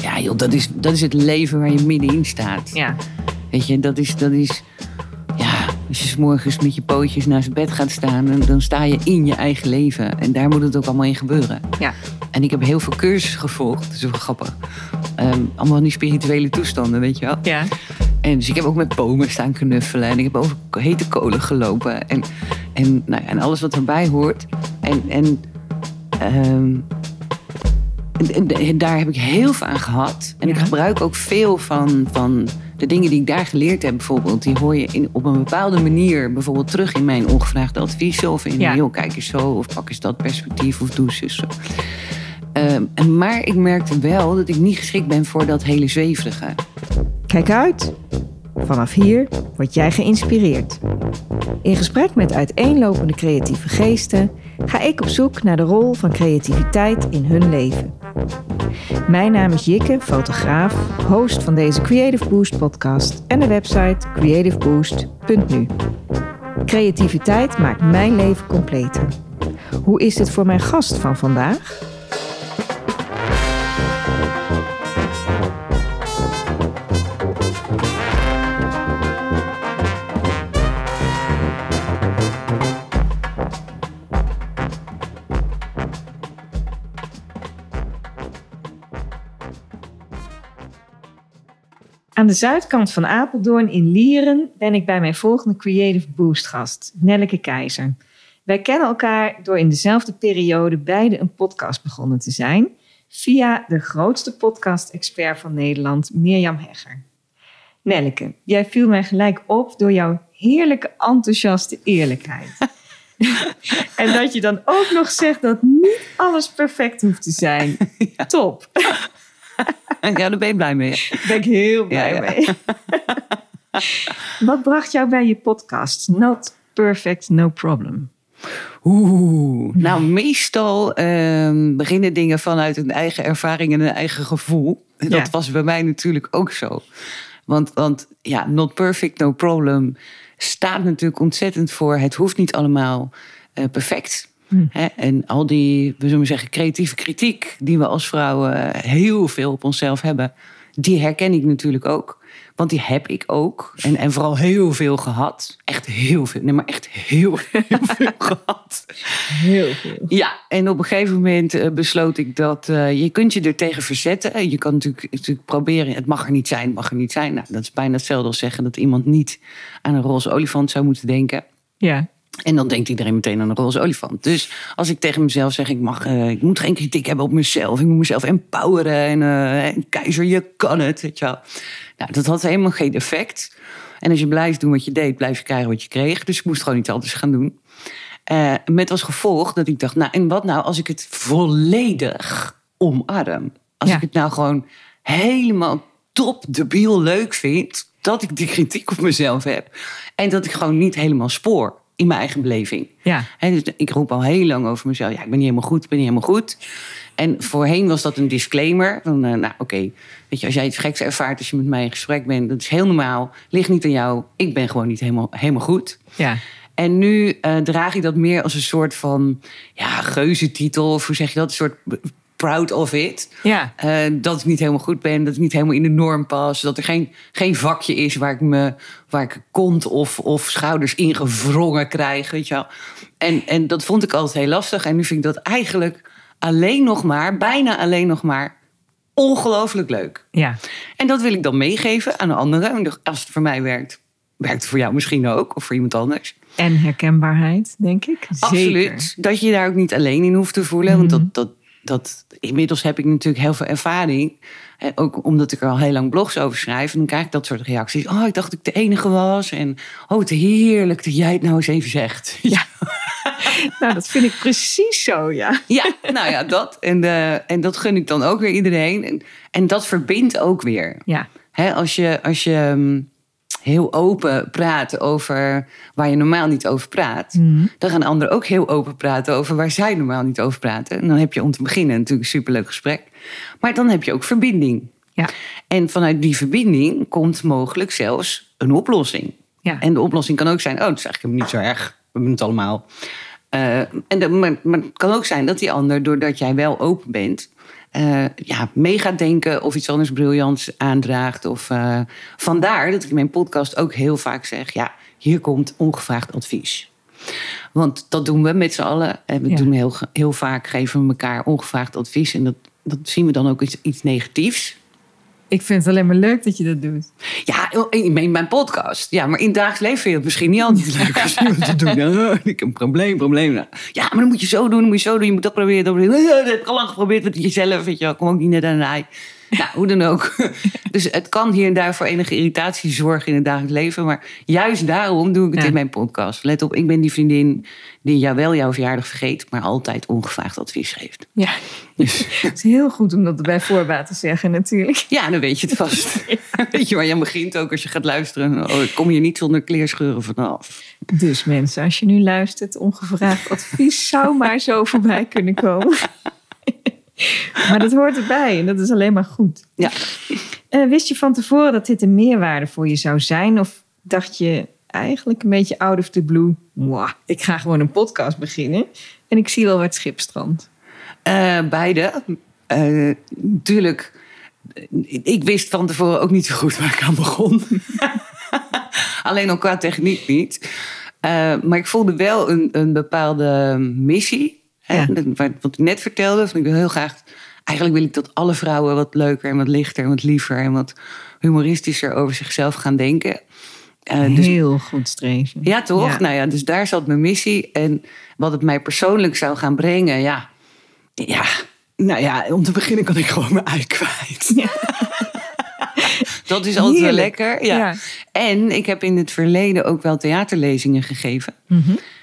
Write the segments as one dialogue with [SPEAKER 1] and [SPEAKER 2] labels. [SPEAKER 1] Ja, joh, dat is, dat is het leven waar je middenin staat.
[SPEAKER 2] Ja.
[SPEAKER 1] Weet je, dat is, dat is. Ja, als je 's morgens met je pootjes naast het bed gaat staan, dan, dan sta je in je eigen leven. En daar moet het ook allemaal in gebeuren.
[SPEAKER 2] Ja.
[SPEAKER 1] En ik heb heel veel cursussen gevolgd, dat is wel grappig. Ehm, allemaal in die spirituele toestanden, weet je wel.
[SPEAKER 2] Ja.
[SPEAKER 1] En dus ik heb ook met bomen staan knuffelen. En ik heb over hete kolen gelopen. En, en, nou ja, en alles wat erbij hoort. En, en, ehm, en- en- en daar heb ik heel veel aan gehad. En ik
[SPEAKER 2] Ja.
[SPEAKER 1] gebruik ook veel van, van de dingen die ik daar geleerd heb bijvoorbeeld. Die hoor je in, op een bepaalde manier bijvoorbeeld terug in mijn ongevraagde adviezen. Of in,
[SPEAKER 2] Ja.
[SPEAKER 1] heel kijk eens zo. Of pak eens dat perspectief. Of doe eens zo. Ehm, en maar ik merkte wel dat ik niet geschikt ben voor dat hele zweverige.
[SPEAKER 3] Kijk uit! Vanaf hier word jij geïnspireerd. In gesprek met uiteenlopende creatieve geesten ga ik op zoek naar de rol van creativiteit in hun leven. Mijn naam is Jikke, fotograaf, host van deze Creative Boost podcast en de website creativeboost.nu. Creativiteit maakt mijn leven completer. Hoe is dit voor mijn gast van vandaag? Aan de zuidkant van Apeldoorn in Lieren ben ik bij mijn volgende Creative Boost gast, Nelleke Keizer. Wij kennen elkaar door in dezelfde periode beide een podcast begonnen te zijn, via de grootste podcast-expert van Nederland, Mirjam Hegger. Nelleke, jij viel mij gelijk op door jouw heerlijke enthousiaste eerlijkheid. en dat je dan ook nog zegt dat niet alles perfect hoeft te zijn. Top, daar
[SPEAKER 1] Ja, daar ben je blij mee. hè?
[SPEAKER 3] ben ik heel blij
[SPEAKER 1] Ja, ja.
[SPEAKER 3] mee. Wat bracht jou bij je podcast? Not perfect, no problem.
[SPEAKER 1] Oeh. Nou, meestal ehm, beginnen dingen vanuit een eigen ervaring en een eigen gevoel. En
[SPEAKER 3] Ja.
[SPEAKER 1] Dat was bij mij natuurlijk ook zo. Want, want ja, not perfect, no problem staat natuurlijk ontzettend voor. Het hoeft niet allemaal eh, perfect.
[SPEAKER 3] Hm.
[SPEAKER 1] Hè? En al die, we zullen maar zeggen, creatieve kritiek die we als vrouwen eh, heel veel op onszelf hebben, die herken ik natuurlijk ook. Want die heb ik ook. En, en vooral heel veel gehad. Echt heel veel. Nee, maar echt heel, heel veel gehad.
[SPEAKER 3] Heel veel.
[SPEAKER 1] Ja, en op een gegeven moment eh, besloot ik dat eh, je kunt je er tegen verzetten. Eh, Je kan natuurlijk, natuurlijk proberen, het mag er niet zijn, het mag er niet zijn. Nou, dat is bijna hetzelfde als zeggen dat iemand niet aan een roze olifant zou moeten denken.
[SPEAKER 3] Ja.
[SPEAKER 1] En dan denkt iedereen meteen aan een roze olifant. Dus als ik tegen mezelf zeg, ik, mag, eh, ik moet geen kritiek hebben op mezelf. Ik moet mezelf empoweren. En, eh, en keizer, je kan het. Weet je wel. Nou, dat had helemaal geen effect. En als je blijft doen wat je deed, blijf je krijgen wat je kreeg. Dus ik moest gewoon iets anders gaan doen. Eh, met als gevolg dat ik dacht, nou en wat nou als ik het volledig omarm? Als
[SPEAKER 3] Ja.
[SPEAKER 1] ik het nou gewoon helemaal top debiel leuk vind... dat ik die kritiek op mezelf heb. En dat ik gewoon niet helemaal spoor in mijn eigen beleving.
[SPEAKER 3] Ja.
[SPEAKER 1] Hè, dus ik roep al heel lang over mezelf. Ja, ik ben niet helemaal goed, ik ben niet helemaal goed. En voorheen was dat een disclaimer. Van, eh, nou, oké, weet je, als jij iets geks ervaart als je met mij in gesprek bent, dat is heel normaal. Ligt niet aan jou. Ik ben gewoon niet helemaal, helemaal goed.
[SPEAKER 3] Ja.
[SPEAKER 1] En nu eh, draag ik dat meer als een soort van ja, geuzetitel. Of hoe zeg je dat? Een soort proud of it.
[SPEAKER 3] Ja.
[SPEAKER 1] Eh, dat ik niet helemaal goed ben, dat ik niet helemaal in de norm pas. Dat er geen, geen vakje is waar ik, me, waar ik kont of, of schouders ingevrongen krijg. Weet je wel. En, en dat vond ik altijd heel lastig. En nu vind ik dat eigenlijk alleen nog maar, bijna alleen nog maar, ongelooflijk leuk.
[SPEAKER 3] Ja.
[SPEAKER 1] En dat wil ik dan meegeven aan de anderen. En ik dacht, Als het voor mij werkt, werkt het voor jou misschien ook. Of voor iemand anders.
[SPEAKER 3] En herkenbaarheid, denk ik.
[SPEAKER 1] Absoluut. Dat je je daar ook niet alleen in hoeft te voelen. Want dat, dat, dat, inmiddels heb ik natuurlijk heel veel ervaring. En ook omdat ik er al heel lang blogs over schrijf. En dan krijg ik dat soort reacties. Oh, ik dacht dat ik de enige was. En oh, het heerlijk dat jij het nou eens even zegt. Ja,
[SPEAKER 3] Nou, dat vind ik precies zo, ja.
[SPEAKER 1] nou ja, dat. En, eh, en dat gun ik dan ook weer iedereen. En, en dat verbindt ook weer.
[SPEAKER 3] Ja.
[SPEAKER 1] Hè, als je, als je hm, heel open praat over waar je normaal niet over praat,
[SPEAKER 3] Mhm.
[SPEAKER 1] dan gaan anderen ook heel open praten over waar zij normaal niet over praten. En dan heb je om te beginnen natuurlijk een superleuk gesprek. Maar dan heb je ook verbinding.
[SPEAKER 3] Ja.
[SPEAKER 1] En vanuit die verbinding komt mogelijk zelfs een oplossing.
[SPEAKER 3] Ja.
[SPEAKER 1] En de oplossing kan ook zijn: oh, het is eigenlijk niet zo erg. We hebben het allemaal. Eh, en de- maar, maar het kan ook zijn dat die ander, doordat jij wel open bent, eh, eh, ja, mee gaat denken of iets anders briljants aandraagt. Of, eh, vandaar dat ik in mijn podcast ook heel vaak zeg: ja, hier komt ongevraagd advies. Want dat doen we met z'n allen. En we
[SPEAKER 3] Ja.
[SPEAKER 1] doen heel, ge- heel vaak geven we elkaar ongevraagd advies. En dat, dat zien we dan ook iets, iets negatiefs.
[SPEAKER 3] Ik vind het alleen maar leuk dat je dat doet.
[SPEAKER 1] Ja, ik meen mijn podcast. Ja, maar in het dagelijks leven vind je het misschien niet altijd leuk als iemand te doen. Eh, ik heb een probleem, probleem. Nou, Ja, maar dan moet je zo doen, dan moet je zo doen. Je moet dat proberen, dat proberen. Eh, Dat heb ik al lang geprobeerd met jezelf, weet je wel. Kom ook niet net aan de haai. Nou, hoe dan ook. Dus het kan hier en daar voor enige irritatie zorgen in het dagelijks leven. Maar juist daarom doe ik het
[SPEAKER 3] Ja.
[SPEAKER 1] in mijn podcast. Let op, ik ben die vriendin die jou wel jouw verjaardag vergeet... maar altijd ongevraagd advies geeft.
[SPEAKER 3] Ja, het is heel goed om dat bij voorbaat te zeggen natuurlijk.
[SPEAKER 1] Ja, dan weet je het vast. Weet je waar je begint ook als je gaat luisteren. Oh, ik kom je niet zonder kleerscheuren vanaf.
[SPEAKER 3] Dus mensen, als je nu luistert, ongevraagd advies zou maar zo voorbij kunnen komen. Maar dat hoort erbij en dat is alleen maar goed.
[SPEAKER 1] Ja.
[SPEAKER 3] Eh, wist je van tevoren dat dit een meerwaarde voor je zou zijn? Of dacht je eigenlijk een beetje out of the blue? Mwah, ik ga gewoon een podcast beginnen en ik zie wel wat schip strandt.
[SPEAKER 1] Eh, beide. Eh, Natuurlijk. ik wist van tevoren ook niet zo goed waar ik aan begon. Alleen al qua techniek niet. Eh, maar ik voelde wel een, een bepaalde missie. Hè,
[SPEAKER 3] Ja.
[SPEAKER 1] dat- wat- Wat ik net vertelde. Van ik wil heel graag. Eigenlijk wil ik dat alle vrouwen wat leuker en wat lichter en wat liever en wat humoristischer over zichzelf gaan denken. Eh, dus
[SPEAKER 3] Heel goed streven.
[SPEAKER 1] ja, toch?
[SPEAKER 3] Ja.
[SPEAKER 1] Nou ja, dus daar zat mijn missie. En wat het mij persoonlijk zou gaan brengen, ja. Ja, nou ja, om te beginnen kan ik gewoon mijn ei kwijt.
[SPEAKER 3] Ja.
[SPEAKER 1] Dat is altijd wel
[SPEAKER 3] Heerlijk.
[SPEAKER 1] lekker. Ja.
[SPEAKER 3] Ja.
[SPEAKER 1] En ik heb in het verleden ook wel theaterlezingen gegeven.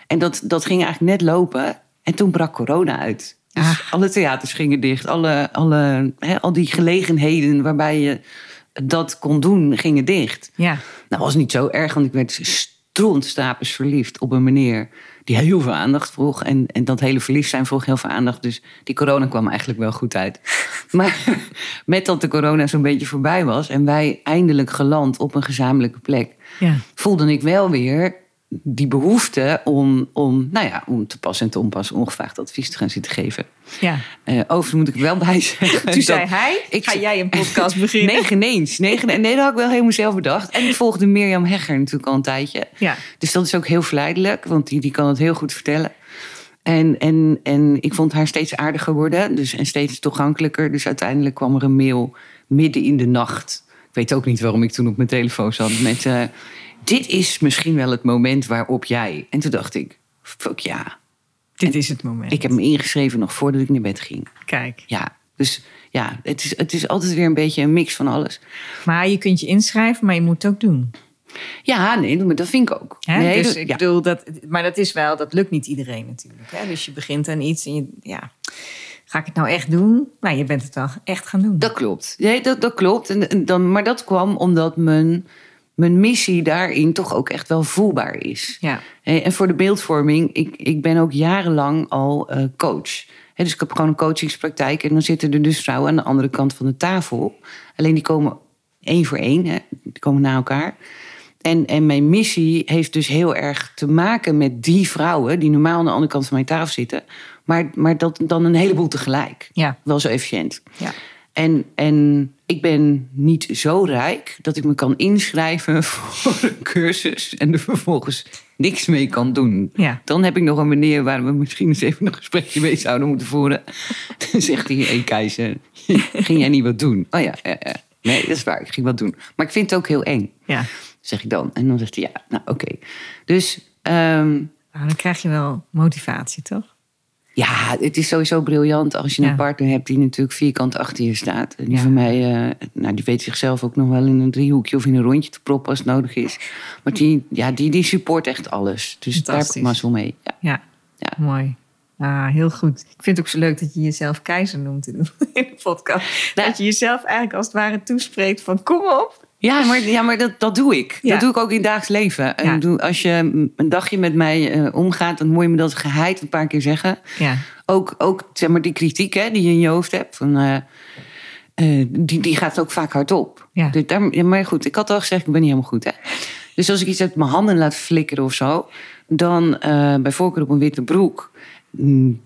[SPEAKER 1] En dat, dat ging eigenlijk net lopen. En toen brak corona uit. Dus
[SPEAKER 3] Ah.
[SPEAKER 1] alle theaters gingen dicht. Alle, alle, hè, al die gelegenheden waarbij je dat kon doen, gingen dicht.
[SPEAKER 3] ja.
[SPEAKER 1] Nou, was niet zo erg, want ik werd stronstapens verliefd op een meneer die heel veel aandacht vroeg. En, en dat hele verliefd zijn vroeg heel veel aandacht. Dus die corona kwam eigenlijk wel goed uit. Maar met dat de corona zo'n beetje voorbij was en wij eindelijk geland op een gezamenlijke plek,
[SPEAKER 3] ja.
[SPEAKER 1] voelde ik wel weer die behoefte om, om, nou ja, om te pas en te onpas ongevraagd advies te gaan zitten geven.
[SPEAKER 3] ja.
[SPEAKER 1] Eh overigens moet ik er wel bij zeggen.
[SPEAKER 3] Toen
[SPEAKER 1] dat-
[SPEAKER 3] zei hij,
[SPEAKER 1] ik-
[SPEAKER 3] ga jij een podcast beginnen?
[SPEAKER 1] Nee, geen eens. Nee, geen- nee, dat had ik wel helemaal zelf bedacht. En ik volgde Mirjam Hegger natuurlijk al een tijdje.
[SPEAKER 3] Ja.
[SPEAKER 1] Dus dat is ook heel verleidelijk, want die, die kan het heel goed vertellen. En, en, en ik vond haar steeds aardiger worden dus, en steeds toegankelijker. Dus uiteindelijk kwam er een mail midden in de nacht. Ik weet ook niet waarom ik toen op mijn telefoon zat met... eh, dit is misschien wel het moment waarop jij... En toen dacht ik, fuck ja.
[SPEAKER 3] Dit is het moment.
[SPEAKER 1] Ik heb me ingeschreven nog voordat ik naar bed ging.
[SPEAKER 3] Kijk.
[SPEAKER 1] Ja, dus ja, het is, het is altijd weer een beetje een mix van alles.
[SPEAKER 3] Maar je kunt je inschrijven, maar je moet het ook doen.
[SPEAKER 1] Ja, nee, maar dat vind ik ook.
[SPEAKER 3] Hè?
[SPEAKER 1] Nee,
[SPEAKER 3] dus
[SPEAKER 1] dat-
[SPEAKER 3] ik
[SPEAKER 1] ja.
[SPEAKER 3] bedoel, dat, maar dat is wel, dat lukt niet iedereen natuurlijk. Hè? Dus je begint aan iets en je, ja, ga ik het nou echt doen? Nou, je bent het wel echt gaan doen.
[SPEAKER 1] Dat klopt. Nee, dat, dat klopt. En, en dan, maar dat kwam omdat mijn, mijn missie daarin toch ook echt wel voelbaar is.
[SPEAKER 3] ja,
[SPEAKER 1] Hé, En voor de beeldvorming, ik, ik ben ook jarenlang al eh, coach. Hè, dus ik heb gewoon een coachingspraktijk. En dan zitten er dus vrouwen aan de andere kant van de tafel. Alleen die komen één voor één, hè, die komen na elkaar. En, en mijn missie heeft dus heel erg te maken met die vrouwen... die normaal aan de andere kant van mijn tafel zitten. Maar, maar dat dan een heleboel tegelijk.
[SPEAKER 3] ja,
[SPEAKER 1] Wel zo efficiënt.
[SPEAKER 3] ja.
[SPEAKER 1] En, en ik ben niet zo rijk dat ik me kan inschrijven voor een cursus en er vervolgens niks mee kan doen.
[SPEAKER 3] Ja.
[SPEAKER 1] Dan heb ik nog een meneer waar we misschien eens even een gesprekje mee zouden moeten voeren. Dan zegt hij, hé keizer, ging jij niet wat doen? Oh ja, ja, ja. nee, dat is waar, ik ging wat doen. Maar ik vind het ook heel eng,
[SPEAKER 3] ja.
[SPEAKER 1] zeg ik dan. En dan zegt hij, ja, nou oké. Dus ehm,
[SPEAKER 3] Nou, dan krijg je wel motivatie, toch?
[SPEAKER 1] ja, het is sowieso briljant als je
[SPEAKER 3] Ja.
[SPEAKER 1] een partner hebt die natuurlijk vierkant achter je staat. En die
[SPEAKER 3] Ja.
[SPEAKER 1] van mij, eh, nou, die weet zichzelf ook nog wel in een driehoekje of in een rondje te proppen als het nodig is. Maar die, ja, die, die support echt alles. Dus daar heb ik
[SPEAKER 3] Fantastisch.
[SPEAKER 1] mazzel mee. Ja.
[SPEAKER 3] Ja,
[SPEAKER 1] Ja.
[SPEAKER 3] mooi. Ah, heel goed. Ik vind het ook zo leuk dat je jezelf keizer noemt in de- in de podcast.
[SPEAKER 1] Nou.
[SPEAKER 3] Dat je jezelf eigenlijk als het ware toespreekt van kom op.
[SPEAKER 1] Ja, maar, ja, maar dat, dat doe ik.
[SPEAKER 3] Ja.
[SPEAKER 1] Dat doe ik ook in het dagelijks leven. En
[SPEAKER 3] Ja.
[SPEAKER 1] doe- als je een dagje met mij eh, omgaat, dan moet je me dat geheid een paar keer zeggen.
[SPEAKER 3] Ja,
[SPEAKER 1] Ook, ook zeg maar, die kritiek hè, die je in je hoofd hebt, van, eh, eh, die, die gaat ook vaak hard op.
[SPEAKER 3] Ja.
[SPEAKER 1] Dus daar, ja, maar goed, ik had al gezegd, ik ben niet helemaal goed. Hè? Dus als ik iets uit mijn handen laat flikkeren of zo, dan eh bij voorkeur op een witte broek. mm,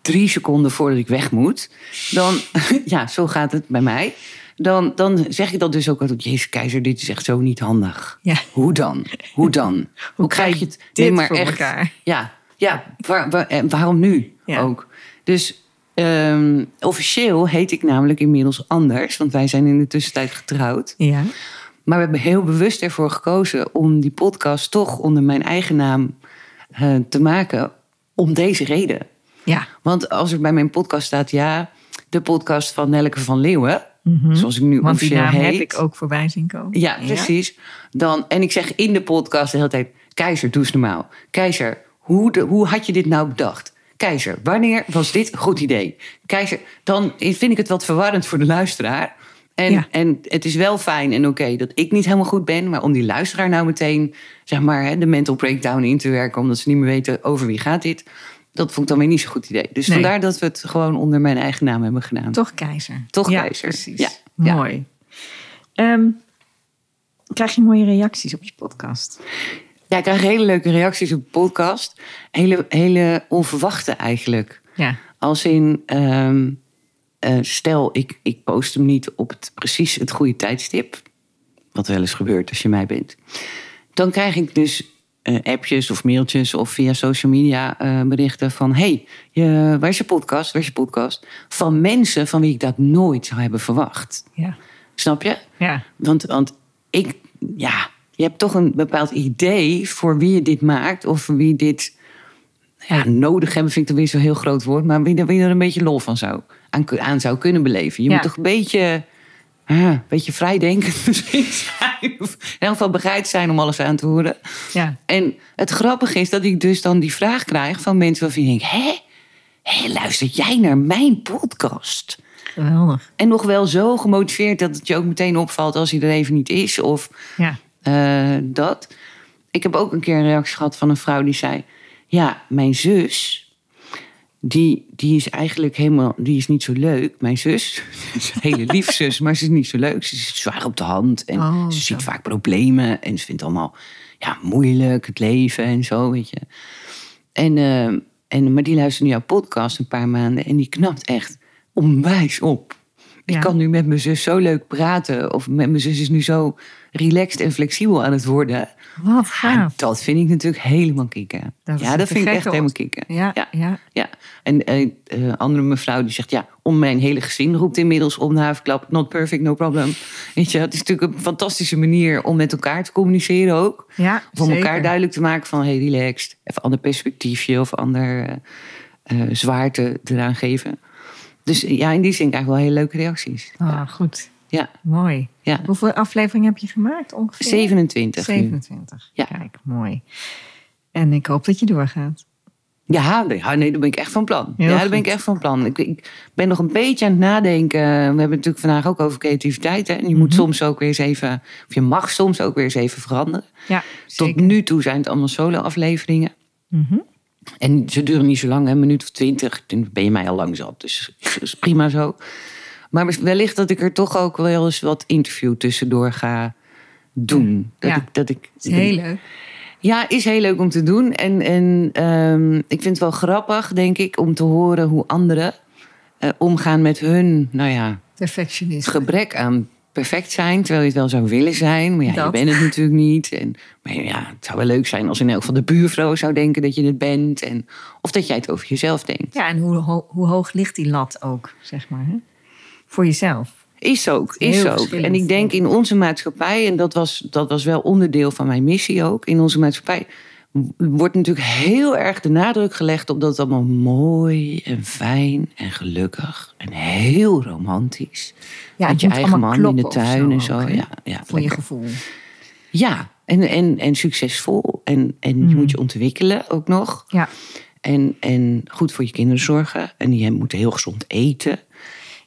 [SPEAKER 1] drie seconden voordat ik weg moet, dan, ja, zo gaat het bij mij. Dan, dan zeg ik dat dus ook altijd, Jezus Keizer, dit is echt zo niet handig.
[SPEAKER 3] Ja.
[SPEAKER 1] Hoe dan? Hoe dan? Hoe, krijg je het?
[SPEAKER 3] Dit
[SPEAKER 1] Nee, maar
[SPEAKER 3] voor
[SPEAKER 1] echt.
[SPEAKER 3] elkaar.
[SPEAKER 1] Ja, ja waar- waar- en waarom nu
[SPEAKER 3] Ja.
[SPEAKER 1] ook? Dus ehm, officieel heet ik namelijk inmiddels anders, want wij zijn in de tussentijd getrouwd.
[SPEAKER 3] Ja.
[SPEAKER 1] Maar we hebben heel bewust ervoor gekozen om die podcast toch onder mijn eigen naam eh, te maken, om deze reden.
[SPEAKER 3] Ja.
[SPEAKER 1] Want als er bij mijn podcast staat, ja, de podcast van Nelleke van Leeuwen, zoals ik nu
[SPEAKER 3] Mhm. Want die
[SPEAKER 1] officieel
[SPEAKER 3] naam
[SPEAKER 1] heet.
[SPEAKER 3] heb ik ook voorbij zien komen.
[SPEAKER 1] Ja, precies. Dan, en ik zeg in de podcast de hele tijd: Keizer, doe eens normaal. Keizer, hoe, de, hoe had je dit nou bedacht? Keizer, wanneer was dit een goed idee? Keizer, dan vind ik het wat verwarrend voor de luisteraar. En,
[SPEAKER 3] Ja.
[SPEAKER 1] en het is wel fijn en oké dat ik niet helemaal goed ben, maar om die luisteraar nou meteen zeg maar, hè, de mental breakdown in te werken, omdat ze niet meer weten over wie gaat dit, dat vond ik dan weer niet zo'n goed idee. Dus
[SPEAKER 3] Nee.
[SPEAKER 1] vandaar dat we het gewoon onder mijn eigen naam hebben gedaan.
[SPEAKER 3] Toch keizer.
[SPEAKER 1] Toch
[SPEAKER 3] ja,
[SPEAKER 1] keizer.
[SPEAKER 3] Precies.
[SPEAKER 1] Ja. Ja.
[SPEAKER 3] Mooi. Ehm, krijg je mooie reacties op je podcast?
[SPEAKER 1] Ja, ik krijg hele leuke reacties op de podcast. Hele, hele onverwachte eigenlijk.
[SPEAKER 3] Ja.
[SPEAKER 1] Als in, ehm, eh, stel ik, ik post hem niet op het, precies het goede tijdstip. Wat wel eens gebeurt als je mij bent. Dan krijg ik dus eh, appjes of mailtjes of via social media eh, berichten van... hey, je, waar is je podcast? Waar is je podcast? Van mensen van wie ik dat nooit zou hebben verwacht.
[SPEAKER 3] Ja.
[SPEAKER 1] Snap je?
[SPEAKER 3] Ja.
[SPEAKER 1] Want, want ik, ja, je hebt toch een bepaald idee voor wie je dit maakt of voor wie dit nou ja, nodig hebben, vind ik dan weer zo'n heel groot woord, maar wie, er- wie er een beetje lol van zou, aan, ku- aan zou kunnen beleven. Je
[SPEAKER 3] Ja.
[SPEAKER 1] moet toch een beetje, ah, een beetje vrijdenkend misschien zijn. Of in elk geval bereid zijn om alles aan te horen.
[SPEAKER 3] Ja.
[SPEAKER 1] En het grappige is dat ik dus dan die vraag krijg van mensen waarvan ik denk, hè? Hé, luister jij naar mijn podcast?
[SPEAKER 3] Geweldig.
[SPEAKER 1] En nog wel zo gemotiveerd dat het je ook meteen opvalt als hij er even niet is. Of
[SPEAKER 3] Ja.
[SPEAKER 1] eh, dat. Ik heb ook een keer een reactie gehad van een vrouw die zei: Ja, mijn zus. Die, die is eigenlijk helemaal, die is niet zo leuk. Mijn zus, ze is een hele lief zus, maar ze is niet zo leuk. Ze zit zwaar op de hand en
[SPEAKER 3] Oh,
[SPEAKER 1] ze ziet
[SPEAKER 3] zo.
[SPEAKER 1] vaak problemen. En ze vindt het allemaal ja, moeilijk, het leven en zo, weet je. En, eh, en, maar die luistert nu jouw podcast een paar maanden en die knapt echt onwijs op.
[SPEAKER 3] Ja.
[SPEAKER 1] Ik kan nu met mijn zus zo leuk praten. Of met mijn zus is nu zo relaxed en flexibel aan het worden.
[SPEAKER 3] Wat
[SPEAKER 1] Ja,
[SPEAKER 3] gaaf.
[SPEAKER 1] dat vind ik natuurlijk helemaal kicken.
[SPEAKER 3] Ah. Dat is
[SPEAKER 1] ja, dat
[SPEAKER 3] te
[SPEAKER 1] vind ik
[SPEAKER 3] gek,
[SPEAKER 1] echt
[SPEAKER 3] hoor.
[SPEAKER 1] helemaal kicken.
[SPEAKER 3] Ja.
[SPEAKER 1] Ja.
[SPEAKER 3] Ja.
[SPEAKER 1] Ja. En een andere mevrouw die zegt, ja, om mijn hele gezin roept inmiddels om de haverklap. Not perfect, no problem. Weet je, het is natuurlijk een fantastische manier om met elkaar te communiceren ook.
[SPEAKER 3] Ja.
[SPEAKER 1] Of om elkaar
[SPEAKER 3] zeker.
[SPEAKER 1] duidelijk te maken van, hey, relaxed. Even ander perspectiefje of ander eh, eh, zwaarte eraan geven. Dus eh, ja, in die zin krijg ik wel hele leuke reacties.
[SPEAKER 3] Ah, goed.
[SPEAKER 1] Ja,
[SPEAKER 3] Mooi.
[SPEAKER 1] ja.
[SPEAKER 3] Hoeveel afleveringen heb je gemaakt ongeveer?
[SPEAKER 1] 27 nu.
[SPEAKER 3] 27.
[SPEAKER 1] Ja.
[SPEAKER 3] Kijk, mooi. En ik hoop dat je doorgaat.
[SPEAKER 1] Ja, nee, ja, nee, daar ben ik echt van plan.
[SPEAKER 3] Heel
[SPEAKER 1] ja, daar
[SPEAKER 3] goed.
[SPEAKER 1] ben ik echt van plan. Ik, ik ben nog een beetje aan het nadenken. We hebben het natuurlijk vandaag ook over creativiteit. Hè? En je moet
[SPEAKER 3] Mhm.
[SPEAKER 1] soms ook weer eens even, of je mag soms ook weer eens even veranderen.
[SPEAKER 3] Ja, zeker.
[SPEAKER 1] Tot nu toe zijn het allemaal solo-afleveringen.
[SPEAKER 3] Mhm.
[SPEAKER 1] En ze duren niet zo lang, hè, een minuut of twintig. Dan ben je mij al lang zat, dus dat is prima zo. Maar wellicht dat ik er toch ook wel eens wat interview tussendoor ga doen. Dat
[SPEAKER 3] Ja.
[SPEAKER 1] ik, dat ik,
[SPEAKER 3] Het is heel leuk.
[SPEAKER 1] ja, is heel leuk om te doen. En, en ehm, ik vind het wel grappig, denk ik, om te horen hoe anderen eh, omgaan met hun nou ja,
[SPEAKER 3] Perfectionist.
[SPEAKER 1] gebrek aan perfect zijn. Terwijl je het wel zou willen zijn, maar ja, je
[SPEAKER 3] Dat.
[SPEAKER 1] bent het natuurlijk niet. En, maar ja, het zou wel leuk zijn als in elk geval de buurvrouw zou denken dat je het bent. En, of dat jij het over jezelf denkt.
[SPEAKER 3] Ja, en hoe, ho- hoe hoog ligt die lat ook, zeg maar. Hè? Voor jezelf.
[SPEAKER 1] Is ook,
[SPEAKER 3] Heel
[SPEAKER 1] is ook.
[SPEAKER 3] verschillend,
[SPEAKER 1] En ik denk in onze maatschappij, en dat was, dat was wel onderdeel van mijn missie ook, in onze maatschappij w- wordt natuurlijk heel erg de nadruk gelegd op dat het allemaal mooi en fijn en gelukkig en heel romantisch.
[SPEAKER 3] Ja,
[SPEAKER 1] Met
[SPEAKER 3] het
[SPEAKER 1] je
[SPEAKER 3] moet
[SPEAKER 1] eigen
[SPEAKER 3] allemaal
[SPEAKER 1] man in de
[SPEAKER 3] kloppen of
[SPEAKER 1] tuin en
[SPEAKER 3] zo
[SPEAKER 1] zo.
[SPEAKER 3] ook, hè?
[SPEAKER 1] ja, ja,
[SPEAKER 3] Voor je
[SPEAKER 1] lekker.
[SPEAKER 3] gevoel.
[SPEAKER 1] ja, en, en, en succesvol. En, en je moet je ontwikkelen ook nog.
[SPEAKER 3] Hmm. Ja.
[SPEAKER 1] En, en goed voor je kinderen zorgen. En die moeten heel gezond eten.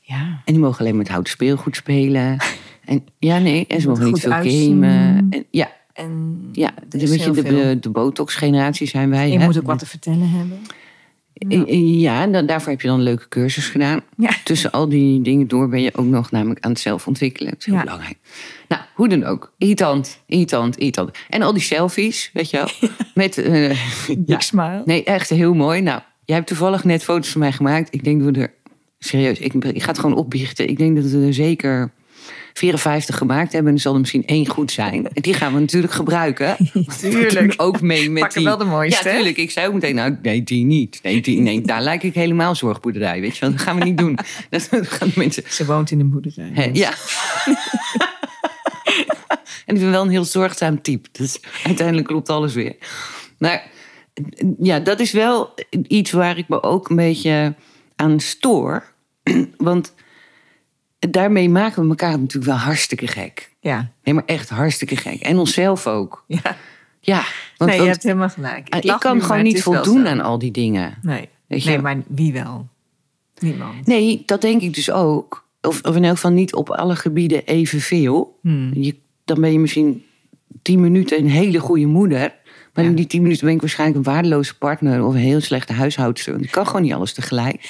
[SPEAKER 3] ja.
[SPEAKER 1] En die mogen alleen met houten speelgoed spelen. En, ja, nee. En ze
[SPEAKER 3] moet
[SPEAKER 1] mogen niet veel
[SPEAKER 3] goed uitzien.
[SPEAKER 1] gamen. En, ja,
[SPEAKER 3] En
[SPEAKER 1] ja.
[SPEAKER 3] er
[SPEAKER 1] Een
[SPEAKER 3] is
[SPEAKER 1] beetje
[SPEAKER 3] heel
[SPEAKER 1] de,
[SPEAKER 3] veel.
[SPEAKER 1] de, de botox-generatie zijn wij.
[SPEAKER 3] je
[SPEAKER 1] hè?
[SPEAKER 3] moet ook wat te vertellen hebben.
[SPEAKER 1] Eh, eh, Ja, en dan, daarvoor heb je dan een leuke cursus gedaan.
[SPEAKER 3] Ja.
[SPEAKER 1] Tussen al die dingen door ben je ook nog namelijk aan het zelf ontwikkelen. Dat is heel
[SPEAKER 3] Ja.
[SPEAKER 1] belangrijk. Nou, hoe dan ook. Irritant, irritant, irritant. En al die selfies, weet je wel. Met, eh,
[SPEAKER 3] Big smile.
[SPEAKER 1] Nee, echt heel mooi. Nou, Jij hebt toevallig net foto's van mij gemaakt. Ik denk dat we er... Serieus, ik, ik ga het gewoon opbiechten. Ik denk dat we er zeker 54 gemaakt hebben. En er zal er misschien één goed zijn. En die gaan we natuurlijk gebruiken.
[SPEAKER 3] Tuurlijk.
[SPEAKER 1] Ook mee met
[SPEAKER 3] Pak er
[SPEAKER 1] die...
[SPEAKER 3] wel de mooiste.
[SPEAKER 1] Ja,
[SPEAKER 3] hè?
[SPEAKER 1] tuurlijk. Ik zei ook meteen, nou, nee, die niet. Nee, die, nee, daar lijk ik helemaal zorgboerderij, weet je wel. Dat gaan we niet doen. Dat gaan mensen...
[SPEAKER 3] Ze woont in een boerderij.
[SPEAKER 1] Hè, ja. en ik ben wel een heel zorgzaam type. Dus uiteindelijk klopt alles weer. Maar ja, dat is wel iets waar ik me ook een beetje aan stoor. Want daarmee maken we elkaar natuurlijk wel hartstikke gek.
[SPEAKER 3] Ja.
[SPEAKER 1] Nee, maar echt hartstikke gek. En onszelf ook.
[SPEAKER 3] ja.
[SPEAKER 1] Ja, want,
[SPEAKER 3] nee, je
[SPEAKER 1] want
[SPEAKER 3] hebt helemaal gelijk.
[SPEAKER 1] ik,
[SPEAKER 3] lach
[SPEAKER 1] kan
[SPEAKER 3] nu, maar
[SPEAKER 1] gewoon
[SPEAKER 3] het
[SPEAKER 1] niet
[SPEAKER 3] is wel
[SPEAKER 1] voldoen
[SPEAKER 3] zo.
[SPEAKER 1] aan al die dingen.
[SPEAKER 3] Nee.
[SPEAKER 1] Weet je?
[SPEAKER 3] nee, maar wie wel? Niemand.
[SPEAKER 1] Nee, dat denk ik dus ook. Of, of in elk geval niet op alle gebieden evenveel.
[SPEAKER 3] Hmm.
[SPEAKER 1] Je, dan ben je misschien tien minuten een hele goede moeder. Maar
[SPEAKER 3] Ja.
[SPEAKER 1] in die tien minuten ben ik waarschijnlijk een waardeloze partner of een heel slechte huishoudster. Want Ik kan gewoon niet alles tegelijk.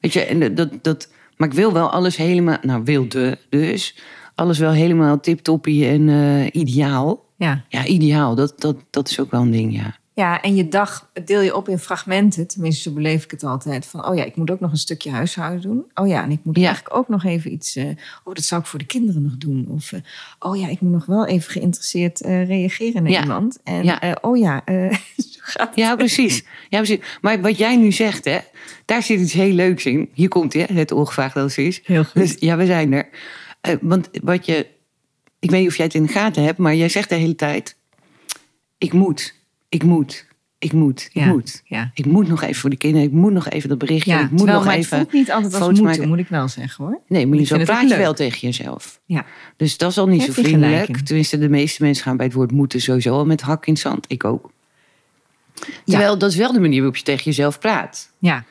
[SPEAKER 1] Weet je, en dat- dat, dat, maar ik wil wel alles helemaal, nou wilde dus, alles wel helemaal tip-toppie en eh, ideaal.
[SPEAKER 3] Ja.
[SPEAKER 1] Ja, ideaal, dat, dat, dat is ook wel een ding, ja.
[SPEAKER 3] Ja, en je dag deel je op in fragmenten. Tenminste, zo beleef ik het altijd. Van, oh ja, ik moet ook nog een stukje huishouden doen. Oh ja, en ik moet
[SPEAKER 1] Ja.
[SPEAKER 3] eigenlijk ook nog even iets... eh, oh, dat zou ik voor de kinderen nog doen. Of, eh, oh ja, ik moet nog wel even geïnteresseerd eh, reageren naar
[SPEAKER 1] Ja.
[SPEAKER 3] iemand. En
[SPEAKER 1] Ja.
[SPEAKER 3] eh, oh ja, eh, zo gaat het.
[SPEAKER 1] Ja, precies. ja, precies. Maar wat jij nu zegt, hè, daar zit iets heel leuks in. Hier komt hij, hè, het ongevraagd advies.
[SPEAKER 3] Heel goed.
[SPEAKER 1] Dus ja, we zijn er. Eh, want wat je, ik weet niet of jij het in de gaten hebt, maar jij zegt de hele tijd: ik moet, ik moet, ik moet, ik
[SPEAKER 3] Ja,
[SPEAKER 1] moet.
[SPEAKER 3] ja.
[SPEAKER 1] Ik moet nog even voor de kinderen, ik moet nog even dat berichtje,
[SPEAKER 3] Ja,
[SPEAKER 1] ik moet
[SPEAKER 3] terwijl,
[SPEAKER 1] nog
[SPEAKER 3] maar
[SPEAKER 1] even.
[SPEAKER 3] het voelt niet altijd als
[SPEAKER 1] foto's
[SPEAKER 3] moeten,
[SPEAKER 1] maken.
[SPEAKER 3] moet ik wel zeggen hoor.
[SPEAKER 1] Nee, maar
[SPEAKER 3] Ik
[SPEAKER 1] je zo
[SPEAKER 3] vind het
[SPEAKER 1] praat je
[SPEAKER 3] ook leuk.
[SPEAKER 1] wel tegen jezelf.
[SPEAKER 3] Ja,
[SPEAKER 1] Dus dat is al niet
[SPEAKER 3] Heb
[SPEAKER 1] zo
[SPEAKER 3] je gelijk
[SPEAKER 1] vriendelijk.
[SPEAKER 3] in.
[SPEAKER 1] Tenminste, de meeste mensen gaan bij het woord moeten sowieso al met hak in zand. Ik ook. Terwijl dat is wel de manier waarop je tegen jezelf praat.
[SPEAKER 3] ja.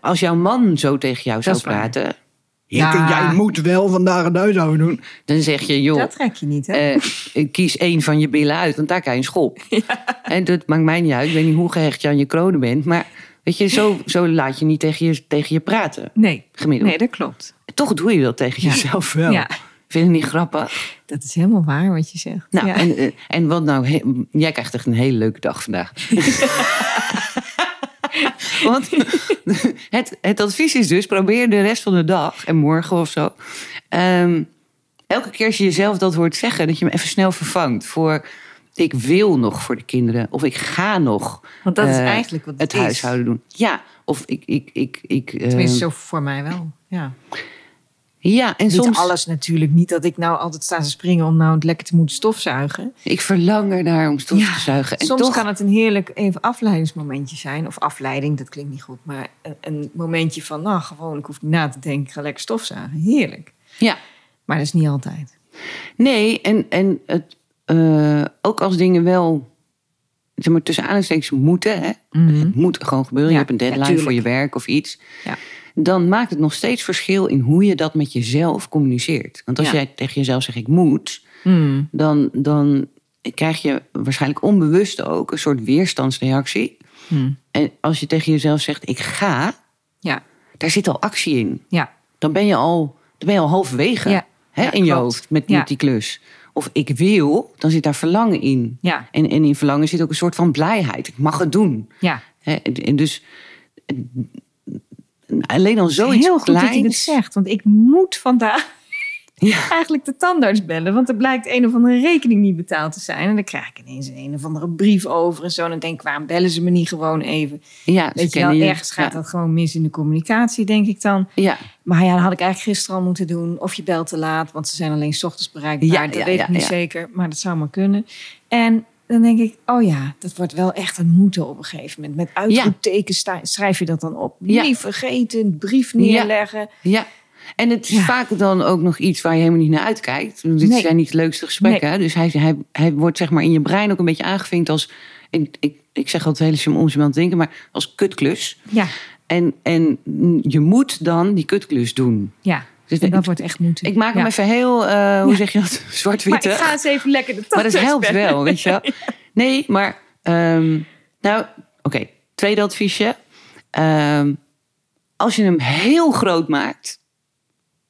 [SPEAKER 1] Als jouw man zo tegen jou zou
[SPEAKER 3] is waar.
[SPEAKER 1] praten,
[SPEAKER 3] Ja.
[SPEAKER 2] Jij moet wel vandaag een huishouden doen.
[SPEAKER 1] dan zeg je, joh,
[SPEAKER 3] dat trek je niet hè.
[SPEAKER 1] eh, kies één van je billen uit, want daar kan je een schop. En dat maakt mij niet uit. Ik weet niet hoe gehecht je aan je kronen bent, maar weet je, zo, zo laat je niet tegen je, tegen je praten.
[SPEAKER 3] nee.
[SPEAKER 1] Gemiddeld.
[SPEAKER 3] nee, dat klopt.
[SPEAKER 1] Toch doe je dat tegen
[SPEAKER 3] Ja.
[SPEAKER 1] jezelf wel.
[SPEAKER 3] Ja,
[SPEAKER 1] Vind je het niet grappig?
[SPEAKER 3] dat is helemaal waar wat je zegt.
[SPEAKER 1] Nou,
[SPEAKER 3] ja.
[SPEAKER 1] en, eh, en wat nou? he- jij krijgt echt een hele leuke dag vandaag. Want het, het advies is dus: probeer de rest van de dag en morgen of zo. ehm, elke keer als je jezelf dat hoort zeggen, dat je hem even snel vervangt voor. Ik wil nog voor de kinderen. Of ik ga nog.
[SPEAKER 3] Want dat is
[SPEAKER 1] eh,
[SPEAKER 3] eigenlijk wat het
[SPEAKER 1] het
[SPEAKER 3] is.
[SPEAKER 1] huishouden doen. Ja, of ik. ik, ik, ik eh,
[SPEAKER 3] Tenminste, zo voor mij wel. Ja.
[SPEAKER 1] ehm, ja, en
[SPEAKER 3] Niet
[SPEAKER 1] soms.
[SPEAKER 3] alles natuurlijk. Niet dat ik nou altijd sta te springen om nou het lekker te moeten stofzuigen.
[SPEAKER 1] Ik verlang ernaar om stof te zuigen. En
[SPEAKER 3] Soms
[SPEAKER 1] toch,
[SPEAKER 3] kan het een heerlijk even afleidingsmomentje zijn. Of afleiding, dat klinkt niet goed. Maar een, een momentje van, nou gewoon, ik hoef niet na te denken. Ik ga lekker stofzuigen. Heerlijk.
[SPEAKER 1] Ja.
[SPEAKER 3] Maar dat is niet altijd.
[SPEAKER 1] Nee, en, en het, eh, ook als dingen wel zeg maar, tussen aanhalingstekens moeten. Hè? Het moet gewoon gebeuren.
[SPEAKER 3] Mhm. Ja,
[SPEAKER 1] je hebt een deadline
[SPEAKER 3] ja, tuurlijk.
[SPEAKER 1] voor je werk of iets.
[SPEAKER 3] Ja.
[SPEAKER 1] Dan maakt het nog steeds verschil in hoe je dat met jezelf communiceert. Want als
[SPEAKER 3] Ja.
[SPEAKER 1] jij tegen jezelf zegt ik moet,
[SPEAKER 3] Mm.
[SPEAKER 1] dan, dan krijg je waarschijnlijk onbewust ook een soort weerstandsreactie.
[SPEAKER 3] Mm.
[SPEAKER 1] En als je tegen jezelf zegt ik ga,
[SPEAKER 3] Ja.
[SPEAKER 1] daar zit al actie in
[SPEAKER 3] Ja.
[SPEAKER 1] dan ben je al, dan ben je al halverwege
[SPEAKER 3] Ja.
[SPEAKER 1] hè,
[SPEAKER 3] Ja,
[SPEAKER 1] in je
[SPEAKER 3] klopt.
[SPEAKER 1] hoofd met,
[SPEAKER 3] Ja.
[SPEAKER 1] met die klus. Of ik wil, dan zit daar verlangen in.
[SPEAKER 3] Ja.
[SPEAKER 1] En, en in verlangen zit ook een soort van blijheid. Ik mag het doen.
[SPEAKER 3] Ja.
[SPEAKER 1] Hè, en, en dus en- en alleen al
[SPEAKER 3] Zo
[SPEAKER 1] zoiets
[SPEAKER 3] Heel goed dat je dit
[SPEAKER 1] kleins.
[SPEAKER 3] zegt. Want ik moet vandaag
[SPEAKER 1] Ja.
[SPEAKER 3] eigenlijk de tandarts bellen. Want er blijkt een of andere rekening niet betaald te zijn. En dan krijg ik ineens een of andere brief over en zo. En dan denk ik, waarom bellen ze me niet gewoon even?
[SPEAKER 1] Ja, ze
[SPEAKER 3] Weet je wel,
[SPEAKER 1] kennen je.
[SPEAKER 3] ergens gaat
[SPEAKER 1] ja.
[SPEAKER 3] dat gewoon mis in de communicatie, denk ik dan.
[SPEAKER 1] Ja,
[SPEAKER 3] Maar ja, dat had ik eigenlijk gisteren al moeten doen. Of je belt te laat, want ze zijn alleen 's ochtends bereikbaar.
[SPEAKER 1] Ja,
[SPEAKER 3] dat
[SPEAKER 1] ja,
[SPEAKER 3] weet
[SPEAKER 1] ja,
[SPEAKER 3] ik niet
[SPEAKER 1] ja.
[SPEAKER 3] zeker, maar dat zou maar kunnen. En dan denk ik, oh ja, dat wordt wel echt een moeten op een gegeven moment. Met uitroeptekens sta- schrijf je dat dan op.
[SPEAKER 1] Ja.
[SPEAKER 3] Niet vergeten, brief neerleggen.
[SPEAKER 1] ja. En het is
[SPEAKER 3] Ja.
[SPEAKER 1] vaak dan ook nog iets waar je helemaal niet naar uitkijkt. Want Dit
[SPEAKER 3] Nee.
[SPEAKER 1] zijn niet de leukste gesprekken. hè. Dus hij, hij, hij wordt zeg maar in je brein ook een beetje aangevinkt als... Ik, ik, ik zeg altijd hele sim- ongeziemand denken, maar als kutklus.
[SPEAKER 3] Ja,
[SPEAKER 1] En, en je moet dan die kutklus doen.
[SPEAKER 3] ja.
[SPEAKER 1] Dus
[SPEAKER 3] En
[SPEAKER 1] ik,
[SPEAKER 3] dat wordt echt moeten.
[SPEAKER 1] ik maak hem
[SPEAKER 3] Ja.
[SPEAKER 1] even heel, eh, hoe zeg je dat, zwart-wit.
[SPEAKER 3] Maar ik
[SPEAKER 1] hè?
[SPEAKER 3] ga eens even lekker de
[SPEAKER 1] Maar dat
[SPEAKER 3] tandarts
[SPEAKER 1] helpt
[SPEAKER 3] bellen.
[SPEAKER 1] wel, weet je wel. Nee, maar, ehm, nou, oké, tweede adviesje. Ehm, als je hem heel groot maakt,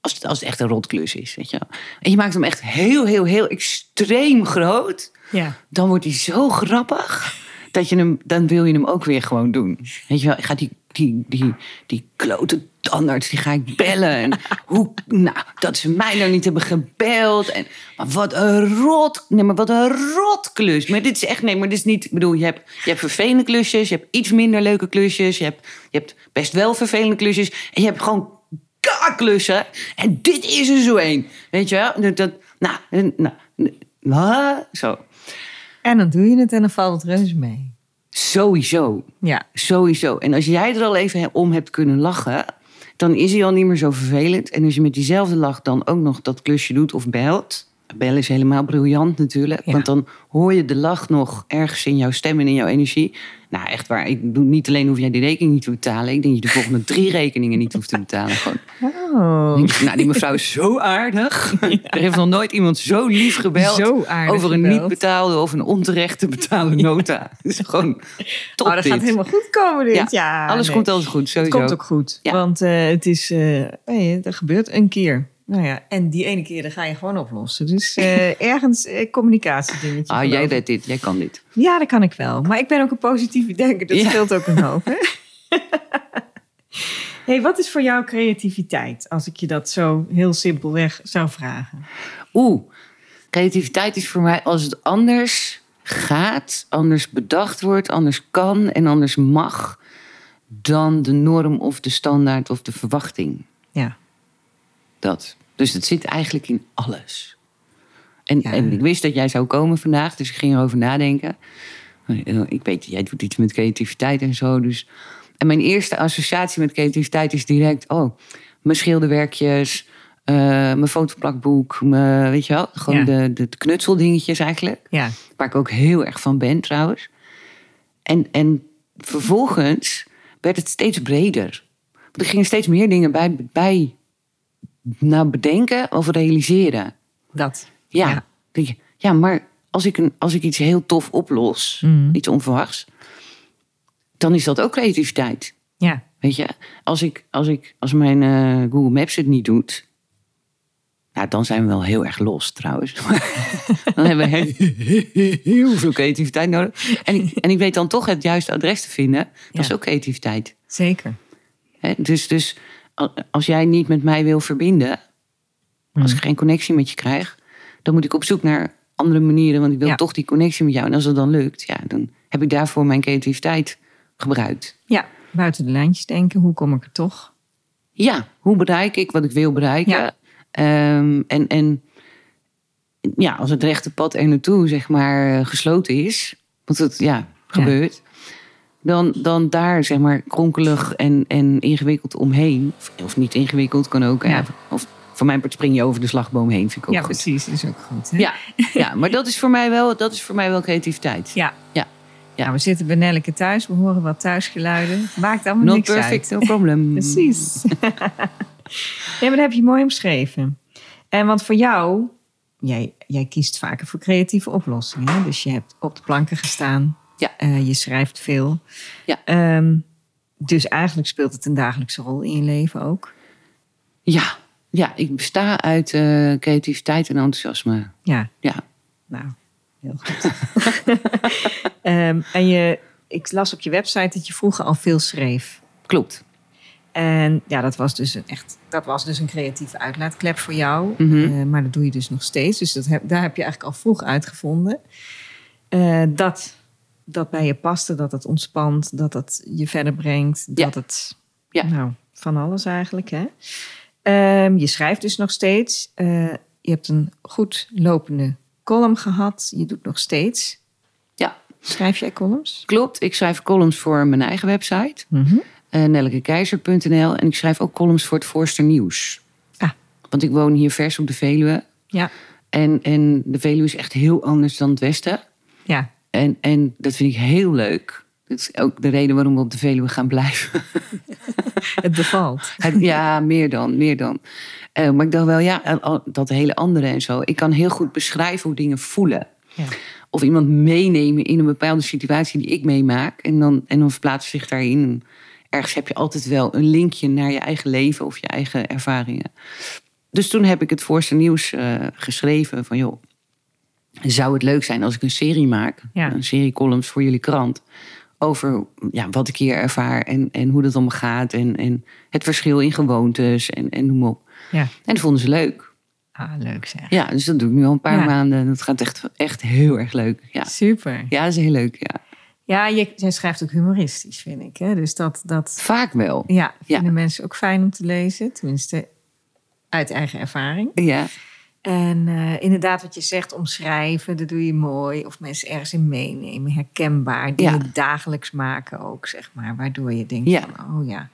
[SPEAKER 1] als het, als het echt een rotklus is, weet je wel. En je maakt hem echt heel, heel, heel extreem groot,
[SPEAKER 3] Ja.
[SPEAKER 1] dan wordt hij zo grappig. dat je hem, dan wil je hem ook weer gewoon doen. Weet je wel, ik ga die, die, die, die klote tandarts, die ga ik bellen. En hoe, nou, dat ze mij nou niet hebben gebeld. En, maar wat een rot, nee, maar wat een rotklus. Maar dit is echt, nee, maar dit is niet, ik bedoel, je hebt, je hebt vervelende klusjes, je hebt iets minder leuke klusjes, je hebt, je hebt best wel vervelende klusjes. En je hebt gewoon kaklussen. En dit is er zo een. Weet je wel? Dat, dat, nou, en- nou, en- ah, zo.
[SPEAKER 3] En dan doe je het en dan valt het reuze mee.
[SPEAKER 1] Sowieso.
[SPEAKER 3] Ja.
[SPEAKER 1] Sowieso. En als jij er al even om hebt kunnen lachen, dan is hij al niet meer zo vervelend. En als je met diezelfde lach dan ook nog dat klusje doet of belt. Bellen is helemaal briljant natuurlijk.
[SPEAKER 3] Ja.
[SPEAKER 1] Want dan hoor je de lach nog ergens in jouw stem en in jouw energie. Nou, echt waar. Ik bedoel, niet alleen hoef jij die rekening niet te betalen. Ik denk dat je de volgende drie rekeningen niet hoeft te betalen. Gewoon.
[SPEAKER 3] Oh.
[SPEAKER 1] Ik denk, nou, die mevrouw is zo aardig. Er heeft nog nooit iemand zo lief gebeld.
[SPEAKER 3] Zo aardig
[SPEAKER 1] over een
[SPEAKER 3] gebeld.
[SPEAKER 1] niet betaalde of een onterecht te betalen nota. Het is gewoon top
[SPEAKER 3] Oh, dat
[SPEAKER 1] dit.
[SPEAKER 3] gaat helemaal goed komen dit. Ja,
[SPEAKER 1] Ja, Alles
[SPEAKER 3] Ah, nee.
[SPEAKER 1] komt altijd goed,
[SPEAKER 3] Het
[SPEAKER 1] sowieso.
[SPEAKER 3] komt ook goed.
[SPEAKER 1] Ja.
[SPEAKER 3] Want eh, het is, eh hey, dat gebeurt een keer. Nou ja, en die ene keer, dat ga je gewoon oplossen. Dus eh, ergens eh, communicatiedingetje.
[SPEAKER 1] Ah,
[SPEAKER 3] geloof
[SPEAKER 1] jij
[SPEAKER 3] ik.
[SPEAKER 1] deed dit, jij kan dit.
[SPEAKER 3] Ja, dat kan ik wel. Maar ik ben ook een positieve denker. Dat
[SPEAKER 1] Ja.
[SPEAKER 3] scheelt ook een hoop. Hè? hey, wat is voor jou creativiteit? Als ik je dat zo heel simpelweg zou vragen.
[SPEAKER 1] Oeh, creativiteit is voor mij als het anders gaat, anders bedacht wordt, anders kan en anders mag dan de norm of de standaard of de verwachting.
[SPEAKER 3] Ja.
[SPEAKER 1] Dat. Dus het zit eigenlijk in alles. En,
[SPEAKER 3] Ja.
[SPEAKER 1] en ik wist dat jij zou komen vandaag, dus ik ging erover nadenken. Eh, Ik weet, jij doet iets met creativiteit en zo. Dus. En mijn eerste associatie met creativiteit is direct: oh, mijn schilderwerkjes, eh, mijn fotoplakboek, mijn, weet je wel, gewoon
[SPEAKER 3] Ja.
[SPEAKER 1] de, de knutseldingetjes eigenlijk.
[SPEAKER 3] Ja.
[SPEAKER 1] Waar ik ook heel erg van ben trouwens. En, en vervolgens werd het steeds breder. Want er gingen steeds meer dingen bij, bij nou bedenken of realiseren.
[SPEAKER 3] Dat.
[SPEAKER 1] Ja,
[SPEAKER 3] Ja.
[SPEAKER 1] Denk je, ja maar als ik, een, als ik iets heel tof oplos,
[SPEAKER 3] Mhm.
[SPEAKER 1] iets onverwachts, dan is dat ook creativiteit.
[SPEAKER 3] Ja.
[SPEAKER 1] Weet je, als, ik, als, ik, als mijn eh, Google Maps het niet doet. Nou, dan zijn we wel heel erg los trouwens. dan hebben we heel, heel veel creativiteit nodig. En ik, en ik weet dan toch het juiste adres te vinden. Dat
[SPEAKER 3] Ja.
[SPEAKER 1] is ook creativiteit.
[SPEAKER 3] Zeker.
[SPEAKER 1] Hè? Dus, dus a- als jij niet met mij wil verbinden.
[SPEAKER 3] Hmm.
[SPEAKER 1] Als ik geen connectie met je krijg. Dan moet ik op zoek naar andere manieren. Want ik wil
[SPEAKER 3] Ja.
[SPEAKER 1] toch die connectie met jou. En als dat dan lukt, ja, dan heb ik daarvoor mijn creativiteit gebruikt.
[SPEAKER 3] Ja. Buiten de lijntjes denken. Hoe kom ik er toch?
[SPEAKER 1] Ja, hoe bereik ik wat ik wil bereiken?
[SPEAKER 3] Ja.
[SPEAKER 1] Ehm, en, en ja, als het rechte pad er naartoe, zeg maar, eh, gesloten is, want het ja, gebeurt, Dan, dan daar, zeg maar, kronkelig en, en ingewikkeld omheen, of, of niet ingewikkeld kan ook, hè.
[SPEAKER 3] Ja.
[SPEAKER 1] of van mijn part spring je over de slagboom heen, vind ik ook
[SPEAKER 3] ja,
[SPEAKER 1] goed.
[SPEAKER 3] precies. Is ook goed. Hè?
[SPEAKER 1] Ja, ja, maar dat is voor mij wel, dat is voor mij wel creativiteit.
[SPEAKER 3] Ja.
[SPEAKER 1] Ja. Ja.
[SPEAKER 3] Nou, we zitten bij Nelleke thuis. We horen wat thuisgeluiden. Maakt allemaal
[SPEAKER 1] Not
[SPEAKER 3] niks
[SPEAKER 1] perfect, Mm.
[SPEAKER 3] uit.
[SPEAKER 1] no problem.
[SPEAKER 3] Precies. nee, maar dat heb je mooi omschreven. En want voor jou, jij, jij kiest vaker voor creatieve oplossingen. hè? Dus je hebt op de planken gestaan.
[SPEAKER 1] Ja.
[SPEAKER 3] Eh, je schrijft veel.
[SPEAKER 1] Ja.
[SPEAKER 3] Ehm, dus eigenlijk speelt het een dagelijkse rol in je leven ook.
[SPEAKER 1] Ja, ja, ik besta uit eh, creativiteit en enthousiasme.
[SPEAKER 3] Ja,
[SPEAKER 1] Ja.
[SPEAKER 3] nou, heel goed. Ehm, en je, ik las op je website dat je vroeger al veel schreef.
[SPEAKER 1] Klopt.
[SPEAKER 3] En ja, dat was dus een, echt, dat was dus een creatieve uitlaatklep voor jou.
[SPEAKER 1] Mhm.
[SPEAKER 3] Eh, maar dat doe je dus nog steeds. Dus dat heb, daar heb je eigenlijk al vroeg uitgevonden. Eh, dat dat bij je paste, dat het ontspant, dat dat je verder brengt.
[SPEAKER 1] Ja.
[SPEAKER 3] Dat het,
[SPEAKER 1] Ja.
[SPEAKER 3] nou, van alles eigenlijk. Hè? Ehm, je schrijft dus nog steeds. Eh, je hebt een goed lopende column gehad. Je doet nog steeds.
[SPEAKER 1] Ja.
[SPEAKER 3] Schrijf jij columns?
[SPEAKER 1] Klopt, ik schrijf columns voor mijn eigen website,
[SPEAKER 3] Mhm.
[SPEAKER 1] eh, nellekekeizer.nl. En ik schrijf ook columns voor het Voorste Nieuws.
[SPEAKER 3] Ah.
[SPEAKER 1] Want ik woon hier vers op de Veluwe.
[SPEAKER 3] Ja.
[SPEAKER 1] En, en de Veluwe is echt heel anders dan het Westen.
[SPEAKER 3] Ja.
[SPEAKER 1] En, en dat vind ik heel leuk. Dat is ook de reden waarom we op de Veluwe gaan blijven.
[SPEAKER 3] Het bevalt.
[SPEAKER 1] Het- ja, meer dan, meer dan. Eh, maar ik dacht wel, ja, eh, al- dat hele andere en zo. Ik kan heel goed beschrijven hoe dingen voelen.
[SPEAKER 3] Ja.
[SPEAKER 1] Of iemand meenemen in een bepaalde situatie die ik meemaak. En dan, en dan verplaatst zich daarin. Ergens heb je altijd wel een linkje naar je eigen leven of je eigen ervaringen. Dus toen heb ik het voorste nieuws eh, geschreven van joh, zou het leuk zijn als ik een serie maak,
[SPEAKER 3] Ja.
[SPEAKER 1] een serie columns voor jullie krant, over ja, wat ik hier ervaar en, en hoe dat allemaal gaat en, en het verschil in gewoontes en, en noem maar op.
[SPEAKER 3] Ja.
[SPEAKER 1] En dat vonden ze leuk.
[SPEAKER 3] Ah, leuk zeg.
[SPEAKER 1] Ja, dus dat doe ik nu al een paar
[SPEAKER 3] Ja.
[SPEAKER 1] maanden en dat gaat echt, echt heel erg leuk. Ja,
[SPEAKER 3] Super.
[SPEAKER 1] ja dat is heel leuk. Ja.
[SPEAKER 3] Ja, je, jij schrijft ook humoristisch, vind ik. Hè? Dus dat, dat
[SPEAKER 1] Vaak wel.
[SPEAKER 3] ja, vinden
[SPEAKER 1] Ja.
[SPEAKER 3] mensen ook fijn om te lezen. Tenminste, uit eigen ervaring.
[SPEAKER 1] Ja,
[SPEAKER 3] En eh, inderdaad, wat je zegt, omschrijven, dat doe je mooi. Of mensen ergens in meenemen, herkenbaar. Dingen
[SPEAKER 1] Ja.
[SPEAKER 3] dagelijks maken ook, zeg maar. Waardoor je denkt
[SPEAKER 1] Ja.
[SPEAKER 3] van, oh ja.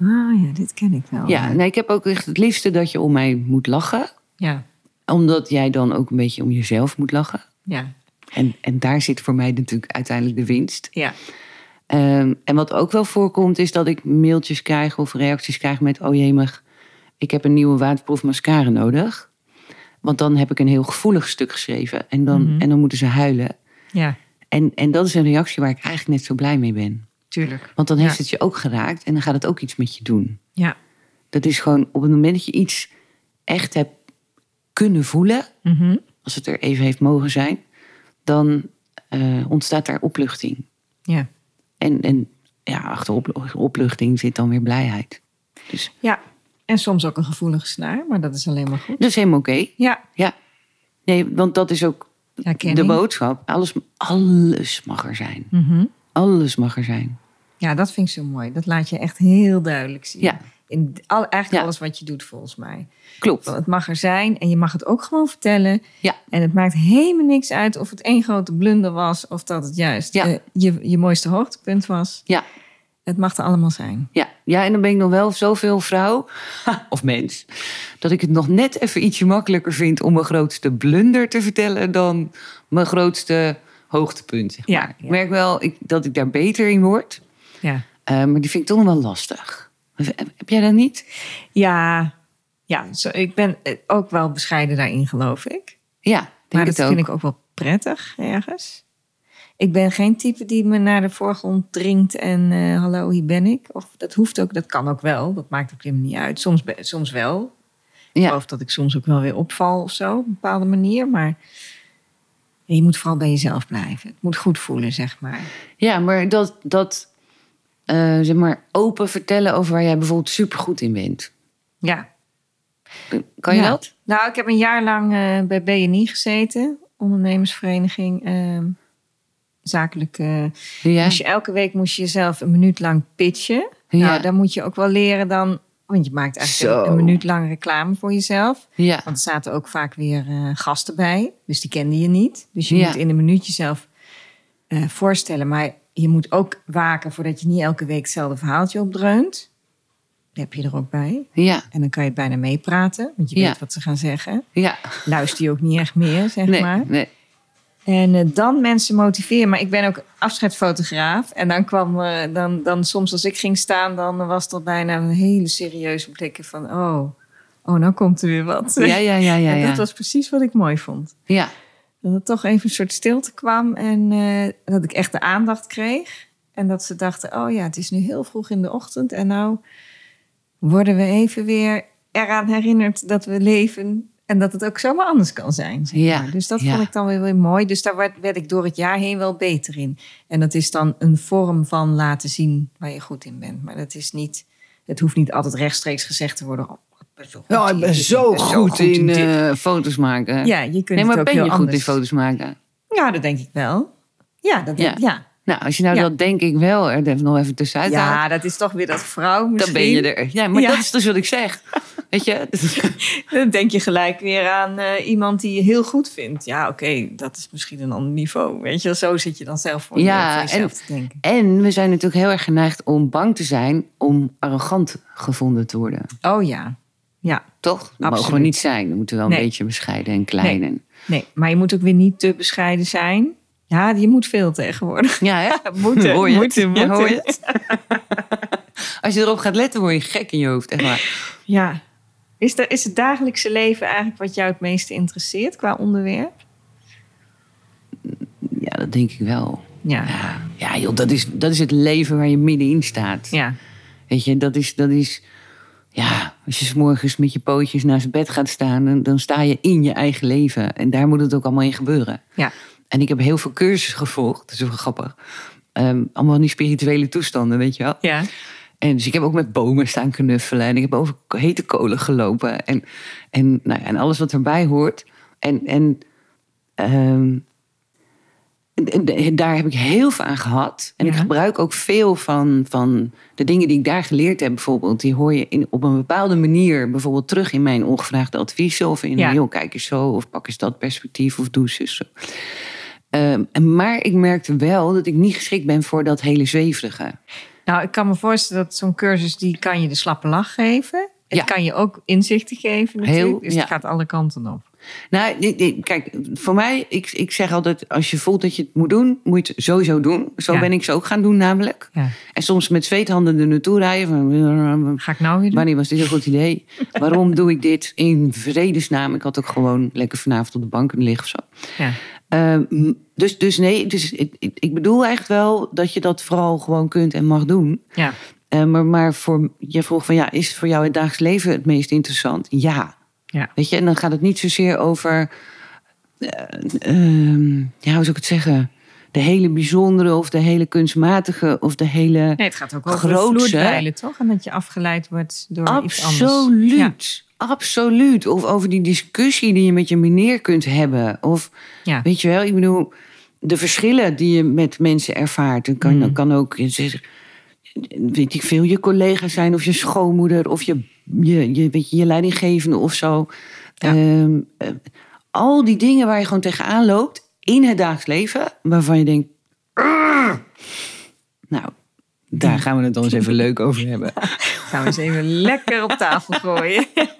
[SPEAKER 3] Oh ja, dit ken ik wel.
[SPEAKER 1] ja. Nee, ik heb ook echt het liefste dat je om mij moet lachen,
[SPEAKER 3] ja.
[SPEAKER 1] omdat jij dan ook een beetje om jezelf moet lachen.
[SPEAKER 3] ja.
[SPEAKER 1] En, en daar zit voor mij natuurlijk uiteindelijk de winst.
[SPEAKER 3] ja.
[SPEAKER 1] Ehm, en wat ook wel voorkomt is dat ik mailtjes krijg of reacties krijg met... oh jemig, ik heb een nieuwe waterproof mascara nodig. Want dan heb ik een heel gevoelig stuk geschreven. En dan, en dan moeten ze huilen.
[SPEAKER 3] Ja,
[SPEAKER 1] En, en dat is een reactie waar ik eigenlijk net zo blij mee ben.
[SPEAKER 3] tuurlijk.
[SPEAKER 1] Want dan
[SPEAKER 3] Ja.
[SPEAKER 1] heeft het je ook geraakt en dan gaat het ook iets met je doen.
[SPEAKER 3] Ja.
[SPEAKER 1] Dat is gewoon op het moment dat je iets echt hebt kunnen voelen...
[SPEAKER 3] Mhm.
[SPEAKER 1] als het er even heeft mogen zijn... dan eh, ontstaat daar opluchting.
[SPEAKER 3] ja.
[SPEAKER 1] En, en ja, achter op- opluchting zit dan weer blijheid. Dus
[SPEAKER 3] Ja. En soms ook een gevoelige snaar, maar dat is alleen maar goed.
[SPEAKER 1] dat is helemaal oké.
[SPEAKER 3] Ja.
[SPEAKER 1] Ja. Nee, want dat is ook
[SPEAKER 3] Herkenning.
[SPEAKER 1] de boodschap. Alles, alles mag er zijn.
[SPEAKER 3] Mhm.
[SPEAKER 1] Alles mag er zijn.
[SPEAKER 3] Ja, dat vind ik zo mooi. Dat laat je echt heel duidelijk zien.
[SPEAKER 1] Ja.
[SPEAKER 3] In al, eigenlijk
[SPEAKER 1] Ja.
[SPEAKER 3] alles wat je doet, volgens mij. Want
[SPEAKER 1] Klopt.
[SPEAKER 3] het mag er zijn en je mag het ook gewoon vertellen.
[SPEAKER 1] Ja.
[SPEAKER 3] En het maakt helemaal niks uit of het één grote blunder was of dat het juist
[SPEAKER 1] Ja.
[SPEAKER 3] eh, je, je mooiste hoogtepunt was.
[SPEAKER 1] Ja.
[SPEAKER 3] Het mag er allemaal zijn.
[SPEAKER 1] Ja. ja, en dan ben ik nog wel zoveel vrouw of mens... dat ik het nog net even ietsje makkelijker vind... om mijn grootste blunder te vertellen... dan mijn grootste hoogtepunt. Zeg
[SPEAKER 3] Ja,
[SPEAKER 1] maar.
[SPEAKER 3] ja.
[SPEAKER 1] Ik merk wel ik, dat ik daar beter in word.
[SPEAKER 3] Ja.
[SPEAKER 1] Eh, maar die vind ik toch nog wel lastig. Heb jij dat niet?
[SPEAKER 3] Ja, ja zo, ik ben eh, ook wel bescheiden daarin, geloof ik.
[SPEAKER 1] Ja, denk
[SPEAKER 3] Maar
[SPEAKER 1] het
[SPEAKER 3] dat
[SPEAKER 1] ook.
[SPEAKER 3] vind ik ook wel prettig ergens. Ik ben geen type die me naar de voorgrond dringt en eh, hallo, hier ben ik. Of dat hoeft ook, dat kan ook wel. Dat maakt ook helemaal niet uit. Soms, be- soms wel. Ik
[SPEAKER 1] Ja,
[SPEAKER 3] geloof dat ik soms ook wel weer opval of zo, op een bepaalde manier. Maar je moet vooral bij jezelf blijven. Het moet goed voelen, zeg maar.
[SPEAKER 1] ja maar dat, dat eh, zeg maar open vertellen over waar jij bijvoorbeeld supergoed in bent.
[SPEAKER 3] Ja.
[SPEAKER 1] Kan je
[SPEAKER 3] Ja.
[SPEAKER 1] dat?
[SPEAKER 3] Nou, ik heb een jaar lang eh, bij BNI gezeten. Ondernemersvereniging. ehm, zakelijk. eh,
[SPEAKER 1] Doe jij?
[SPEAKER 3] moest je, elke week moest je jezelf een minuut lang pitchen.
[SPEAKER 1] Ja.
[SPEAKER 3] Nou, dan moet je ook wel leren dan... Want je maakt eigenlijk
[SPEAKER 1] Zo.
[SPEAKER 3] een, een minuut lang reclame voor jezelf.
[SPEAKER 1] Ja,
[SPEAKER 3] Want er zaten ook vaak weer eh, gasten bij. Dus die kende je niet. Dus je
[SPEAKER 1] Ja.
[SPEAKER 3] moet in een minuut jezelf eh, voorstellen. Maar je moet ook waken voordat je niet elke week hetzelfde verhaaltje opdreunt. Dat heb je er ook bij.
[SPEAKER 1] ja,
[SPEAKER 3] En dan kan je het bijna meepraten. Want je
[SPEAKER 1] Ja.
[SPEAKER 3] weet wat ze gaan zeggen.
[SPEAKER 1] ja.
[SPEAKER 3] Luister je ook niet echt meer, zeg
[SPEAKER 1] Nee,
[SPEAKER 3] maar.
[SPEAKER 1] nee.
[SPEAKER 3] En eh, dan mensen motiveren. Maar ik ben ook afscheidsfotograaf. En dan kwam, eh, dan, dan soms als ik ging staan, dan was dat bijna een hele serieuze blikken van... Oh, oh nou komt er weer wat.
[SPEAKER 1] Ja, ja, ja, ja.
[SPEAKER 3] En
[SPEAKER 1] ja.
[SPEAKER 3] dat was precies wat ik mooi vond.
[SPEAKER 1] ja.
[SPEAKER 3] Dat er toch even een soort stilte kwam en eh, dat ik echt de aandacht kreeg. En dat ze dachten, oh ja, het is nu heel vroeg in de ochtend en nou worden we even weer eraan herinnerd dat we leven en dat het ook zomaar anders kan zijn. zeg
[SPEAKER 1] Ja,
[SPEAKER 3] maar. Dus dat
[SPEAKER 1] ja.
[SPEAKER 3] vond ik dan weer, weer mooi. Dus daar werd, werd ik door het jaar heen wel beter in. En dat is dan een vorm van laten zien waar je goed in bent. Maar dat is niet, het hoeft niet altijd rechtstreeks gezegd te worden. Oh, ik ben zo goed
[SPEAKER 2] Ja, ik
[SPEAKER 3] in
[SPEAKER 2] ben
[SPEAKER 3] dit,
[SPEAKER 2] zo
[SPEAKER 3] ik ben
[SPEAKER 2] goed in,
[SPEAKER 1] In
[SPEAKER 3] dit.
[SPEAKER 1] eh, foto's maken.
[SPEAKER 3] Ja, je kunt
[SPEAKER 1] nee, maar
[SPEAKER 3] het ook
[SPEAKER 1] ben je
[SPEAKER 3] heel
[SPEAKER 1] goed
[SPEAKER 3] anders.
[SPEAKER 1] in foto's maken?
[SPEAKER 3] Ja, dat denk ik wel. Ja, dat denk, ja.
[SPEAKER 1] Nou, als je nou
[SPEAKER 3] Ja.
[SPEAKER 1] dat denk ik wel er even nog even tussenuit haalt,
[SPEAKER 3] ja, dat is toch weer dat vrouw
[SPEAKER 1] dan
[SPEAKER 3] misschien.
[SPEAKER 1] ben je er. Ja, maar
[SPEAKER 3] Ja.
[SPEAKER 1] dat is dus wat ik zeg. Weet je?
[SPEAKER 3] Dan denk je gelijk weer aan eh, iemand die je heel goed vindt. Ja, oké, dat is misschien een ander niveau. Weet je, wel, zo zit je dan zelf voor, je-
[SPEAKER 1] Ja,
[SPEAKER 3] voor jezelf
[SPEAKER 1] en-
[SPEAKER 3] te denken.
[SPEAKER 1] En we zijn natuurlijk heel erg geneigd om bang te zijn om arrogant gevonden te worden.
[SPEAKER 3] Oh ja, ja.
[SPEAKER 1] Toch? Dat mogen we
[SPEAKER 3] Absoluut.
[SPEAKER 1] niet zijn. We moeten wel
[SPEAKER 3] Nee.
[SPEAKER 1] een beetje bescheiden en klein.
[SPEAKER 3] Nee.
[SPEAKER 1] en-
[SPEAKER 3] Nee, maar je moet ook weer niet te bescheiden zijn. Ja, je moet veel tegenwoordig.
[SPEAKER 1] Ja, hè?
[SPEAKER 3] Moeten,
[SPEAKER 1] hoor je
[SPEAKER 3] moeten,
[SPEAKER 1] het? Ja,
[SPEAKER 3] moeten.
[SPEAKER 1] hoor je het? Als je erop gaat letten, word je gek in je hoofd. Echt waar.
[SPEAKER 3] Ja. Is, er, is het dagelijkse leven eigenlijk wat jou het meeste interesseert qua onderwerp?
[SPEAKER 1] Ja, dat denk ik wel.
[SPEAKER 3] Ja.
[SPEAKER 1] Ja, ja joh, dat is, dat is het leven waar je middenin staat.
[SPEAKER 3] Ja.
[SPEAKER 1] Weet je, dat is, dat is Ja, als je 's morgens met je pootjes naast bed gaat staan, dan, dan sta je in je eigen leven. En daar moet het ook allemaal in gebeuren.
[SPEAKER 3] Ja.
[SPEAKER 1] En ik heb heel veel cursussen gevolgd, dat is wel grappig. Ehm, allemaal van die spirituele toestanden, weet je wel.
[SPEAKER 3] Ja.
[SPEAKER 1] En dus ik heb ook met bomen staan knuffelen. En ik heb over hete kolen gelopen. En, en, nou ja, en alles wat erbij hoort. En, en, ehm, en- en- en daar heb ik heel veel aan gehad. En ik
[SPEAKER 3] Ja.
[SPEAKER 1] gebruik ook veel van, van de dingen die ik daar geleerd heb bijvoorbeeld. Die hoor je in, op een bepaalde manier bijvoorbeeld terug in mijn ongevraagde adviezen. Of in
[SPEAKER 3] Ja.
[SPEAKER 1] heel kijk eens zo. Of pak eens dat perspectief. Of doe eens zo. Ehm, en- maar ik merkte wel dat ik niet geschikt ben voor dat hele zweverige.
[SPEAKER 3] Nou, ik kan me voorstellen dat zo'n cursus, die kan je de slappe lach geven. Het
[SPEAKER 1] Ja.
[SPEAKER 3] kan je ook inzichten geven natuurlijk.
[SPEAKER 1] Heel,
[SPEAKER 3] dus
[SPEAKER 1] ja.
[SPEAKER 3] het gaat alle kanten op.
[SPEAKER 1] Nou, nee, nee, kijk, voor mij, ik, ik zeg altijd, als je voelt dat je het moet doen, moet je het sowieso doen. Zo
[SPEAKER 3] Ja.
[SPEAKER 1] ben ik ze ook gaan doen namelijk.
[SPEAKER 3] Ja.
[SPEAKER 1] En soms met zweethanden er naartoe rijden. Van,
[SPEAKER 3] Ga ik nou weer doen?
[SPEAKER 1] wanneer was dit een goed idee? Waarom doe ik dit in vredesnaam? Ik had ook gewoon lekker vanavond op de bank kunnen liggen of zo.
[SPEAKER 3] Ja.
[SPEAKER 1] Ehm, dus, dus nee, dus, ik, ik- ik bedoel echt wel dat je dat vooral gewoon kunt en mag doen.
[SPEAKER 3] ja.
[SPEAKER 1] Eh, maar, maar voor, je vroeg van ja, is voor jou het dagelijks leven het meest interessant? Ja.
[SPEAKER 3] Ja.
[SPEAKER 1] Weet je, en dan gaat het niet zozeer over, eh, ehm, ja, hoe zou ik het zeggen? De hele bijzondere of de hele kunstmatige of de hele.
[SPEAKER 3] Nee, het gaat ook over
[SPEAKER 1] Groots, hè?
[SPEAKER 3] vloerdeilen, toch? En dat je afgeleid wordt door iets anders.
[SPEAKER 1] Absoluut.
[SPEAKER 3] Ja.
[SPEAKER 1] Absoluut. Of over die discussie die je met je meneer kunt hebben. Of
[SPEAKER 3] Ja.
[SPEAKER 1] Weet je wel, ik bedoel, de verschillen die je met mensen ervaart. Dan kan, dan kan ook, je zegt, weet ik veel, je collega zijn of je schoonmoeder of je, je, je, weet je, je leidinggevende of zo.
[SPEAKER 3] Ja.
[SPEAKER 1] Ehm, eh, al die dingen waar je gewoon tegenaan loopt in het dagelijks leven, waarvan je denkt, "Argh." nou, daar gaan we het dan eens even leuk over hebben.
[SPEAKER 3] Gaan we eens even lekker op tafel gooien.
[SPEAKER 1] Ja,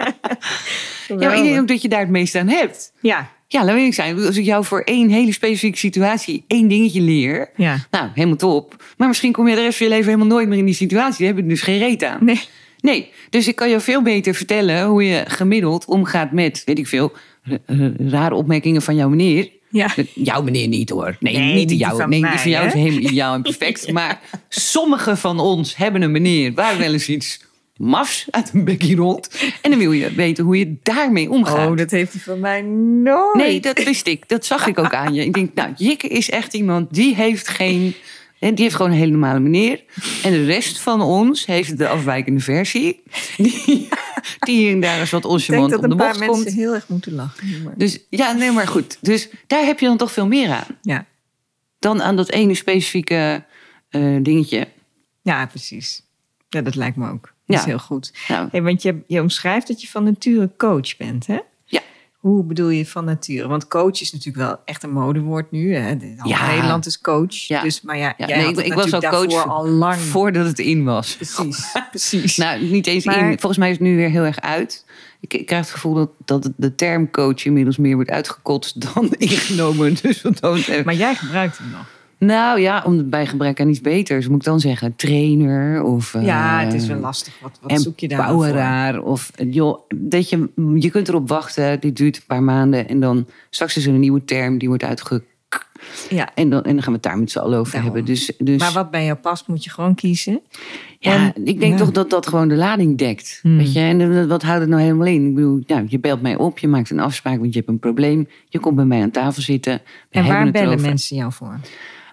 [SPEAKER 1] maar ik denk ook dat je daar het meest aan hebt.
[SPEAKER 3] ja,
[SPEAKER 1] Ja, laat ik zijn. Als ik jou voor één hele specifieke situatie één dingetje leer,
[SPEAKER 3] ja.
[SPEAKER 1] Nou, helemaal top. Maar misschien kom je de rest van je leven helemaal nooit meer in die situatie. Daar heb ik dus geen reet aan.
[SPEAKER 3] Nee.
[SPEAKER 1] Nee, dus ik kan je veel beter vertellen hoe je gemiddeld omgaat met, weet ik veel, r- r- rare opmerkingen van jouw meneer.
[SPEAKER 3] Ja.
[SPEAKER 1] Jouw meneer niet hoor. Nee,
[SPEAKER 3] Nee,
[SPEAKER 1] niet de
[SPEAKER 3] die
[SPEAKER 1] jouwe.
[SPEAKER 3] van
[SPEAKER 1] nee,
[SPEAKER 3] mij,
[SPEAKER 1] die van jou
[SPEAKER 3] hè?
[SPEAKER 1] is helemaal ideaal en perfect. Maar sommige van ons hebben een meneer waar wel eens iets mafs uit een bekje rolt. En dan wil je weten hoe je daarmee omgaat.
[SPEAKER 3] Oh, dat heeft hij van mij nooit.
[SPEAKER 1] Nee, dat wist ik. Dat zag ik ook aan je. Ik denk, nou, Jikke is echt iemand die heeft geen. En die heeft gewoon een hele normale meneer. En de rest van ons heeft de afwijkende versie. Die, die hier en daar eens wat
[SPEAKER 3] ik denk
[SPEAKER 1] onchemant
[SPEAKER 3] dat
[SPEAKER 1] om de
[SPEAKER 3] een paar
[SPEAKER 1] bocht
[SPEAKER 3] mensen
[SPEAKER 1] komt.
[SPEAKER 3] heel erg moeten lachen. hier, maar-
[SPEAKER 1] Dus ja, nee, maar goed. Dus daar heb je dan toch veel meer aan.
[SPEAKER 3] Ja.
[SPEAKER 1] Dan aan dat ene specifieke eh, dingetje.
[SPEAKER 3] ja, precies. Ja, dat lijkt me ook. Dat is
[SPEAKER 1] Ja.
[SPEAKER 3] heel goed.
[SPEAKER 1] Nou,
[SPEAKER 3] Hey, want je, je omschrijft dat je van nature coach bent, hè?
[SPEAKER 1] Ja.
[SPEAKER 3] Hoe bedoel je van nature? Want coach is natuurlijk wel echt een modewoord nu. Hè? De- half
[SPEAKER 1] Ja.
[SPEAKER 3] Nederland is coach.
[SPEAKER 1] Ja.
[SPEAKER 3] Dus, maar ja,
[SPEAKER 1] Ja,
[SPEAKER 3] jij
[SPEAKER 1] nee,
[SPEAKER 3] had
[SPEAKER 1] ik-
[SPEAKER 3] het
[SPEAKER 1] ik was
[SPEAKER 3] natuurlijk
[SPEAKER 1] al coach
[SPEAKER 3] daarvoor al lang.
[SPEAKER 1] voordat het in was.
[SPEAKER 3] Precies, precies.
[SPEAKER 1] Nou, niet eens
[SPEAKER 3] Maar-
[SPEAKER 1] in. Volgens mij is het nu weer heel erg uit. Ik, ik krijg het gevoel dat, dat de term coach inmiddels meer wordt uitgekotst dan ingenomen. Dus wat dat betreft-
[SPEAKER 3] maar jij gebruikt hem nog.
[SPEAKER 1] nou ja, om bij gebrek aan iets beters moet ik dan zeggen trainer of... eh,
[SPEAKER 3] ja, het is wel lastig. Wat, wat zoek je daar nou voor?
[SPEAKER 1] empoweraar Of eh, joh, dat je, je kunt erop wachten. Dit duurt een paar maanden. En dan straks is er een nieuwe term die wordt uitge...
[SPEAKER 3] Ja.
[SPEAKER 1] En dan, en dan gaan we het daar met z'n allen over
[SPEAKER 3] Daarom.
[SPEAKER 1] hebben. Dus, dus
[SPEAKER 3] Maar wat bij jou past, moet je gewoon kiezen.
[SPEAKER 1] Ja,
[SPEAKER 3] En-
[SPEAKER 1] ik denk
[SPEAKER 3] ja.
[SPEAKER 1] toch dat dat gewoon de lading dekt.
[SPEAKER 3] Hmm.
[SPEAKER 1] Weet je, en eh, wat houdt het nou helemaal in? Ik bedoel, nou, je belt mij op, je maakt een afspraak, want je hebt een probleem. Je komt bij mij aan tafel zitten. we
[SPEAKER 3] En
[SPEAKER 1] hebben
[SPEAKER 3] waar
[SPEAKER 1] het
[SPEAKER 3] bellen
[SPEAKER 1] over.
[SPEAKER 3] mensen jou voor?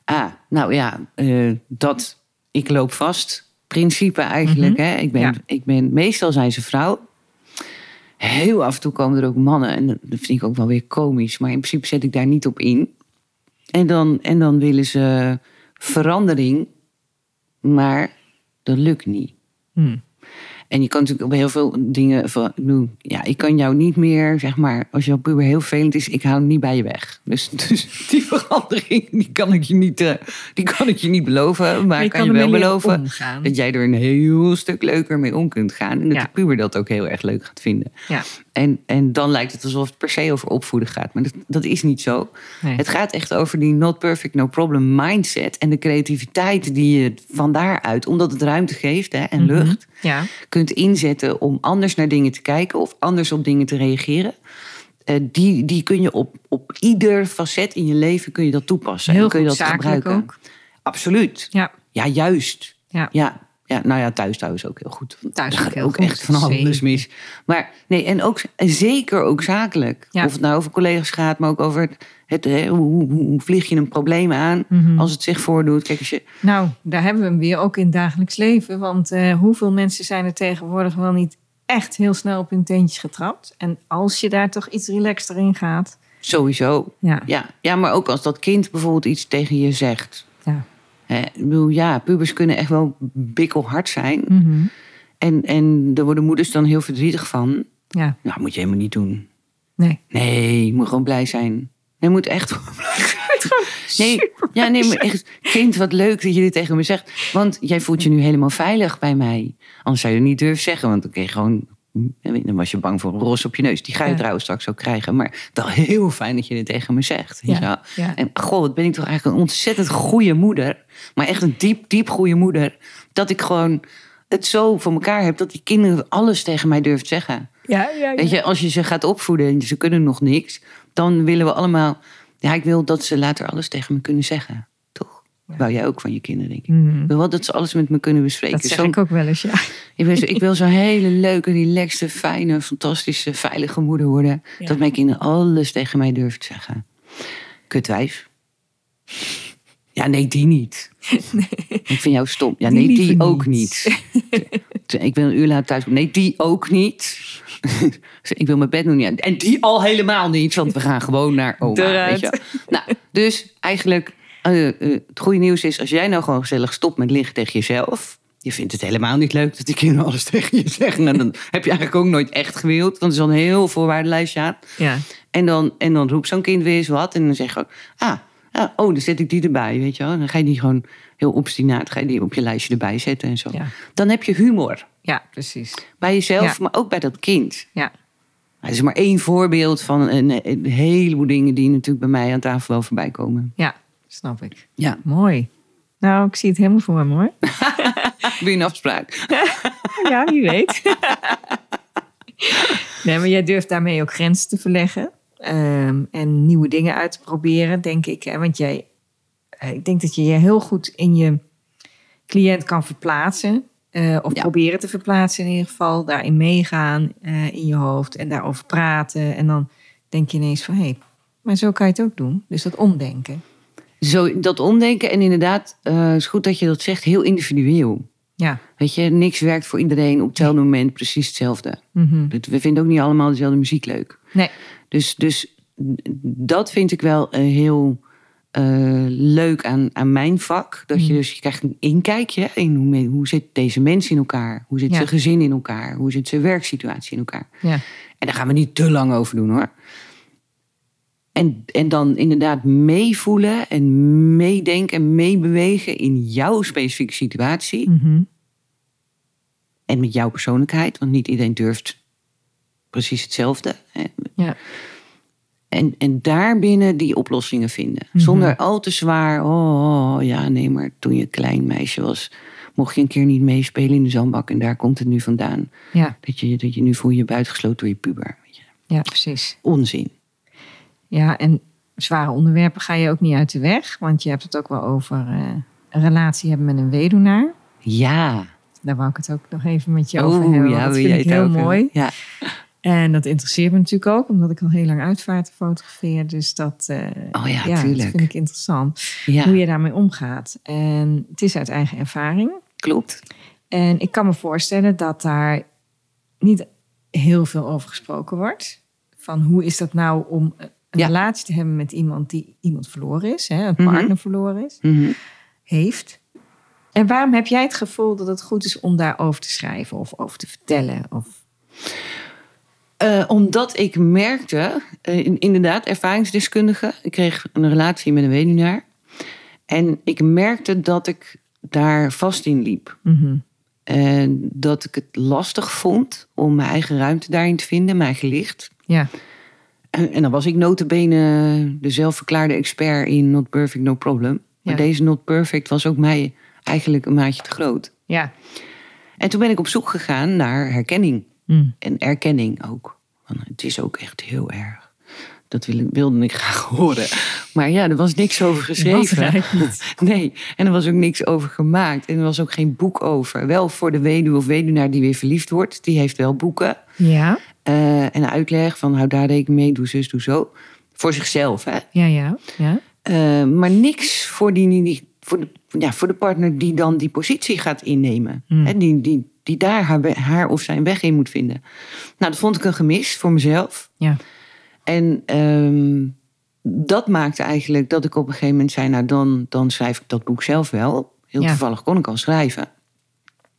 [SPEAKER 1] Ah, nou ja, eh, dat ik loop vast. Principe eigenlijk. hè? Ik ben,
[SPEAKER 3] Ja.
[SPEAKER 1] ik ben, meestal zijn ze vrouw. Heel af en toe komen er ook mannen. En dat dat vind ik ook wel weer komisch. Maar in principe zet ik daar niet op in. En dan, en dan willen ze verandering. Maar dat lukt niet.
[SPEAKER 3] Hmm.
[SPEAKER 1] En je kan natuurlijk op heel veel dingen van. Ik bedoel, ja, ik kan jou niet meer, zeg maar, als jouw puber heel vervelend is, ik hou hem niet bij je weg. Dus, dus die verandering, die kan ik je niet, eh, die kan ik je niet beloven. Maar
[SPEAKER 3] je
[SPEAKER 1] kan,
[SPEAKER 3] kan
[SPEAKER 1] je wel
[SPEAKER 3] ermee leren
[SPEAKER 1] beloven
[SPEAKER 3] omgaan.
[SPEAKER 1] dat jij er een heel stuk leuker mee om kunt gaan. En dat
[SPEAKER 3] Ja.
[SPEAKER 1] de puber dat ook heel erg leuk gaat vinden.
[SPEAKER 3] Ja.
[SPEAKER 1] En, en dan lijkt het alsof het per se over opvoeden gaat. Maar dat, dat is niet zo.
[SPEAKER 3] Nee.
[SPEAKER 1] Het gaat echt over die not perfect, no problem mindset. En de creativiteit die je van daaruit, omdat het ruimte geeft hè,
[SPEAKER 3] Mhm.
[SPEAKER 1] en lucht
[SPEAKER 3] Ja.
[SPEAKER 1] kunt inzetten om anders naar dingen te kijken of anders op dingen te reageren. eh, die, die kun je op, op ieder facet in je leven kun je dat toepassen.
[SPEAKER 3] Heel
[SPEAKER 1] en kun je
[SPEAKER 3] goed,
[SPEAKER 1] dat
[SPEAKER 3] zakelijk
[SPEAKER 1] gebruiken.
[SPEAKER 3] ook.
[SPEAKER 1] Absoluut.
[SPEAKER 3] Ja.
[SPEAKER 1] Ja, juist.
[SPEAKER 3] Ja.
[SPEAKER 1] Ja. Ja, nou ja, thuis thuis ook heel goed. Want
[SPEAKER 3] Thuis
[SPEAKER 1] daar
[SPEAKER 3] ook
[SPEAKER 1] gaat
[SPEAKER 3] heel goed,
[SPEAKER 1] echt van alles
[SPEAKER 3] zeker.
[SPEAKER 1] mis. Maar nee, en ook en zeker ook zakelijk.
[SPEAKER 3] Ja.
[SPEAKER 1] Of het nou over collega's gaat, maar ook over het, het, hè, hoe, hoe- hoe vlieg je een probleem aan
[SPEAKER 3] Mhm.
[SPEAKER 1] als het zich voordoet. Kijk, als je
[SPEAKER 3] Nou, daar hebben we hem weer ook in het dagelijks leven. Want eh, hoeveel mensen zijn er tegenwoordig wel niet echt heel snel op hun teentjes getrapt? En als je daar toch iets relaxter in gaat.
[SPEAKER 1] sowieso.
[SPEAKER 3] Ja,
[SPEAKER 1] Ja, ja, maar ook als dat kind bijvoorbeeld iets tegen je zegt.
[SPEAKER 3] ja.
[SPEAKER 1] Hè, ik bedoel, ja, pubers kunnen echt wel bikkelhard zijn.
[SPEAKER 3] Mhm.
[SPEAKER 1] En, en daar worden moeders dan heel verdrietig van.
[SPEAKER 3] ja.
[SPEAKER 1] Nou, moet je helemaal niet doen.
[SPEAKER 3] nee.
[SPEAKER 1] Nee, je moet gewoon blij zijn. Nee, je moet echt gewoon blij zijn. Nee, ja, nee, maar echt, kind, wat leuk dat je dit tegen me zegt. Want jij voelt je nu helemaal veilig bij mij. Anders zou je het niet durven zeggen, want dan kreeg je gewoon... mm, Dan was je bang voor een ros op je neus. Die ga je
[SPEAKER 3] Ja.
[SPEAKER 1] trouwens straks ook krijgen. Maar wel heel fijn dat je dit tegen me zegt. weet je wel.
[SPEAKER 3] Ja. Ja.
[SPEAKER 1] En goh, wat ben ik toch eigenlijk een ontzettend goede moeder. Maar echt een diep, diep goede moeder. Dat ik gewoon het zo voor elkaar heb dat die kinderen alles tegen mij durven zeggen.
[SPEAKER 3] Ja, ja,
[SPEAKER 1] Weet je, als je ze gaat opvoeden en ze kunnen nog niks, dan willen we allemaal. Ja, ik wil dat ze later alles tegen me kunnen zeggen. Toch?
[SPEAKER 3] Ja.
[SPEAKER 1] Wou jij ook van je kinderen, denk ik.
[SPEAKER 3] Mhm.
[SPEAKER 1] Ik wil wel dat ze alles met me kunnen bespreken.
[SPEAKER 3] Dat zeg
[SPEAKER 1] Zo'n-
[SPEAKER 3] ik ook wel eens, ja.
[SPEAKER 1] ik wil, zo- ik wil zo'n hele leuke, relaxte, fijne, fantastische, veilige moeder worden.
[SPEAKER 3] Ja.
[SPEAKER 1] Dat mijn kinderen alles tegen mij durven te zeggen. Kutwijf. Ja, nee, die niet. Ik vind jou stom. Ja,
[SPEAKER 3] Die
[SPEAKER 1] nee, die
[SPEAKER 3] liever
[SPEAKER 1] ook
[SPEAKER 3] niet.
[SPEAKER 1] niet. ik wil een uur later thuis komen. Nee, die ook niet. ik wil mijn bed nog niet uit. En die al helemaal niet, want we gaan gewoon naar oma.
[SPEAKER 3] Eruit.
[SPEAKER 1] Weet je wel. nou, dus eigenlijk, eh, eh, het goede nieuws is... als jij nou gewoon gezellig stopt met liggen tegen jezelf... je vindt het helemaal niet leuk dat die kinderen alles tegen je zeggen... en dan heb je eigenlijk ook nooit echt gewild... want er is al een heel voorwaardenlijstje aan.
[SPEAKER 3] Ja,
[SPEAKER 1] En dan, en dan roept zo'n kind weer eens wat. En dan zeg je ook, ah, ah, oh, dan zet ik die erbij, weet je wel. Dan ga je die gewoon heel obstinaat, ga je die op je lijstje erbij zetten en zo.
[SPEAKER 3] Ja.
[SPEAKER 1] Dan heb je humor.
[SPEAKER 3] ja precies.
[SPEAKER 1] Bij jezelf,
[SPEAKER 3] Ja.
[SPEAKER 1] maar ook bij dat kind.
[SPEAKER 3] Ja.
[SPEAKER 1] Het is maar één voorbeeld van een, een heleboel dingen die natuurlijk bij mij aan tafel wel voorbij komen.
[SPEAKER 3] ja, snap ik.
[SPEAKER 1] Ja,
[SPEAKER 3] Mooi. Nou, ik zie het helemaal voor me hoor.
[SPEAKER 1] weer een afspraak.
[SPEAKER 3] Ja, wie weet. nee, maar jij durft daarmee ook grenzen te verleggen. ehm, en nieuwe dingen uit te proberen, denk ik. Hè? Want jij, eh, ik denk dat je je heel goed in je cliënt kan verplaatsen. eh, of
[SPEAKER 1] Ja.
[SPEAKER 3] proberen te verplaatsen in ieder geval. Daarin meegaan eh, in je hoofd en daarover praten. En dan denk je ineens van, hé, hey, maar zo kan je het ook doen. Dus dat omdenken.
[SPEAKER 1] Zo, dat omdenken en inderdaad, eh is goed dat je dat zegt, heel individueel.
[SPEAKER 3] Ja.
[SPEAKER 1] Weet je, niks werkt voor iedereen op hetzelfde moment precies hetzelfde.
[SPEAKER 3] Mhm.
[SPEAKER 1] Dit- We vinden ook niet allemaal dezelfde muziek leuk.
[SPEAKER 3] Nee.
[SPEAKER 1] Dus, dus dat vind ik wel eh, heel eh, leuk aan, aan mijn vak. Dat je dus je krijgt een inkijkje in hoe, men- hoe zit deze mens in elkaar? Hoe zit
[SPEAKER 3] Ja.
[SPEAKER 1] zijn gezin in elkaar? Hoe zit zijn werksituatie in elkaar?
[SPEAKER 3] Ja.
[SPEAKER 1] En daar gaan we niet te lang over doen hoor. En, en dan inderdaad meevoelen en meedenken en meebewegen in jouw specifieke situatie.
[SPEAKER 3] Mhm.
[SPEAKER 1] En met jouw persoonlijkheid, want niet iedereen durft precies hetzelfde. hè.
[SPEAKER 3] Ja.
[SPEAKER 1] En, en daarbinnen die oplossingen vinden.
[SPEAKER 3] Mhm.
[SPEAKER 1] Zonder al te zwaar. Oh, oh, ja, nee, maar toen je klein meisje was, mocht je een keer niet meespelen in de zandbak. En daar komt het nu vandaan.
[SPEAKER 3] ja.
[SPEAKER 1] Dat je, dat je nu voel je je buitengesloten door je puber. Weet je.
[SPEAKER 3] Ja, precies.
[SPEAKER 1] Onzin.
[SPEAKER 3] Ja, en zware onderwerpen ga je ook niet uit de weg. Want je hebt het ook wel over eh, een relatie hebben met een weduwnaar.
[SPEAKER 1] Ja.
[SPEAKER 3] Daar wou ik het ook nog even met je over hebben. want dat
[SPEAKER 1] wil
[SPEAKER 3] vind
[SPEAKER 1] jij
[SPEAKER 3] ik
[SPEAKER 1] het
[SPEAKER 3] heel
[SPEAKER 1] ook hebben?
[SPEAKER 3] mooi.
[SPEAKER 1] Ja.
[SPEAKER 3] En dat interesseert me natuurlijk ook, omdat ik al heel lang uitvaarten fotografeer. Dus dat, eh,
[SPEAKER 1] Oh ja,
[SPEAKER 3] dat
[SPEAKER 1] tuurlijk.
[SPEAKER 3] vind ik interessant. Hoe
[SPEAKER 1] Ja,
[SPEAKER 3] je daarmee omgaat. En het is uit eigen ervaring.
[SPEAKER 1] klopt.
[SPEAKER 3] En ik kan me voorstellen dat daar niet heel veel over gesproken wordt. Van hoe is dat nou om een
[SPEAKER 1] Ja.
[SPEAKER 3] relatie te hebben met iemand die iemand verloren is, hè, een
[SPEAKER 1] Mhm.
[SPEAKER 3] partner verloren is,
[SPEAKER 1] Mhm.
[SPEAKER 3] heeft. En waarom heb jij het gevoel dat het goed is om daarover te schrijven of over te vertellen? Of...
[SPEAKER 1] Eh, omdat ik merkte, eh, in- inderdaad, ervaringsdeskundige. Ik kreeg een relatie met een weduwnaar. En ik merkte dat ik daar vast in liep.
[SPEAKER 3] Mhm.
[SPEAKER 1] En dat ik het lastig vond om mijn eigen ruimte daarin te vinden, mijn eigen licht.
[SPEAKER 3] Ja,
[SPEAKER 1] En, en dan was ik notabene de zelfverklaarde expert in Not Perfect, No Problem. Maar
[SPEAKER 3] Ja.
[SPEAKER 1] deze Not Perfect was ook mij eigenlijk een maatje te groot.
[SPEAKER 3] ja.
[SPEAKER 1] En toen ben ik op zoek gegaan naar herkenning.
[SPEAKER 3] Mm.
[SPEAKER 1] En erkenning ook. Want het is ook echt heel erg. Dat wil- wilde ik graag horen. Maar ja, er was niks over
[SPEAKER 3] Wat
[SPEAKER 1] geschreven.
[SPEAKER 3] raar niet.
[SPEAKER 1] Nee, en er was ook niks over gemaakt. En er was ook geen boek over. Wel voor de weduwe of weduwnaar die weer verliefd wordt. Die heeft wel boeken.
[SPEAKER 3] Ja,
[SPEAKER 1] eh, en uitleg van hou daar rekening mee, doe zus, doe zo. Voor zichzelf, hè.
[SPEAKER 3] ja, ja. ja.
[SPEAKER 1] Eh, maar niks voor, die, die- voor, de, ja, voor de partner die dan die positie gaat innemen.
[SPEAKER 3] Hmm.
[SPEAKER 1] Hè, die, die, die daar haar, we- haar of zijn weg in moet vinden. Nou, dat vond ik een gemis voor mezelf.
[SPEAKER 3] Ja.
[SPEAKER 1] En ehm, dat maakte eigenlijk dat ik op een gegeven moment zei... nou, dan, dan schrijf ik dat boek zelf wel. Heel
[SPEAKER 3] Ja.
[SPEAKER 1] toevallig kon ik al schrijven.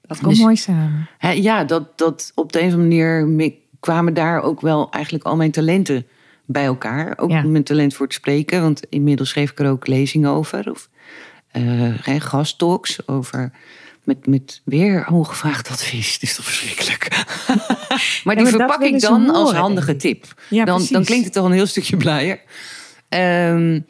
[SPEAKER 3] Dat komt
[SPEAKER 1] Dus-
[SPEAKER 3] mooi samen.
[SPEAKER 1] Hè, ja, dat, dat op de een of andere manier me- kwamen daar ook wel eigenlijk al mijn talenten bij elkaar. Ook
[SPEAKER 3] Ja.
[SPEAKER 1] mijn talent voor het spreken, want inmiddels schreef ik er ook lezingen over. Of eh, hè, gasttalks over. Met, met weer ongevraagd advies. Het is toch verschrikkelijk. maar die
[SPEAKER 3] dat
[SPEAKER 1] verpak
[SPEAKER 3] willen
[SPEAKER 1] ik
[SPEAKER 3] ze
[SPEAKER 1] dan als
[SPEAKER 3] horen,
[SPEAKER 1] handige
[SPEAKER 3] denk
[SPEAKER 1] tip.
[SPEAKER 3] Ja,
[SPEAKER 1] dan, dan
[SPEAKER 3] precies.
[SPEAKER 1] klinkt het toch een heel stukje blijer. Ehm,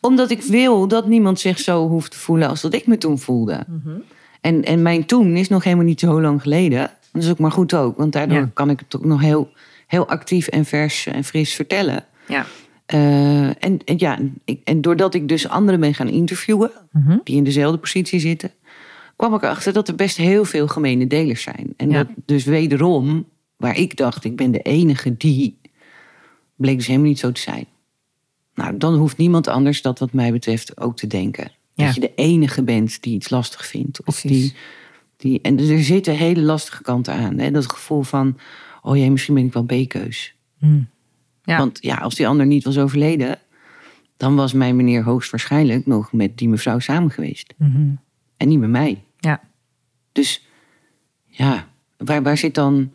[SPEAKER 1] omdat ik wil dat niemand zich zo hoeft te voelen als dat ik me toen voelde.
[SPEAKER 3] Mhm.
[SPEAKER 1] En, en mijn toen is nog helemaal niet zo lang geleden. Dat is ook maar goed ook, want daardoor
[SPEAKER 3] Ja.
[SPEAKER 1] kan ik het ook nog heel, heel actief en vers en fris vertellen.
[SPEAKER 3] Ja.
[SPEAKER 1] Eh, en, en ja, ik, en doordat ik dus anderen ben gaan interviewen,
[SPEAKER 3] Mhm.
[SPEAKER 1] die in dezelfde positie zitten, kwam ik erachter dat er best heel veel gemene delers zijn. En
[SPEAKER 3] Ja.
[SPEAKER 1] dat dus wederom, waar ik dacht, ik ben de enige die, bleek dus helemaal niet zo te zijn. Nou, dan hoeft niemand anders dat wat mij betreft ook te denken.
[SPEAKER 3] Ja.
[SPEAKER 1] Dat je de enige bent die iets lastig vindt. Of
[SPEAKER 3] Precies.
[SPEAKER 1] die, die, en er zitten hele lastige kanten aan. Hè? Dat gevoel van, oh jee, misschien ben ik wel B-keus.
[SPEAKER 3] Hm. Ja.
[SPEAKER 1] Want ja, als die ander niet was overleden, dan was mijn meneer hoogstwaarschijnlijk nog met die mevrouw samen geweest.
[SPEAKER 3] Mhm.
[SPEAKER 1] En niet met mij.
[SPEAKER 3] Ja.
[SPEAKER 1] Dus ja, waar, waar zit dan.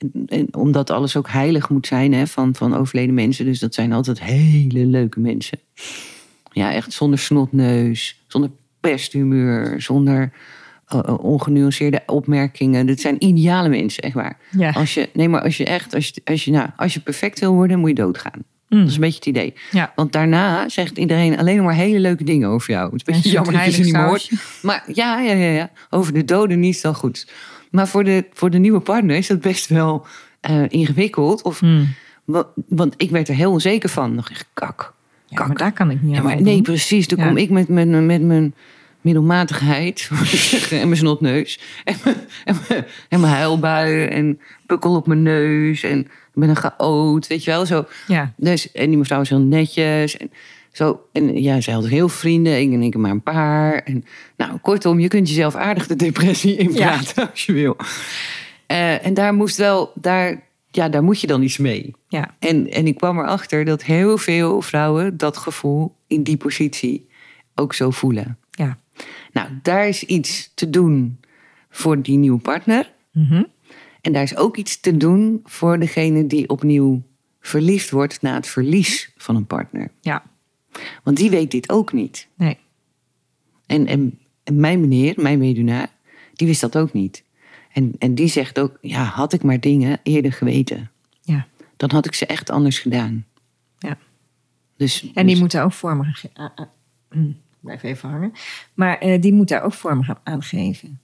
[SPEAKER 1] en- En omdat alles ook heilig moet zijn hè, van, van overleden mensen. Dus dat zijn altijd hele leuke mensen. Ja, echt zonder snotneus, zonder pesthumeur, zonder eh, eh, ongenuanceerde opmerkingen. Dat zijn ideale mensen, echt waar.
[SPEAKER 3] Ja.
[SPEAKER 1] Als je, nee, maar als je echt, als je, als je, nou, als je perfect wil worden, moet je doodgaan.
[SPEAKER 3] Mm.
[SPEAKER 1] Dat is een beetje het idee.
[SPEAKER 3] Ja.
[SPEAKER 1] Want daarna zegt iedereen alleen nog maar hele leuke dingen over jou. Het is een beetje
[SPEAKER 3] Een soort
[SPEAKER 1] jammer dat je ze niet meer
[SPEAKER 3] heilig
[SPEAKER 1] hoort. Maar ja, ja, ja, ja. over de doden niet zo goed. Maar voor de, voor de nieuwe partner is dat best wel eh, ingewikkeld. Of,
[SPEAKER 3] Hm.
[SPEAKER 1] wa- Want ik werd er heel onzeker van. Nog echt kak.
[SPEAKER 3] Ja, maar daar kan ik niet
[SPEAKER 1] Ja,
[SPEAKER 3] aan
[SPEAKER 1] maar,
[SPEAKER 3] voldoen.
[SPEAKER 1] nee, precies. Dan
[SPEAKER 3] Ja.
[SPEAKER 1] kom ik met mijn, met mijn middelmatigheid en mijn snotneus en mijn, en mijn, en mijn huilbuien en pukkel op mijn neus en ik ben een chaot, weet je wel. Zo.
[SPEAKER 3] Ja.
[SPEAKER 1] Dus, en die mevrouw is heel netjes en zo. En ja, zij had ook heel vrienden ik en ik maar een paar. En, nou, kortom, je kunt jezelf aardig de depressie inpraten als je wil. Eh, en daar moest wel, daar, ja, daar moet je dan iets mee.
[SPEAKER 3] Ja.
[SPEAKER 1] En, en ik kwam erachter dat heel veel vrouwen dat gevoel in die positie ook zo voelen.
[SPEAKER 3] Ja.
[SPEAKER 1] Nou, daar is iets te doen voor die nieuwe partner.
[SPEAKER 3] Mhm.
[SPEAKER 1] En daar is ook iets te doen voor degene die opnieuw verliefd wordt na het verlies van een partner.
[SPEAKER 3] Ja.
[SPEAKER 1] Want die weet dit ook niet.
[SPEAKER 3] Nee.
[SPEAKER 1] En, en, en mijn meneer, mijn weduwnaar, die wist dat ook niet. En, en die zegt ook, ja, had ik maar dingen eerder geweten,
[SPEAKER 3] Ja.
[SPEAKER 1] dan had ik ze echt anders gedaan.
[SPEAKER 3] Ja.
[SPEAKER 1] Dus,
[SPEAKER 3] En die
[SPEAKER 1] dus-
[SPEAKER 3] moeten ook vorm aan ge- aan- aan- Hm, Blijf even hangen. Maar eh, die moet daar ook vorm aan- aan geven.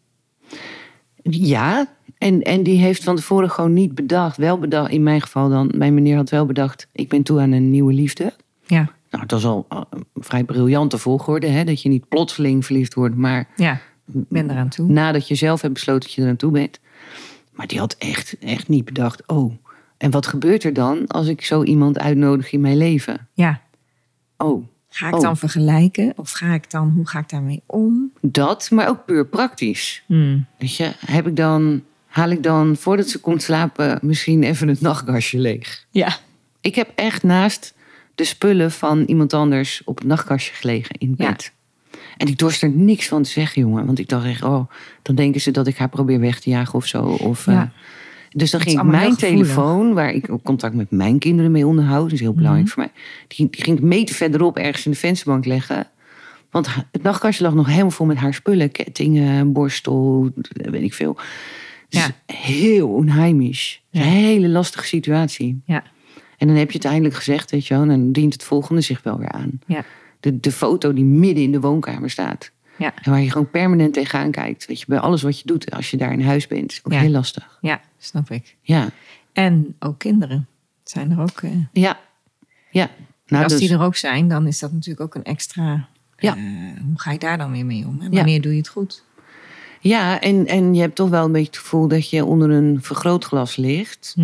[SPEAKER 1] Ja, en, en die heeft van tevoren gewoon niet bedacht. Wel bedacht, in mijn geval dan. Mijn meneer had wel bedacht, ik ben toe aan een nieuwe liefde.
[SPEAKER 3] Ja.
[SPEAKER 1] Nou, dat is al eh, een vrij briljante volgorde, hè? dat je niet plotseling verliefd wordt, maar
[SPEAKER 3] Ja. Ik ben eraan toe.
[SPEAKER 1] nadat je zelf hebt besloten dat je er aan toe bent. Maar die had echt, echt niet bedacht, oh, en wat gebeurt er dan als ik zo iemand uitnodig in mijn leven?
[SPEAKER 3] Ja.
[SPEAKER 1] Oh,
[SPEAKER 3] Ga ik
[SPEAKER 1] Oh.
[SPEAKER 3] dan vergelijken? Of ga ik dan, hoe ga ik daarmee om?
[SPEAKER 1] dat, maar ook puur praktisch.
[SPEAKER 3] Hm.
[SPEAKER 1] Weet je, heb ik dan, haal ik dan voordat ze komt slapen misschien even het nachtkastje leeg?
[SPEAKER 3] Ja.
[SPEAKER 1] Ik heb echt naast de spullen van iemand anders op het nachtkastje gelegen in
[SPEAKER 3] Ja.
[SPEAKER 1] bed. En ik dorst er niks van te zeggen, jongen. Want ik dacht echt, oh, dan denken ze dat ik haar probeer weg te jagen of zo. Of, eh,
[SPEAKER 3] Ja.
[SPEAKER 1] dus dan
[SPEAKER 3] is
[SPEAKER 1] ging ik
[SPEAKER 3] allemaal
[SPEAKER 1] mijn
[SPEAKER 3] heel gevoelig. Mhm.
[SPEAKER 1] telefoon, waar ik ook contact met mijn kinderen mee onderhoud, dat is heel belangrijk voor mij. Die, die ging ik meter verderop ergens in de vensterbank leggen. Want ha- het nachtkastje lag nog helemaal vol met haar spullen. Kettingen, borstel, weet ik veel. Dus
[SPEAKER 3] Ja.
[SPEAKER 1] heel onheimisch.
[SPEAKER 3] Ja.
[SPEAKER 1] Een hele lastige situatie.
[SPEAKER 3] Ja.
[SPEAKER 1] En dan heb je het eindelijk gezegd, weet je wel, en dan dient het volgende zich wel weer aan.
[SPEAKER 3] Ja.
[SPEAKER 1] De, de foto die midden in de woonkamer staat.
[SPEAKER 3] Ja.
[SPEAKER 1] En waar je gewoon permanent tegenaan kijkt. Weet je, bij alles wat je doet als je daar in huis bent. Is ook
[SPEAKER 3] Ja.
[SPEAKER 1] heel lastig.
[SPEAKER 3] Ja, snap ik.
[SPEAKER 1] Ja.
[SPEAKER 3] En ook kinderen zijn er ook. eh,
[SPEAKER 1] Ja. Ja.
[SPEAKER 3] En
[SPEAKER 1] Nou,
[SPEAKER 3] als
[SPEAKER 1] dus-
[SPEAKER 3] die er ook zijn, dan is dat natuurlijk ook een extra...
[SPEAKER 1] Ja.
[SPEAKER 3] eh, hoe ga je daar dan weer mee om? Hè?
[SPEAKER 1] Ja.
[SPEAKER 3] Wanneer doe je het goed?
[SPEAKER 1] Ja, en, en je hebt toch wel een beetje het gevoel dat je onder een vergrootglas ligt.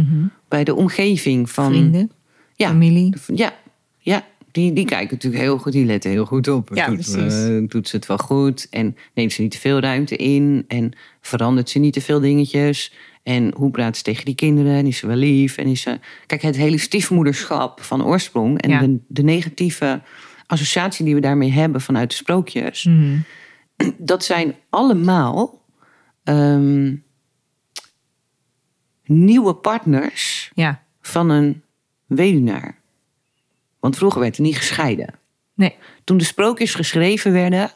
[SPEAKER 1] Bij de omgeving van...
[SPEAKER 3] Mhm. Vrienden,
[SPEAKER 1] Ja.
[SPEAKER 3] familie.
[SPEAKER 1] Ja, ja. Die, die kijken natuurlijk heel goed, die letten heel goed op.
[SPEAKER 3] Ja,
[SPEAKER 1] doet,
[SPEAKER 3] precies.
[SPEAKER 1] eh, doet ze het wel goed en neemt ze niet te veel ruimte in en verandert ze niet te veel dingetjes. En hoe praat ze tegen die kinderen en is ze wel lief? En is ze... Kijk, het hele stiefmoederschap van oorsprong en
[SPEAKER 3] Ja.
[SPEAKER 1] de, de negatieve associatie die we daarmee hebben vanuit de sprookjes,
[SPEAKER 3] Mhm.
[SPEAKER 1] dat zijn allemaal ehm, nieuwe partners
[SPEAKER 3] Ja,
[SPEAKER 1] van een weduwnaar. Want vroeger werd er niet gescheiden.
[SPEAKER 3] nee.
[SPEAKER 1] Toen de sprookjes geschreven werden,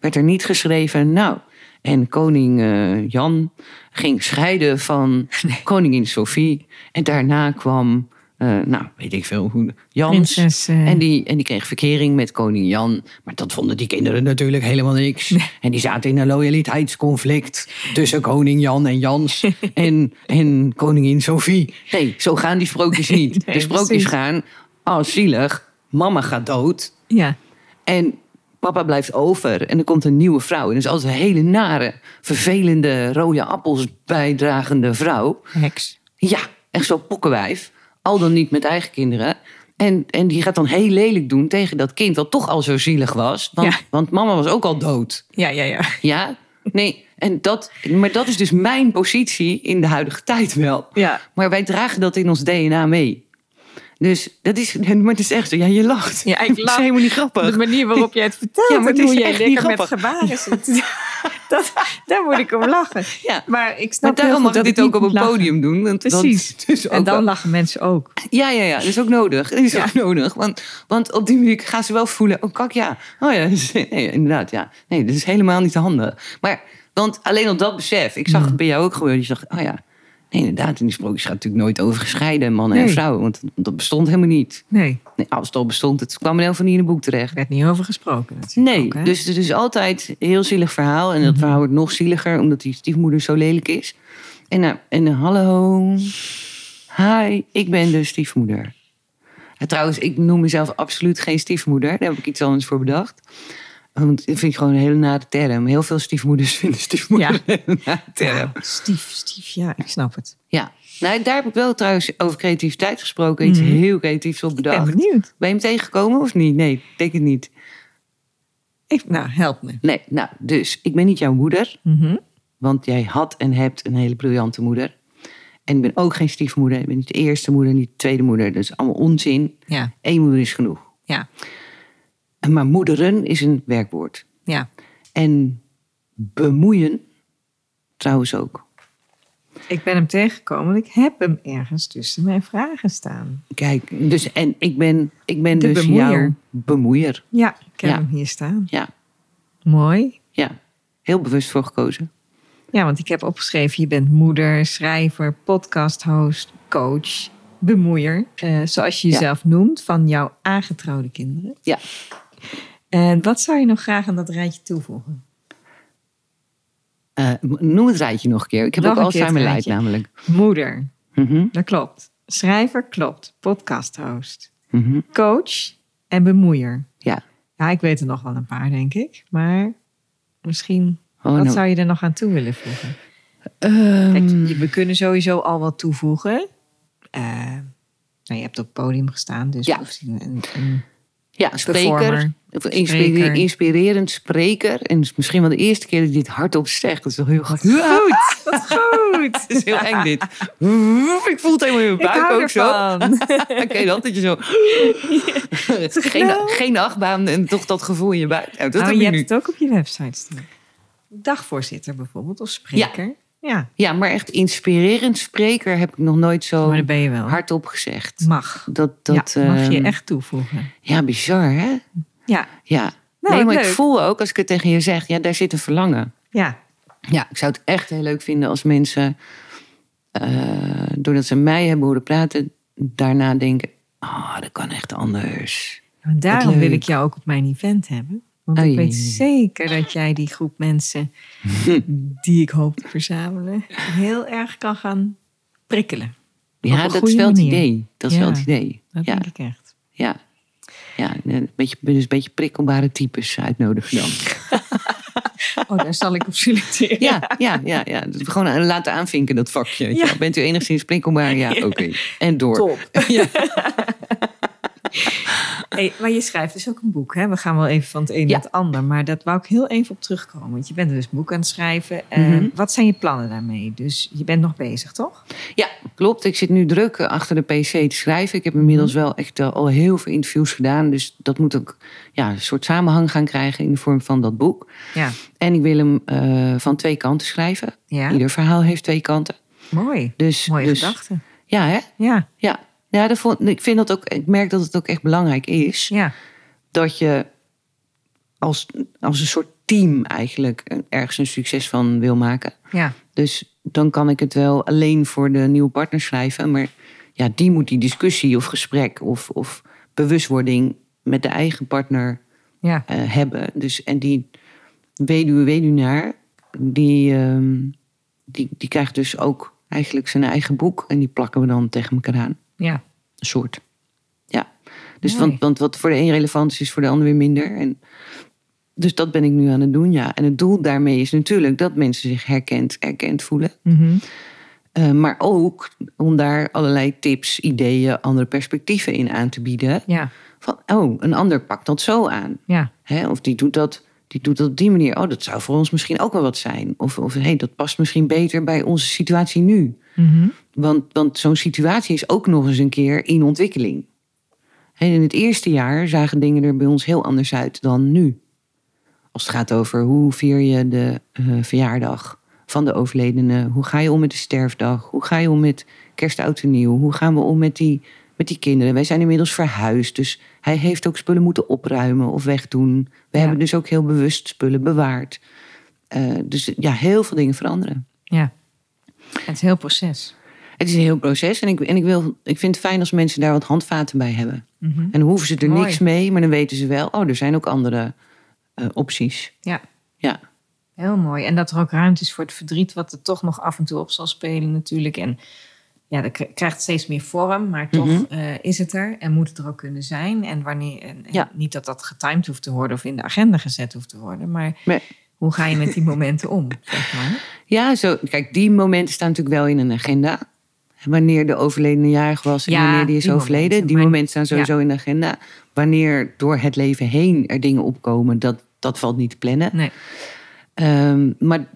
[SPEAKER 1] werd er niet geschreven. Nou, en koning eh, Jan ging scheiden van koningin Sophie. En daarna kwam, eh, nou, weet ik veel hoe, Jans.
[SPEAKER 3] Prinses, eh,
[SPEAKER 1] En die, en die kreeg verkering met koning Jan. Maar dat vonden die kinderen natuurlijk helemaal niks. En die zaten in een loyaliteitsconflict tussen koning Jan en Jans en, en koningin Sophie. Nee, zo gaan die sprookjes niet.
[SPEAKER 3] Nee,
[SPEAKER 1] de sprookjes
[SPEAKER 3] precies.
[SPEAKER 1] gaan, oh zielig, mama gaat dood.
[SPEAKER 3] Ja,
[SPEAKER 1] En papa blijft over en er komt een nieuwe vrouw. En dat is altijd een hele nare, vervelende, rode appels bijdragende vrouw.
[SPEAKER 3] heks.
[SPEAKER 1] Ja, echt zo'n pokkenwijf. Al dan niet met eigen kinderen. En, en die gaat dan heel lelijk doen tegen dat kind, wat toch al zo zielig was. Want,
[SPEAKER 3] Ja.
[SPEAKER 1] want mama was ook al dood.
[SPEAKER 3] Ja, ja, ja.
[SPEAKER 1] Ja? Nee, en dat, maar dat is dus mijn positie in de huidige tijd wel.
[SPEAKER 3] Ja,
[SPEAKER 1] Maar wij dragen dat in ons DNA mee. Dus dat is, maar het is echt zo. Ja, je lacht.
[SPEAKER 3] Ja, ik
[SPEAKER 1] Het is
[SPEAKER 3] lach.
[SPEAKER 1] helemaal niet grappig.
[SPEAKER 3] de manier waarop jij het vertelt
[SPEAKER 1] Ja, maar het
[SPEAKER 3] en hoe
[SPEAKER 1] is
[SPEAKER 3] jij
[SPEAKER 1] echt
[SPEAKER 3] lekker
[SPEAKER 1] niet
[SPEAKER 3] met gebaren zit. Dat, daar moet ik om lachen.
[SPEAKER 1] Ja.
[SPEAKER 3] Maar ik snap
[SPEAKER 1] Maar daarom
[SPEAKER 3] heel
[SPEAKER 1] mag
[SPEAKER 3] goed
[SPEAKER 1] ik
[SPEAKER 3] dat
[SPEAKER 1] dit ook
[SPEAKER 3] niet
[SPEAKER 1] op een
[SPEAKER 3] moet lachen.
[SPEAKER 1] podium doen. Want, want
[SPEAKER 3] Precies.
[SPEAKER 1] het is
[SPEAKER 3] En
[SPEAKER 1] ook
[SPEAKER 3] dan
[SPEAKER 1] wel-
[SPEAKER 3] lachen mensen ook.
[SPEAKER 1] Ja, ja, ja. Dat is ook nodig. Dat is
[SPEAKER 3] Ja.
[SPEAKER 1] ook nodig. Want, want op die manier gaan ze wel voelen... Oh, kak, ja. Oh ja, nee, inderdaad, ja. Nee, dat is helemaal niet handig. Maar, want alleen op dat besef... Ik
[SPEAKER 3] Mm.
[SPEAKER 1] zag het bij jou ook gebeuren. Je dacht, oh ja. Nee, inderdaad. In die sprookjes gaat het natuurlijk nooit over gescheiden mannen en
[SPEAKER 3] Nee.
[SPEAKER 1] vrouwen. Want dat bestond helemaal niet.
[SPEAKER 3] Nee,
[SPEAKER 1] Nee, als het al bestond, het kwam er heel veel niet in een boek terecht.
[SPEAKER 3] er werd niet over gesproken. natuurlijk
[SPEAKER 1] Nee,
[SPEAKER 3] ook, hè?
[SPEAKER 1] dus het is altijd een heel zielig verhaal. En
[SPEAKER 3] Mhm.
[SPEAKER 1] dat verhaal wordt nog zieliger omdat die stiefmoeder zo lelijk is. En, nou, en eh, hallo, hi, ik ben de stiefmoeder. En trouwens, ik noem mezelf absoluut geen stiefmoeder. Daar heb ik iets anders voor bedacht. Want dat vind ik gewoon een hele nare term. Heel veel stiefmoeders vinden stiefmoeder
[SPEAKER 3] Ja.
[SPEAKER 1] een hele nare term.
[SPEAKER 3] Ja, stief, stief, ja, ik snap het.
[SPEAKER 1] Ja, nou, daar heb ik wel trouwens over creativiteit gesproken. Iets
[SPEAKER 3] Mhm.
[SPEAKER 1] heel creatiefs op
[SPEAKER 3] Ik ben
[SPEAKER 1] bedacht.
[SPEAKER 3] benieuwd.
[SPEAKER 1] ben je hem tegengekomen of niet? Nee, ik denk het niet.
[SPEAKER 3] Ik, nou, help me.
[SPEAKER 1] Nee, nou, dus ik ben niet jouw moeder.
[SPEAKER 3] Mhm.
[SPEAKER 1] Want jij had en hebt een hele briljante moeder. En ik ben ook geen stiefmoeder. Ik ben niet de eerste moeder, niet de tweede moeder. Dat is allemaal onzin.
[SPEAKER 3] Ja,
[SPEAKER 1] Eén moeder is genoeg.
[SPEAKER 3] ja,
[SPEAKER 1] En Maar moederen is een werkwoord.
[SPEAKER 3] ja.
[SPEAKER 1] En bemoeien trouwens ook.
[SPEAKER 3] Ik ben hem tegengekomen. Ik heb hem ergens tussen mijn vragen staan.
[SPEAKER 1] Kijk, dus en ik ben, ik ben
[SPEAKER 3] De
[SPEAKER 1] dus
[SPEAKER 3] bemoeier.
[SPEAKER 1] jouw bemoeier.
[SPEAKER 3] Ja, ik heb
[SPEAKER 1] Ja.
[SPEAKER 3] hem hier staan.
[SPEAKER 1] Ja,
[SPEAKER 3] Mooi.
[SPEAKER 1] ja. Heel bewust voor gekozen.
[SPEAKER 3] Ja, want ik heb opgeschreven, je bent moeder, schrijver, podcasthost, coach, bemoeier. eh, zoals je
[SPEAKER 1] Ja.
[SPEAKER 3] jezelf noemt, van jouw aangetrouwde kinderen.
[SPEAKER 1] Ja.
[SPEAKER 3] En wat zou je nog graag aan dat rijtje toevoegen?
[SPEAKER 1] Eh, noem het rijtje nog een keer. Ik heb
[SPEAKER 3] Nog
[SPEAKER 1] ook
[SPEAKER 3] een keer het
[SPEAKER 1] Alzheimer lijd
[SPEAKER 3] rijtje.
[SPEAKER 1] namelijk.
[SPEAKER 3] Moeder,
[SPEAKER 1] Mhm,
[SPEAKER 3] dat klopt. Schrijver, klopt. Podcasthost,
[SPEAKER 1] mhm.
[SPEAKER 3] coach en bemoeier.
[SPEAKER 1] Ja.
[SPEAKER 3] Ja, ik weet er nog wel een paar, denk ik. Maar misschien,
[SPEAKER 1] Oh,
[SPEAKER 3] wat
[SPEAKER 1] nou,
[SPEAKER 3] zou je er nog aan toe willen voegen? Kijk, je- we kunnen sowieso al wat toevoegen. Eh, nou, je hebt op het podium gestaan, dus
[SPEAKER 1] Ja.
[SPEAKER 3] misschien een, een
[SPEAKER 1] Ja, spreker.
[SPEAKER 3] Performer.
[SPEAKER 1] Of inspire-
[SPEAKER 3] Spreker.
[SPEAKER 1] Inspirerend spreker. En het is misschien wel de eerste keer dat ik dit hardop zeg. Dat is wel heel goed. Goed.
[SPEAKER 3] Goed.
[SPEAKER 1] Het is heel eng dit. Ik voel het helemaal in mijn
[SPEAKER 3] Ik
[SPEAKER 1] buik
[SPEAKER 3] Dus hou
[SPEAKER 1] ook zo.
[SPEAKER 3] ervan.
[SPEAKER 1] Oké, dan dat je zo... geen, geen achtbaan en toch dat gevoel in je buik. Nou, dat
[SPEAKER 3] Oh,
[SPEAKER 1] heb
[SPEAKER 3] je
[SPEAKER 1] ik
[SPEAKER 3] hebt
[SPEAKER 1] nu.
[SPEAKER 3] het ook op je website staan. Dagvoorzitter bijvoorbeeld, of spreker. Ja,
[SPEAKER 1] Ja, maar echt inspirerend spreker heb ik nog nooit
[SPEAKER 3] Oh, maar
[SPEAKER 1] zo
[SPEAKER 3] dat ben je wel.
[SPEAKER 1] hardop gezegd.
[SPEAKER 3] Mag.
[SPEAKER 1] Dat, dat,
[SPEAKER 3] ja, mag je
[SPEAKER 1] ehm,
[SPEAKER 3] echt toevoegen.
[SPEAKER 1] Ja, bizar hè?
[SPEAKER 3] Ja,
[SPEAKER 1] Ja.
[SPEAKER 3] Nou,
[SPEAKER 1] nee, maar
[SPEAKER 3] leuk.
[SPEAKER 1] ik voel ook, als ik het tegen je zeg, ja, daar zit een verlangen.
[SPEAKER 3] ja.
[SPEAKER 1] Ja, ik zou het echt heel leuk vinden als mensen, eh, doordat ze mij hebben horen praten, daarna denken: oh, dat kan echt anders.
[SPEAKER 3] En Nou, daarom wil ik
[SPEAKER 1] leuk.
[SPEAKER 3] jou ook op mijn event hebben. Want ik
[SPEAKER 1] Oei.
[SPEAKER 3] weet zeker dat jij die groep mensen die ik hoop te verzamelen, heel erg kan gaan prikkelen.
[SPEAKER 1] Ja,
[SPEAKER 3] een
[SPEAKER 1] dat
[SPEAKER 3] goede
[SPEAKER 1] is wel het
[SPEAKER 3] manier.
[SPEAKER 1] idee. Dat is
[SPEAKER 3] Ja,
[SPEAKER 1] wel het idee.
[SPEAKER 3] Dat
[SPEAKER 1] Ja.
[SPEAKER 3] denk ik echt.
[SPEAKER 1] Ja. Ja, een beetje, dus een beetje prikkelbare types uitnodigen dan.
[SPEAKER 3] Oh, daar zal ik op selecteren.
[SPEAKER 1] Ja, ja, ja. ja. Dus gewoon laten aanvinken dat vakje. weet je
[SPEAKER 3] Ja.
[SPEAKER 1] wel. Bent u enigszins prikkelbaar? Ja, oké. En door.
[SPEAKER 3] Top.
[SPEAKER 1] Ja.
[SPEAKER 3] Hey, maar je schrijft dus ook een boek. Hè? We gaan wel even van het een
[SPEAKER 1] Ja.
[SPEAKER 3] naar het ander. Maar dat wou ik heel even op terugkomen. Want je bent dus een boek aan het schrijven. Eh,
[SPEAKER 1] Mhm.
[SPEAKER 3] Wat zijn je plannen daarmee? Dus je bent nog bezig, toch?
[SPEAKER 1] Ja, klopt. Ik zit nu druk eh, achter de PC te schrijven. Ik heb inmiddels
[SPEAKER 3] Mhm.
[SPEAKER 1] wel echt eh, al heel veel interviews gedaan. Dus dat moet ook ja, een soort samenhang gaan krijgen in de vorm van dat boek.
[SPEAKER 3] Ja.
[SPEAKER 1] En ik wil hem eh, van twee kanten schrijven.
[SPEAKER 3] Ja,
[SPEAKER 1] Ieder verhaal heeft twee kanten.
[SPEAKER 3] mooi.
[SPEAKER 1] Dus,
[SPEAKER 3] Mooie
[SPEAKER 1] dus,
[SPEAKER 3] gedachte.
[SPEAKER 1] Ja, hè?
[SPEAKER 3] Ja,
[SPEAKER 1] Ja. Ja, dat vond, ik, vind dat ook, ik merk dat het ook echt belangrijk is.
[SPEAKER 3] ja.
[SPEAKER 1] dat je als, als een soort team eigenlijk ergens een succes van wil maken.
[SPEAKER 3] Ja,
[SPEAKER 1] Dus dan kan ik het wel alleen voor de nieuwe partner schrijven. Maar ja, die moet die discussie of gesprek of, of bewustwording met de eigen partner
[SPEAKER 3] ja,
[SPEAKER 1] eh, hebben. Dus, en die weduwe, weduwnaar, die, ehm, die, die krijgt dus ook eigenlijk zijn eigen boek. En die plakken we dan tegen elkaar aan
[SPEAKER 3] ja.
[SPEAKER 1] een soort. Ja. Dus
[SPEAKER 3] Mooi.
[SPEAKER 1] want, want wat voor de een relevant is, is voor de ander weer minder. En dus dat ben ik nu aan het doen, ja. En het doel daarmee is natuurlijk dat mensen zich herkend, erkend voelen.
[SPEAKER 3] Mhm.
[SPEAKER 1] Eh, maar ook om daar allerlei tips, ideeën, andere perspectieven in aan te bieden.
[SPEAKER 3] Ja,
[SPEAKER 1] Van, oh, een ander pakt dat zo aan.
[SPEAKER 3] ja,
[SPEAKER 1] Hè? Of die doet, dat, die doet dat op die manier. Oh, dat zou voor ons misschien ook wel wat zijn. Of, of hey, dat past misschien beter bij onze situatie nu.
[SPEAKER 3] Mhm.
[SPEAKER 1] Want, want zo'n situatie is ook nog eens een keer in ontwikkeling. En in het eerste jaar zagen dingen er bij ons heel anders uit dan nu. Als het gaat over hoe vier je de eh, verjaardag van de overledene. Hoe ga je om met de sterfdag? Hoe ga je om met kerst, oud en nieuw? Hoe gaan we om met die, met die kinderen? Wij zijn inmiddels verhuisd, dus hij heeft ook spullen moeten opruimen of wegdoen. We
[SPEAKER 3] Ja.
[SPEAKER 1] hebben dus ook heel bewust spullen bewaard. Eh, dus ja, heel veel dingen veranderen.
[SPEAKER 3] ja. Het is een heel proces.
[SPEAKER 1] Het is een heel proces en ik, en ik, wil, ik vind het fijn als mensen daar wat handvaten bij hebben.
[SPEAKER 3] Mhm.
[SPEAKER 1] En dan hoeven ze er
[SPEAKER 3] Mooi.
[SPEAKER 1] niks mee, maar dan weten ze wel, oh, er zijn ook andere eh, opties.
[SPEAKER 3] Ja,
[SPEAKER 1] Ja,
[SPEAKER 3] heel mooi. En dat er ook ruimte is voor het verdriet, wat er toch nog af en toe op zal spelen, natuurlijk. En ja, dat k- krijgt steeds meer vorm, maar toch
[SPEAKER 1] Mhm.
[SPEAKER 3] eh, is het er en moet het er ook kunnen zijn. En wanneer, en, en
[SPEAKER 1] Ja.
[SPEAKER 3] niet dat dat getimed hoeft te worden of in de agenda gezet hoeft te worden, maar
[SPEAKER 1] Nee.
[SPEAKER 3] hoe ga je met die momenten om? Zeg maar.
[SPEAKER 1] ja zo, kijk, die momenten staan natuurlijk wel in een agenda. Wanneer de overledene jarig was en
[SPEAKER 3] Ja,
[SPEAKER 1] wanneer die is
[SPEAKER 3] die
[SPEAKER 1] overleden.
[SPEAKER 3] momenten,
[SPEAKER 1] die
[SPEAKER 3] maar-
[SPEAKER 1] momenten staan sowieso in de agenda. Wanneer door het leven heen er dingen opkomen, dat, dat valt niet te plannen.
[SPEAKER 3] Nee,
[SPEAKER 1] Ehm, maar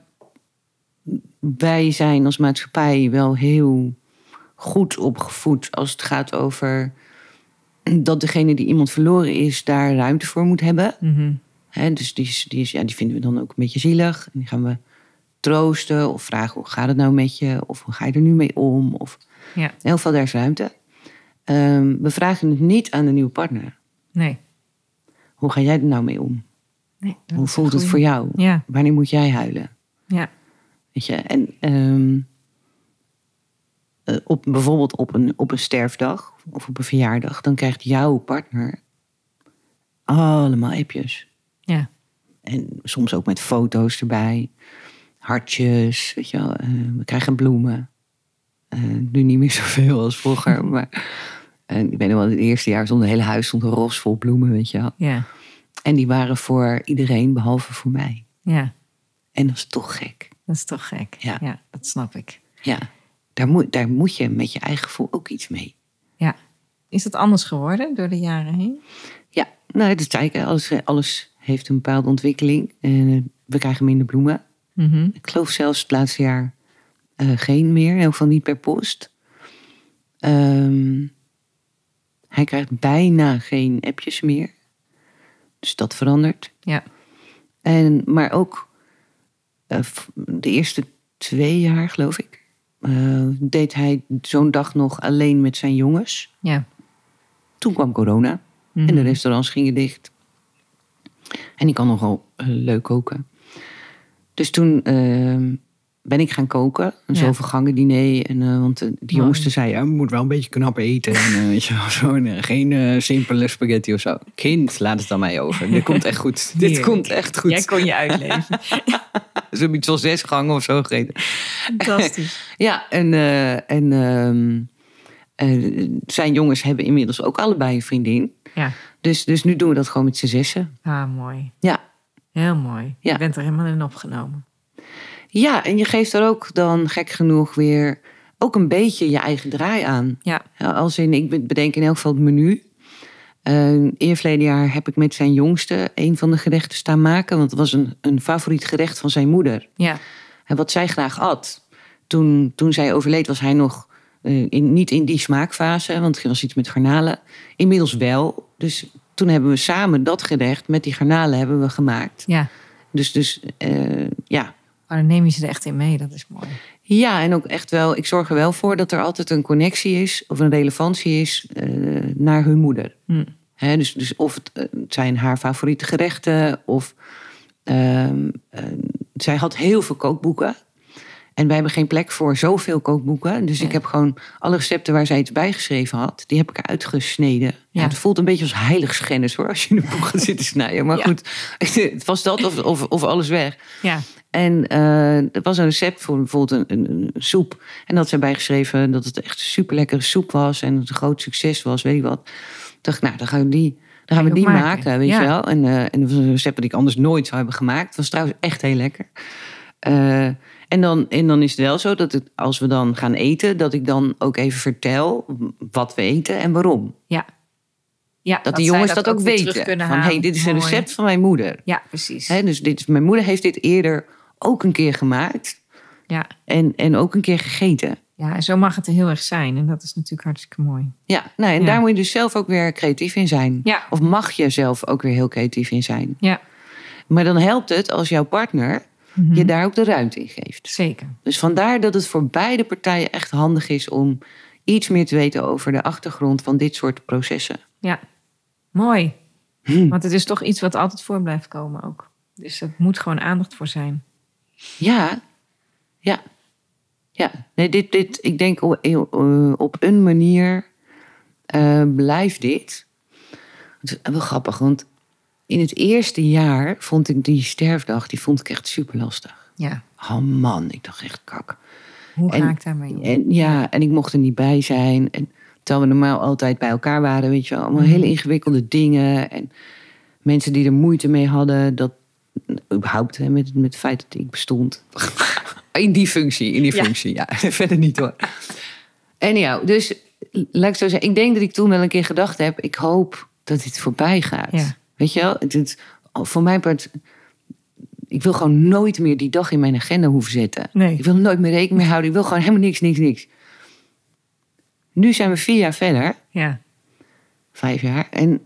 [SPEAKER 1] wij zijn als maatschappij wel heel goed opgevoed als het gaat over dat degene die iemand verloren is, daar ruimte voor moet hebben.
[SPEAKER 3] Mhm.
[SPEAKER 1] Hè, dus die, is, die, is, ja, die vinden we dan ook een beetje zielig. En die gaan we troosten of vragen hoe gaat het nou met je? Of hoe ga je er nu mee om? Of
[SPEAKER 3] ja,
[SPEAKER 1] heel veel daar is ruimte. Ehm, we vragen het niet aan de nieuwe partner.
[SPEAKER 3] nee.
[SPEAKER 1] Hoe ga jij er nou mee om?
[SPEAKER 3] nee dat
[SPEAKER 1] Hoe
[SPEAKER 3] is
[SPEAKER 1] voelt
[SPEAKER 3] een
[SPEAKER 1] het voor
[SPEAKER 3] goeie.
[SPEAKER 1] jou?
[SPEAKER 3] Ja,
[SPEAKER 1] Wanneer moet jij huilen?
[SPEAKER 3] ja,
[SPEAKER 1] Weet je, en ehm, eh, op, bijvoorbeeld op een, op een sterfdag of op een verjaardag, dan krijgt jouw partner allemaal appjes.
[SPEAKER 3] ja,
[SPEAKER 1] En soms ook met foto's erbij, hartjes, weet je wel. eh, we krijgen bloemen. Eh, nu niet meer zoveel als vroeger, maar en ik weet nog wel, het eerste jaar stond het hele huis stond een ros vol bloemen, weet je wel.
[SPEAKER 3] ja,
[SPEAKER 1] En die waren voor iedereen, behalve voor mij.
[SPEAKER 3] ja.
[SPEAKER 1] En dat is toch gek.
[SPEAKER 3] Dat is toch gek.
[SPEAKER 1] Ja.
[SPEAKER 3] ja dat snap ik.
[SPEAKER 1] Ja, daar moet, daar moet je met je eigen gevoel ook iets mee.
[SPEAKER 3] Ja. Is dat anders geworden door de jaren heen?
[SPEAKER 1] Ja, nou, dat zei ik. hè. Alles, alles heeft een bepaalde ontwikkeling. Eh, we krijgen minder bloemen.
[SPEAKER 3] Mhm.
[SPEAKER 1] Ik geloof zelfs het laatste jaar eh, geen meer. In elk geval niet per post. Ehm, hij krijgt bijna geen appjes meer. Dus dat verandert.
[SPEAKER 3] Ja.
[SPEAKER 1] En, maar ook eh, v- de eerste twee jaar, geloof ik, eh, deed hij zo'n dag nog alleen met zijn jongens.
[SPEAKER 3] Ja.
[SPEAKER 1] Toen kwam corona en de
[SPEAKER 3] Mhm.
[SPEAKER 1] restaurants gingen dicht. En ik kan nogal eh, leuk koken. Dus toen ehm, ben ik gaan koken. Een
[SPEAKER 3] Ja.
[SPEAKER 1] zoveel gangen diner. En, eh, want eh, die jongste zei, ja, je moet wel een beetje knap eten. En, eh, weet je wel, zo, en, eh, geen eh, simpele spaghetti of zo. Kind, laat het aan mij over. Dit komt echt goed. Dit
[SPEAKER 3] Heerlijk.
[SPEAKER 1] komt echt goed.
[SPEAKER 3] Jij kon je uitleven.
[SPEAKER 1] Ze hebben iets van zes gangen of zo gegeten.
[SPEAKER 3] Fantastisch.
[SPEAKER 1] Ja, en, eh, en ehm, eh, zijn jongens hebben inmiddels ook allebei een vriendin.
[SPEAKER 3] Ja.
[SPEAKER 1] Dus, dus nu doen we dat gewoon met z'n zessen.
[SPEAKER 3] Ah, mooi.
[SPEAKER 1] Ja.
[SPEAKER 3] Heel mooi.
[SPEAKER 1] Ja.
[SPEAKER 3] Je bent er helemaal in opgenomen.
[SPEAKER 1] ja, en je geeft er ook dan gek genoeg weer ook een beetje je eigen draai aan.
[SPEAKER 3] Ja.
[SPEAKER 1] Ja, Als in, ik be- bedenk in elk geval het menu. Eh, Eer verleden jaar heb ik met zijn jongste een van de gerechten staan maken. Want het was een, een favoriet gerecht van zijn moeder.
[SPEAKER 3] Ja.
[SPEAKER 1] En wat zij graag at. Toen, toen zij overleed was hij nog eh, in, niet in die smaakfase. Want er was iets met garnalen. Inmiddels wel. Dus toen hebben we samen dat gerecht met die garnalen hebben we gemaakt.
[SPEAKER 3] Ja.
[SPEAKER 1] Dus, dus eh, ja,
[SPEAKER 3] Maar dan neem je ze er echt in mee. Dat is mooi.
[SPEAKER 1] ja, en ook echt wel, ik zorg er wel voor dat er altijd een connectie is of een relevantie is eh, naar hun moeder.
[SPEAKER 3] Hm.
[SPEAKER 1] Hè, dus, dus of het, eh, het zijn haar favoriete gerechten of ehm, eh, zij had heel veel kookboeken. En wij hebben geen plek voor zoveel kookboeken. Dus ik
[SPEAKER 3] Nee.
[SPEAKER 1] heb gewoon alle recepten waar zij iets bijgeschreven had, die heb ik eruit gesneden.
[SPEAKER 3] Ja.
[SPEAKER 1] Ja. Het voelt een beetje als heiligschennis hoor, als je in een boek gaat zitten snijden. Maar
[SPEAKER 3] Ja.
[SPEAKER 1] goed, het was dat of, of, of alles weg.
[SPEAKER 3] Ja.
[SPEAKER 1] En eh, er was een recept voor bijvoorbeeld een, een, een soep. En dat ze bijgeschreven dat het echt super lekkere soep was. En het een groot succes was, weet ik wat. Toen dacht ik, nou, dan gaan we die, dan gaan we
[SPEAKER 3] ook
[SPEAKER 1] die
[SPEAKER 3] maken.
[SPEAKER 1] maken. weet
[SPEAKER 3] Ja.
[SPEAKER 1] je wel. En, eh, en dat was een recept dat ik anders nooit zou hebben gemaakt. Het was trouwens echt heel lekker. Eh, en, dan, en dan is het wel zo dat het, als we dan gaan eten, dat ik dan ook even vertel wat we eten en waarom.
[SPEAKER 3] Ja. ja
[SPEAKER 1] Dat, die
[SPEAKER 3] zij
[SPEAKER 1] jongens dat, ook
[SPEAKER 3] weer terug
[SPEAKER 1] weten. Van
[SPEAKER 3] kunnen
[SPEAKER 1] hey,
[SPEAKER 3] halen.
[SPEAKER 1] dit is een
[SPEAKER 3] Mooi.
[SPEAKER 1] recept van mijn moeder.
[SPEAKER 3] Ja, precies.
[SPEAKER 1] Hè, dus dit, is- mijn moeder heeft dit eerder ook een keer gemaakt.
[SPEAKER 3] Ja.
[SPEAKER 1] En, en ook een keer gegeten.
[SPEAKER 3] ja, en zo mag het er heel erg zijn. En dat is natuurlijk hartstikke mooi.
[SPEAKER 1] Ja, nou, en
[SPEAKER 3] Ja.
[SPEAKER 1] daar moet je dus zelf ook weer creatief in zijn.
[SPEAKER 3] Ja.
[SPEAKER 1] Of mag je zelf ook weer heel creatief in zijn.
[SPEAKER 3] Ja.
[SPEAKER 1] Maar dan helpt het als jouw partner
[SPEAKER 3] Mhm.
[SPEAKER 1] je daar ook de ruimte in geeft.
[SPEAKER 3] Zeker.
[SPEAKER 1] Dus vandaar dat het voor beide partijen echt handig is om iets meer te weten over de achtergrond van dit soort processen.
[SPEAKER 3] Ja, mooi.
[SPEAKER 1] Hm.
[SPEAKER 3] Want het is toch iets wat altijd voor blijft komen ook. Dus er moet gewoon aandacht voor zijn.
[SPEAKER 1] Ja, ja, ja. Nee, dit, dit, ik denk o- eh, op een manier eh, blijft dit. Het is wel grappig, want in het eerste jaar vond ik die sterfdag, die vond ik echt super lastig.
[SPEAKER 3] Ja,
[SPEAKER 1] Oh man, ik dacht echt kak.
[SPEAKER 3] hoe ga
[SPEAKER 1] En-
[SPEAKER 3] ik daarmee om?
[SPEAKER 1] En ja, en ik mocht er niet bij zijn. En terwijl we normaal altijd bij elkaar waren, weet je wel. Allemaal
[SPEAKER 3] Mhm.
[SPEAKER 1] hele ingewikkelde dingen. En mensen die er moeite mee hadden. Dat, überhaupt, hè, met, met het feit dat ik bestond. In die functie, in die
[SPEAKER 3] Ja.
[SPEAKER 1] functie. Ja, verder niet hoor. Anyhow, dus laat ik zo zeggen. Ik denk dat ik toen wel een keer gedacht heb. Ik hoop dat dit voorbij gaat.
[SPEAKER 3] Ja.
[SPEAKER 1] Weet je wel? Het, het- voor mijn part... Ik wil gewoon nooit meer die dag in mijn agenda hoeven zetten.
[SPEAKER 3] Nee.
[SPEAKER 1] Ik wil nooit meer rekening mee houden. Ik wil gewoon helemaal niks, niks, niks. Nu zijn we vier jaar verder,
[SPEAKER 3] Ja,
[SPEAKER 1] vijf jaar. En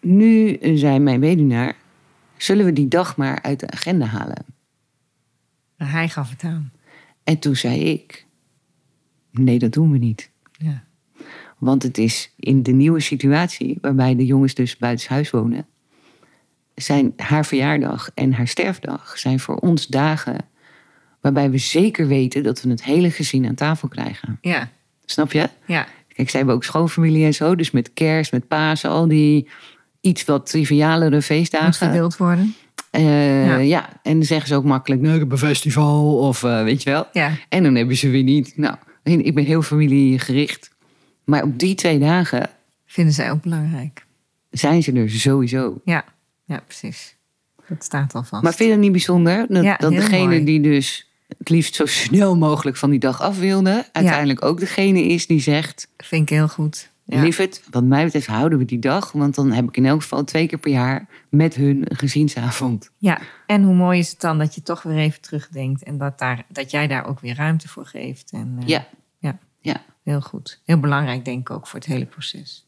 [SPEAKER 1] nu eh, zei mijn weduwnaar, zullen we die dag maar uit de agenda halen?
[SPEAKER 3] maar hij gaf het aan.
[SPEAKER 1] En toen zei ik, nee, dat doen we niet.
[SPEAKER 3] Ja.
[SPEAKER 1] Want het is in de nieuwe situatie, waarbij de jongens dus buiten huis wonen, zijn haar verjaardag en haar sterfdag zijn voor ons dagen waarbij we zeker weten dat we het hele gezin aan tafel krijgen.
[SPEAKER 3] Ja,
[SPEAKER 1] Snap je?
[SPEAKER 3] ja,
[SPEAKER 1] Kijk, zij hebben ook schoonfamilie en zo. Dus met kerst, met Pasen, al die iets wat trivialere
[SPEAKER 3] moet
[SPEAKER 1] feestdagen.
[SPEAKER 3] verdeeld worden.
[SPEAKER 1] Eh,
[SPEAKER 3] Ja.
[SPEAKER 1] ja. en dan zeggen ze ook makkelijk, nee, ik heb een festival of eh, weet je wel.
[SPEAKER 3] Ja,
[SPEAKER 1] En dan hebben ze weer niet. Nou, ik ben heel familiegericht. Maar op die twee dagen
[SPEAKER 3] vinden zij ook belangrijk.
[SPEAKER 1] zijn ze er sowieso.
[SPEAKER 3] Ja, ja precies. Dat staat al vast.
[SPEAKER 1] Maar vind je dat niet bijzonder? Dat,
[SPEAKER 3] Ja,
[SPEAKER 1] dat
[SPEAKER 3] heel
[SPEAKER 1] degene
[SPEAKER 3] mooi.
[SPEAKER 1] die dus het liefst zo snel mogelijk van die dag af wilde... uiteindelijk ook degene is die zegt...
[SPEAKER 3] Vind ik heel goed. Ja.
[SPEAKER 1] Lieverd, wat mij betreft houden we die dag. Want dan heb ik in elk geval twee keer per jaar met hun een gezinsavond.
[SPEAKER 3] ja, en hoe mooi is het dan dat je toch weer even terugdenkt. En dat, daar, dat jij daar ook weer ruimte voor geeft. En, eh,
[SPEAKER 1] Ja.
[SPEAKER 3] ja.
[SPEAKER 1] Ja.
[SPEAKER 3] Heel goed. Heel belangrijk denk ik ook voor het hele proces.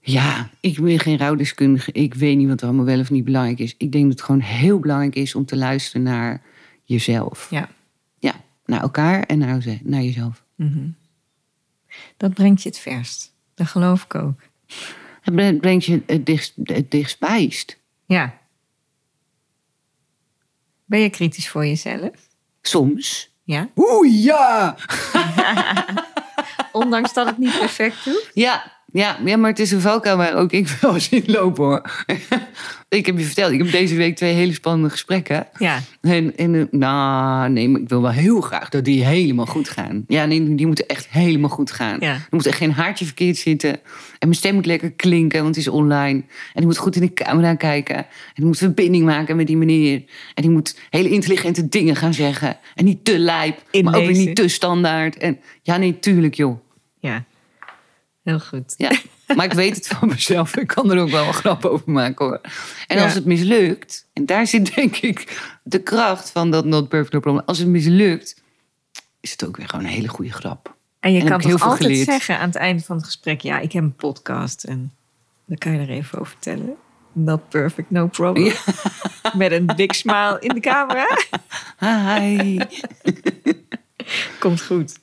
[SPEAKER 1] Ja, ik ben geen rouwdeskundige. Ik weet niet wat er allemaal wel of niet belangrijk is. Ik denk dat het gewoon heel belangrijk is om te luisteren naar jezelf.
[SPEAKER 3] Ja.
[SPEAKER 1] Ja, naar elkaar en naar, ze- naar jezelf.
[SPEAKER 3] Mhm. Dat brengt je het verst. Dat geloof ik ook.
[SPEAKER 1] Het bre- brengt je het, dichtst, het dichtstbijst.
[SPEAKER 3] Ja. Ben je kritisch voor jezelf?
[SPEAKER 1] Soms.
[SPEAKER 3] Ja.
[SPEAKER 2] Oeh ja!
[SPEAKER 3] Ondanks dat het niet perfect doet?
[SPEAKER 1] Ja, Ja, ja, maar het is een valkuil waar ook ik wel eens in loop hoor. ik heb je verteld, ik heb deze week twee hele spannende gesprekken.
[SPEAKER 3] Ja,
[SPEAKER 1] En, en eh, nou, nee, maar ik wil wel heel graag dat die helemaal goed gaan. Ja, nee, die moeten echt helemaal goed gaan.
[SPEAKER 3] Ja.
[SPEAKER 1] Er moet echt geen haartje verkeerd zitten. En mijn stem moet lekker klinken, want die is online. En die moet goed in de camera kijken. En die moet verbinding maken met die meneer. En die moet hele intelligente dingen gaan zeggen. En niet te lijp,
[SPEAKER 3] In
[SPEAKER 1] maar ook weer
[SPEAKER 3] deze.
[SPEAKER 1] niet te standaard. En ja, nee, tuurlijk joh.
[SPEAKER 3] ja. Heel goed.
[SPEAKER 1] Ja. Maar ik weet het van mezelf. Ik kan er ook wel een grap over maken hoor. En
[SPEAKER 3] Ja.
[SPEAKER 1] als het mislukt, en daar zit denk ik de kracht van dat Not Perfect No Problem. Als het mislukt, is het ook weer gewoon een hele goede grap.
[SPEAKER 3] En je
[SPEAKER 1] En
[SPEAKER 3] kan
[SPEAKER 1] heb ik heel
[SPEAKER 3] toch
[SPEAKER 1] veel
[SPEAKER 3] altijd
[SPEAKER 1] geleerd.
[SPEAKER 3] zeggen aan het einde van het gesprek... ja, ik heb een podcast en dan kan je er even over vertellen. Not perfect, no problem. Met een big smile in de camera.
[SPEAKER 1] Hi.
[SPEAKER 3] Komt goed.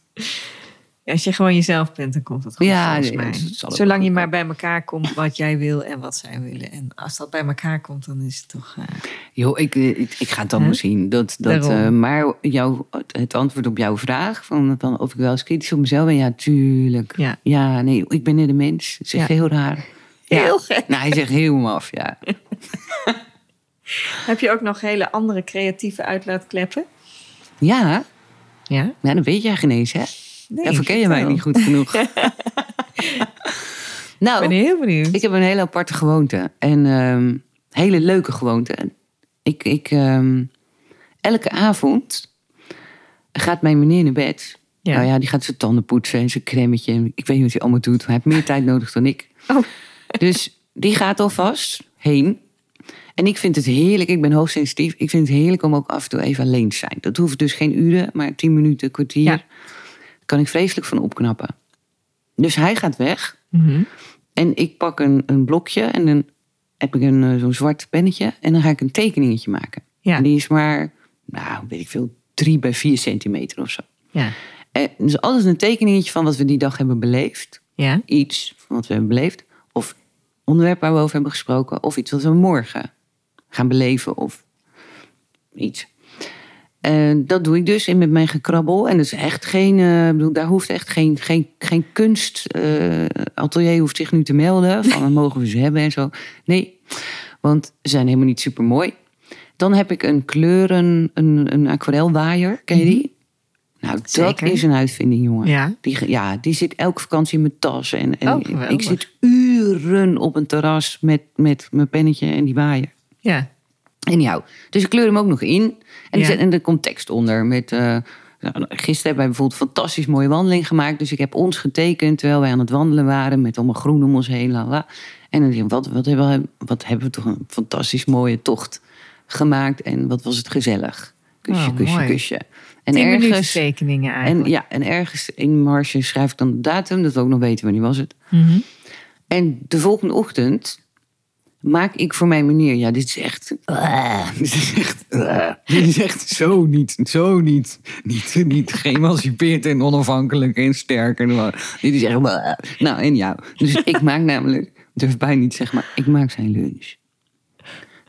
[SPEAKER 3] Als je gewoon jezelf bent, dan komt dat goed
[SPEAKER 1] Ja,
[SPEAKER 3] volgens
[SPEAKER 1] nee,
[SPEAKER 3] mij.
[SPEAKER 1] dat zal ook
[SPEAKER 3] Zolang je
[SPEAKER 1] goed
[SPEAKER 3] maar bij elkaar komt wat jij wil en wat zij willen. En als dat bij elkaar komt, dan is het toch... eh,
[SPEAKER 1] Joh, ik, eh, ik, ik ga het dan wel
[SPEAKER 3] Huh?
[SPEAKER 1] zien. Dat, dat,
[SPEAKER 3] Daarom.
[SPEAKER 1] eh, maar jouw, het antwoord op jouw vraag, van, van of ik wel eens kritisch op mezelf ben, ja, tuurlijk.
[SPEAKER 3] Ja.
[SPEAKER 1] ja nee, ik ben net een mens. Het is echt
[SPEAKER 3] Ja.
[SPEAKER 1] heel raar. Ja.
[SPEAKER 3] Heel gek.
[SPEAKER 1] Nou, hij zegt heel maf, ja.
[SPEAKER 3] Heb je ook nog hele andere creatieve uitlaatkleppen?
[SPEAKER 1] Ja,
[SPEAKER 3] Ja?
[SPEAKER 1] nou, dat weet jij geen eens, hè?
[SPEAKER 3] Nee,
[SPEAKER 1] Daarvoor ken je
[SPEAKER 3] vertel.
[SPEAKER 1] mij niet goed genoeg. nou,
[SPEAKER 3] Ik ben heel benieuwd.
[SPEAKER 1] ik heb een hele aparte gewoonte. En ehm, hele leuke gewoonte. Ik, ik, ehm, elke avond gaat mijn meneer naar bed.
[SPEAKER 3] Ja.
[SPEAKER 1] Nou ja, die gaat zijn tanden poetsen en zijn cremmetje. En ik weet niet wat hij allemaal doet. maar Hij heeft meer tijd nodig dan ik.
[SPEAKER 3] Oh.
[SPEAKER 1] Dus die gaat alvast heen. En ik vind het heerlijk. Ik ben hoogsensitief. Ik vind het heerlijk om ook af en toe even alleen te zijn. Dat hoeft dus geen uren, maar tien minuten, kwartier.
[SPEAKER 3] Ja.
[SPEAKER 1] Daar kan ik vreselijk van opknappen. Dus hij gaat weg.
[SPEAKER 3] Mhm.
[SPEAKER 1] En ik pak een, een blokje en dan heb ik een, eh, zo'n zwart pennetje. En dan ga ik een tekeningetje maken.
[SPEAKER 3] Ja.
[SPEAKER 1] En die is maar, nou weet ik veel, drie bij vier centimeter of zo.
[SPEAKER 3] ja.
[SPEAKER 1] En dus altijd een tekeningetje van wat we die dag hebben beleefd.
[SPEAKER 3] Ja.
[SPEAKER 1] Iets van wat we hebben beleefd. Of onderwerp waar we over hebben gesproken. Of iets wat we morgen gaan beleven. Of iets. En dat doe ik dus in met mijn gekrabbel. En dat is echt geen. eh, ik bedoel, daar hoeft echt geen, geen, geen kunstatelier hoeft zich nu te melden. Van dan mogen we ze hebben en zo. Nee, want ze zijn helemaal niet super mooi. Dan heb ik een kleuren, een, een aquarelwaaier. Ken je die? Nou,
[SPEAKER 3] Mhm. Zeker.
[SPEAKER 1] dat is een uitvinding, jongen.
[SPEAKER 3] Ja.
[SPEAKER 1] Die, ge- ja, die zit elke vakantie in mijn tas. En, en
[SPEAKER 3] Oh, geweldig.
[SPEAKER 1] ik zit uren op een terras met, met mijn pennetje en die waaier.
[SPEAKER 3] Ja.
[SPEAKER 1] Anyhow, dus ik kleur hem ook nog in. En, die
[SPEAKER 3] Ja.
[SPEAKER 1] zet- en er komt tekst onder. Met, eh, nou, gisteren hebben wij bijvoorbeeld een fantastisch mooie wandeling gemaakt. Dus ik heb ons getekend terwijl wij aan het wandelen waren. Met allemaal groen om ons heen. la, la. En dan denk ik, wat, wat, hebben we, wat hebben we toch een fantastisch mooie tocht gemaakt. En wat was het gezellig. Kusje,
[SPEAKER 3] Oh,
[SPEAKER 1] kusje,
[SPEAKER 3] mooi.
[SPEAKER 1] kusje. En
[SPEAKER 3] En ergens...
[SPEAKER 1] ergens,
[SPEAKER 3] tekeningen
[SPEAKER 1] en,
[SPEAKER 3] eigenlijk.
[SPEAKER 1] ja, en ergens in marge schrijf ik dan de datum. Dat we ook nog weten wanneer was het.
[SPEAKER 3] Mhm.
[SPEAKER 1] En de volgende ochtend maak ik voor mijn meneer. Ja, dit is echt. ah, dit is echt. ah, dit is echt zo niet. Zo niet. Niet, niet geëmancipeerd en onafhankelijk en sterk. En, maar, dit is echt. ah. Nou, en jou. Dus ik maak namelijk. Durf bijna niet te zeggen, maar ik maak zijn lunch.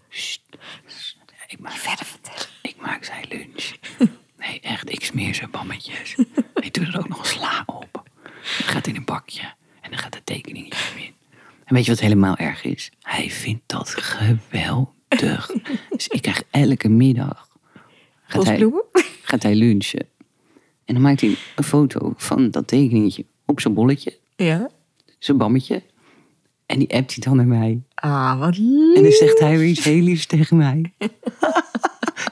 [SPEAKER 1] Sst. Ik maak verder vertellen. Ik maak zijn lunch. Nee, echt, ik smeer zijn bammetjes. Ik doe er ook nog een sla op. Het gaat in een bakje en dan gaat het tekeningetje in. En weet je wat helemaal erg is? Hij vindt dat geweldig. Dus ik krijg elke middag... Gaat hij,
[SPEAKER 3] Bosbloemen?
[SPEAKER 1] gaat hij lunchen. En dan maakt hij een foto van dat tekeningetje op zijn bolletje,
[SPEAKER 3] Ja.
[SPEAKER 1] zijn bammetje. En die appt hij dan naar mij.
[SPEAKER 3] Ah, wat lief.
[SPEAKER 1] En dan zegt hij weer iets heel liefs tegen mij.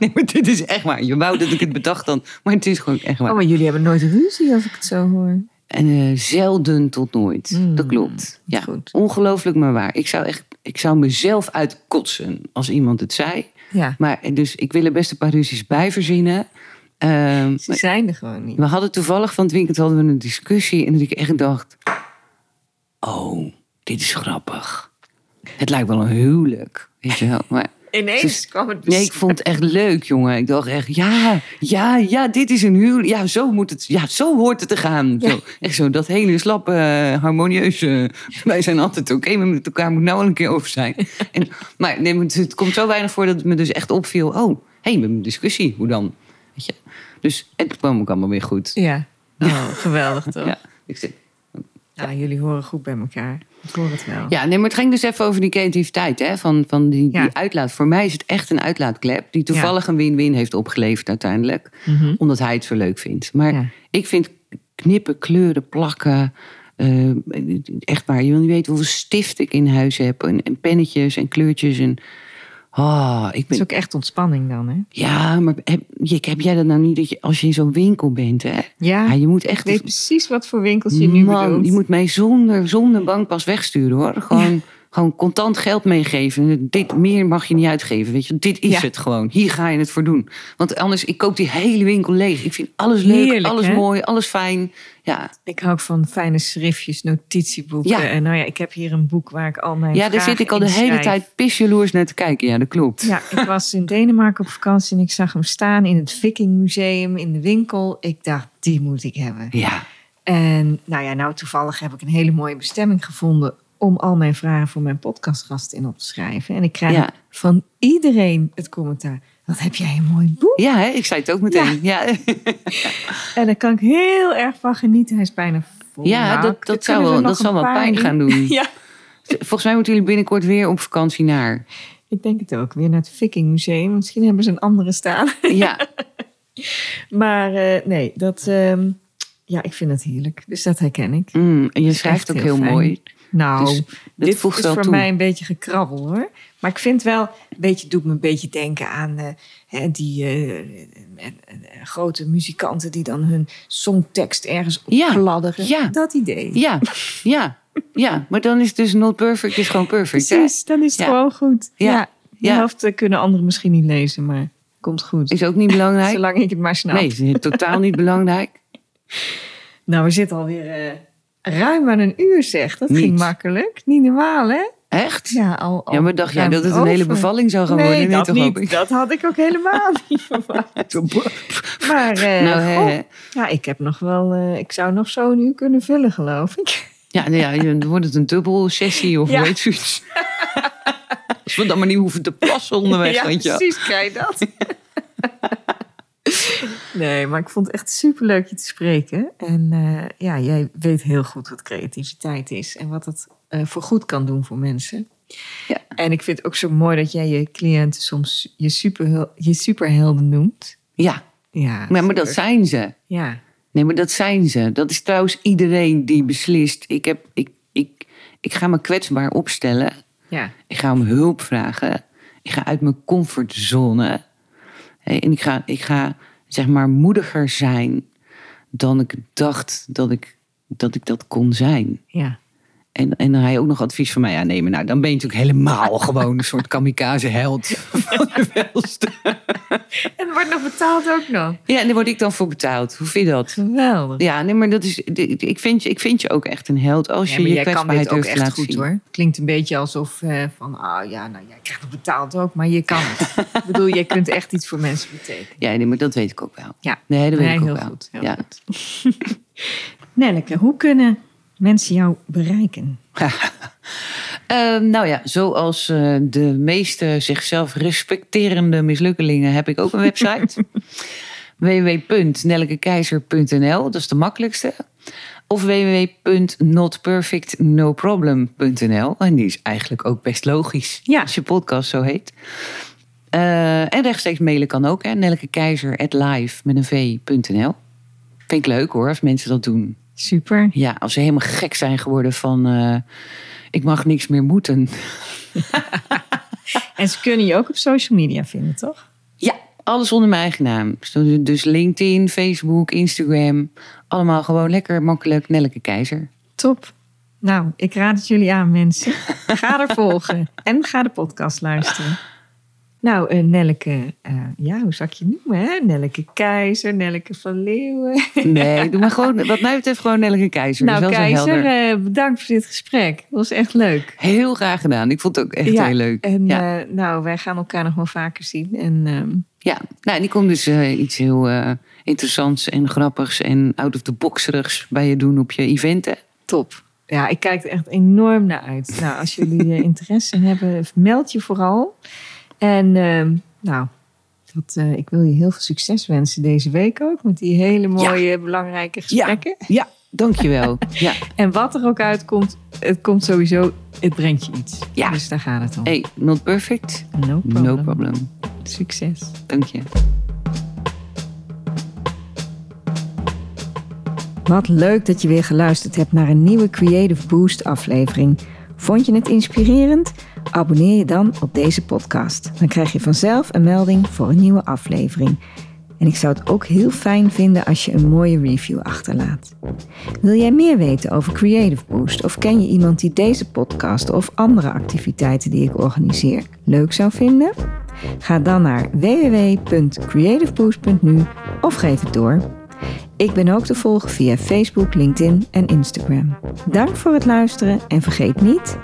[SPEAKER 1] nee, maar dit is echt waar. Je wou dat ik het bedacht dan. Maar het is gewoon echt
[SPEAKER 3] Oh,
[SPEAKER 1] waar.
[SPEAKER 3] maar jullie hebben nooit ruzie als ik het zo hoor.
[SPEAKER 1] En eh, zelden tot nooit.
[SPEAKER 3] Mm,
[SPEAKER 1] dat klopt. Ja,
[SPEAKER 3] goed.
[SPEAKER 1] ongelooflijk maar waar. Ik zou, echt, ik zou mezelf uitkotsen als iemand het zei.
[SPEAKER 3] Ja.
[SPEAKER 1] Maar eh, dus ik wil er best een paar ruzies bij verzinnen. Ehm,
[SPEAKER 3] Ze zijn er gewoon niet.
[SPEAKER 1] we hadden toevallig van het weekend hadden we een discussie. En dat ik echt dacht... Oh, dit is grappig. Het lijkt wel een huwelijk. Weet je wel, maar...
[SPEAKER 3] Ineens kwam het dus-
[SPEAKER 1] Nee, ik vond het echt leuk, jongen. Ik dacht echt, ja, ja, ja, dit is een huwelijk. Ja, zo moet het, ja, zo hoort het te gaan. Zo, Echt zo, dat hele slappe, eh, harmonieuze. Wij zijn altijd oké maar met elkaar, moet nou al een keer over zijn. En, maar nee, maar het, het komt zo weinig voor dat het me dus echt opviel. Oh, hé, hey, we hebben een discussie, hoe dan? Weet je? Dus en toen kwam ook allemaal weer goed.
[SPEAKER 3] Ja. Oh, geweldig toch?
[SPEAKER 1] Ja, ik zeg,
[SPEAKER 3] Ja, jullie horen goed bij elkaar. Ik hoor het wel.
[SPEAKER 1] Ja, nee, maar het ging dus even over die creativiteit, hè? Van, van die,
[SPEAKER 3] Ja.
[SPEAKER 1] die uitlaat. Voor mij is het echt een uitlaatklep die toevallig een win-win heeft opgeleverd uiteindelijk.
[SPEAKER 3] Mhm.
[SPEAKER 1] Omdat hij het zo leuk vindt. Maar
[SPEAKER 3] Ja.
[SPEAKER 1] ik vind knippen, kleuren, plakken. eh, echt waar, je wil niet weten hoeveel stift ik in huis heb. En, en pennetjes en kleurtjes. En, ah, ik
[SPEAKER 3] Het
[SPEAKER 1] ben,
[SPEAKER 3] is ook echt ontspanning dan, hè?
[SPEAKER 1] Ja, maar heb, je- heb jij dat nou niet dat je, als je in zo'n winkel bent, hè?
[SPEAKER 3] Ja,
[SPEAKER 1] Ja, je moet
[SPEAKER 3] ik
[SPEAKER 1] echt
[SPEAKER 3] weet precies wat voor winkels je nu
[SPEAKER 1] Man,
[SPEAKER 3] bedoelt.
[SPEAKER 1] je moet mij zonder, zonder bankpas wegsturen hoor. Gewoon, gewoon contant geld meegeven. Dit meer mag je niet uitgeven. Weet je, dit is
[SPEAKER 3] Ja.
[SPEAKER 1] het gewoon. Hier ga je het voor doen. Want anders, ik koop die hele winkel leeg. Ik vind alles leuk,
[SPEAKER 3] Heerlijk,
[SPEAKER 1] alles
[SPEAKER 3] hè?
[SPEAKER 1] mooi, alles fijn. Ja,
[SPEAKER 3] Ik hou ook van fijne schriftjes, notitieboeken.
[SPEAKER 1] Ja.
[SPEAKER 3] En nou ja, ik heb hier een boek waar ik al mijn
[SPEAKER 1] ja daar
[SPEAKER 3] vragen
[SPEAKER 1] zit ik al
[SPEAKER 3] in
[SPEAKER 1] de hele
[SPEAKER 3] schrijf.
[SPEAKER 1] tijd pisjaloers naar te kijken. Ja, dat klopt.
[SPEAKER 3] Ja, ik was in Denemarken op vakantie en ik zag hem staan in het Vikingmuseum in de winkel. Ik dacht, die moet ik hebben.
[SPEAKER 1] Ja,
[SPEAKER 3] En nou ja, nou toevallig heb ik een hele mooie bestemming gevonden om al mijn vragen voor mijn podcastgast in op te schrijven. En ik krijg
[SPEAKER 1] Ja.
[SPEAKER 3] van iedereen het commentaar. Wat heb jij een mooi boek?
[SPEAKER 1] ja hè? ik zei het ook meteen. Ja, ja.
[SPEAKER 3] En daar kan ik heel erg van genieten. Hij is bijna vol. Nou, er
[SPEAKER 1] dat, dat zou
[SPEAKER 3] kunnen er
[SPEAKER 1] wel,
[SPEAKER 3] nog
[SPEAKER 1] dat zal
[SPEAKER 3] een
[SPEAKER 1] wel
[SPEAKER 3] paar
[SPEAKER 1] pijn
[SPEAKER 3] in.
[SPEAKER 1] gaan doen.
[SPEAKER 3] Ja,
[SPEAKER 1] Volgens mij moeten jullie binnenkort weer op vakantie naar.
[SPEAKER 3] ik denk het ook. Weer naar het Vikingmuseum. Misschien hebben ze een andere staan.
[SPEAKER 1] Ja,
[SPEAKER 3] Maar eh, nee, dat, ehm, ja, ik vind het heerlijk. Dus dat herken ik.
[SPEAKER 1] mm, en je
[SPEAKER 3] is
[SPEAKER 1] schrijft
[SPEAKER 3] echt
[SPEAKER 1] ook
[SPEAKER 3] heel
[SPEAKER 1] heel
[SPEAKER 3] fijn.
[SPEAKER 1] mooi.
[SPEAKER 3] Nou,
[SPEAKER 1] Dus dat
[SPEAKER 3] dit
[SPEAKER 1] voegt
[SPEAKER 3] is
[SPEAKER 1] wel
[SPEAKER 3] voor
[SPEAKER 1] toe.
[SPEAKER 3] mij een beetje gekrabbel hoor. Maar ik vind wel, een beetje doet me een beetje denken aan eh, hè, die eh, eh, eh, grote muzikanten die dan hun songtekst ergens op
[SPEAKER 1] Ja,
[SPEAKER 3] pladderen.
[SPEAKER 1] ja.
[SPEAKER 3] Dat idee.
[SPEAKER 1] Ja, ja, ja. Maar dan is het dus not perfect, is gewoon perfect. hè?
[SPEAKER 3] Precies, dan is het
[SPEAKER 1] Ja.
[SPEAKER 3] gewoon goed.
[SPEAKER 1] Ja.
[SPEAKER 3] Ja.
[SPEAKER 1] Ja.
[SPEAKER 3] De helft eh, kunnen anderen misschien niet lezen, maar komt goed.
[SPEAKER 1] Is ook niet belangrijk.
[SPEAKER 3] Zolang ik het maar snap.
[SPEAKER 1] Nee, is totaal niet belangrijk.
[SPEAKER 3] Nou, we zitten alweer eh ruim aan een uur zeg. Dat
[SPEAKER 1] Niet.
[SPEAKER 3] ging makkelijk. Niet normaal hè?
[SPEAKER 1] Echt?
[SPEAKER 3] Ja, al, al
[SPEAKER 1] Ja, maar dacht jij
[SPEAKER 3] ruim
[SPEAKER 1] dat het een hele
[SPEAKER 3] over.
[SPEAKER 1] bevalling zou gaan
[SPEAKER 3] nee,
[SPEAKER 1] worden?
[SPEAKER 3] dat
[SPEAKER 1] toch,
[SPEAKER 3] niet.
[SPEAKER 1] hoop ik?
[SPEAKER 3] Dat had ik ook helemaal niet verwacht. Maar eh,
[SPEAKER 1] Nou, hè,
[SPEAKER 3] goh,
[SPEAKER 1] hè.
[SPEAKER 3] ja, ik heb nog wel, eh, ik zou nog zo een uur kunnen vullen, geloof ik.
[SPEAKER 1] Ja, nou ja, dan wordt het een dubbel sessie of
[SPEAKER 3] Ja.
[SPEAKER 1] weet zoiets. Als we dan maar niet hoeven te plassen onderweg,
[SPEAKER 3] ja,
[SPEAKER 1] weet je wel.
[SPEAKER 3] precies, kijk dat. nee, maar ik vond het echt superleuk je te spreken. En eh, ja, jij weet heel goed wat creativiteit is en wat het eh, voor goed kan doen voor mensen.
[SPEAKER 1] Ja.
[SPEAKER 3] En ik vind het ook zo mooi dat jij je cliënten soms je, superhel- je superhelden noemt.
[SPEAKER 1] Ja,
[SPEAKER 3] Ja,
[SPEAKER 1] maar, maar dat
[SPEAKER 3] super.
[SPEAKER 1] zijn ze.
[SPEAKER 3] Ja,
[SPEAKER 1] Nee, maar dat zijn ze. Dat is trouwens iedereen die beslist. Ik, heb, ik, ik, ik ga me kwetsbaar opstellen.
[SPEAKER 3] ja.
[SPEAKER 1] Ik ga om hulp vragen. Ik ga uit mijn comfortzone. Hé, En ik ga, ik ga zeg maar moediger zijn dan ik dacht dat ik dat, ik dat kon zijn.
[SPEAKER 3] Ja,
[SPEAKER 1] En, en dan ga je ook nog advies van mij aannemen. Nou, dan ben je natuurlijk helemaal gewoon een soort kamikaze held van de welste.
[SPEAKER 3] En wordt nog betaald ook nog.
[SPEAKER 1] Ja, en daar word ik dan voor betaald. Hoe vind je dat?
[SPEAKER 3] Geweldig.
[SPEAKER 1] Ja, nee, maar dat is, ik, vind je, ik vind je ook echt een held als je je kwetsbaarheid
[SPEAKER 3] dus
[SPEAKER 1] durft te laten zien.
[SPEAKER 3] hoor. Klinkt een beetje alsof eh, van, ah ja, nou jij krijgt het betaald ook, maar je kan het. ik bedoel, je kunt echt iets voor mensen betekenen.
[SPEAKER 1] Ja, nee, maar dat weet ik ook wel.
[SPEAKER 3] Ja,
[SPEAKER 1] Nee, dat weet
[SPEAKER 3] Nee,
[SPEAKER 1] ik ook
[SPEAKER 3] heel
[SPEAKER 1] wel.
[SPEAKER 3] goed. Heel
[SPEAKER 1] ja.
[SPEAKER 3] goed. Nelleke, hoe kunnen mensen jou bereiken?
[SPEAKER 1] Ehm, nou ja, zoals eh, de meeste zichzelf respecterende mislukkelingen heb ik ook een website. www.nellekekeizer.nl, dat is de makkelijkste. Of www.notperfectnoproblem.nl. En die is eigenlijk ook best logisch
[SPEAKER 3] Ja.
[SPEAKER 1] als je podcast zo heet. Eh, en rechtstreeks mailen kan ook, hè. nellekekeizer.live met een v.nl. Vind ik leuk hoor, als mensen dat doen.
[SPEAKER 3] Super.
[SPEAKER 1] Ja, als ze helemaal gek zijn geworden van eh, ik mag niks meer moeten.
[SPEAKER 3] En ze kunnen je ook op social media vinden, toch?
[SPEAKER 1] Ja, alles onder mijn eigen naam. Dus LinkedIn, Facebook, Instagram. Allemaal gewoon lekker makkelijk Nelleke Keizer.
[SPEAKER 3] Top. Nou, ik raad het jullie aan, mensen. Ga er volgen en ga de podcast luisteren. Nou, eh, Nelleke, eh, ja, hoe zou ik je noemen? Hè? Nelleke Keizer, Nelleke van Leeuwen.
[SPEAKER 1] Nee, doe maar gewoon, wat mij betreft gewoon Nelleke Keizer.
[SPEAKER 3] nou,
[SPEAKER 1] dat is wel zo
[SPEAKER 3] Keizer,
[SPEAKER 1] helder.
[SPEAKER 3] eh, bedankt voor dit gesprek. Dat was echt leuk.
[SPEAKER 1] Heel graag gedaan. Ik vond het ook echt
[SPEAKER 3] Ja,
[SPEAKER 1] heel leuk.
[SPEAKER 3] En
[SPEAKER 1] ja.
[SPEAKER 3] eh, nou, wij gaan elkaar nog wel vaker zien. En ehm,
[SPEAKER 1] ja, nou, en die komt dus eh, iets heel eh, interessants en grappigs en out-of-the-boxerigs bij je doen op je eventen.
[SPEAKER 3] top. Ja, ik kijk er echt enorm naar uit. Nou, als jullie eh, interesse hebben, meld je vooral. En ehm, nou, dat, eh, ik wil je heel veel succes wensen deze week ook. Met die hele mooie, belangrijke gesprekken.
[SPEAKER 2] Ja,
[SPEAKER 1] Dankjewel. ja.
[SPEAKER 3] En wat er ook uitkomt, het komt sowieso, het brengt je iets.
[SPEAKER 1] Ja.
[SPEAKER 3] Dus daar gaat het om.
[SPEAKER 1] Hey, not perfect.
[SPEAKER 3] No problem.
[SPEAKER 1] No problem.
[SPEAKER 3] Succes.
[SPEAKER 1] Dank je.
[SPEAKER 3] Wat leuk dat je weer geluisterd hebt naar een nieuwe Creative Boost aflevering. Vond je het inspirerend? Abonneer je dan op deze podcast. Dan krijg je vanzelf een melding voor een nieuwe aflevering. En ik zou het ook heel fijn vinden als je een mooie review achterlaat. Wil jij meer weten over Creative Boost of ken je iemand die deze podcast of andere activiteiten die ik organiseer leuk zou vinden? Ga dan naar www.creativeboost.nu of geef het door. Ik ben ook te volgen via Facebook, LinkedIn en Instagram. Dank voor het luisteren en vergeet niet: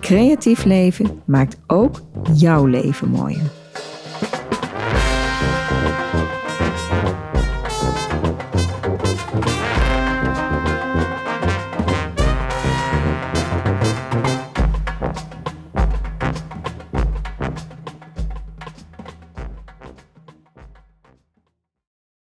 [SPEAKER 3] creatief leven maakt ook jouw leven mooier.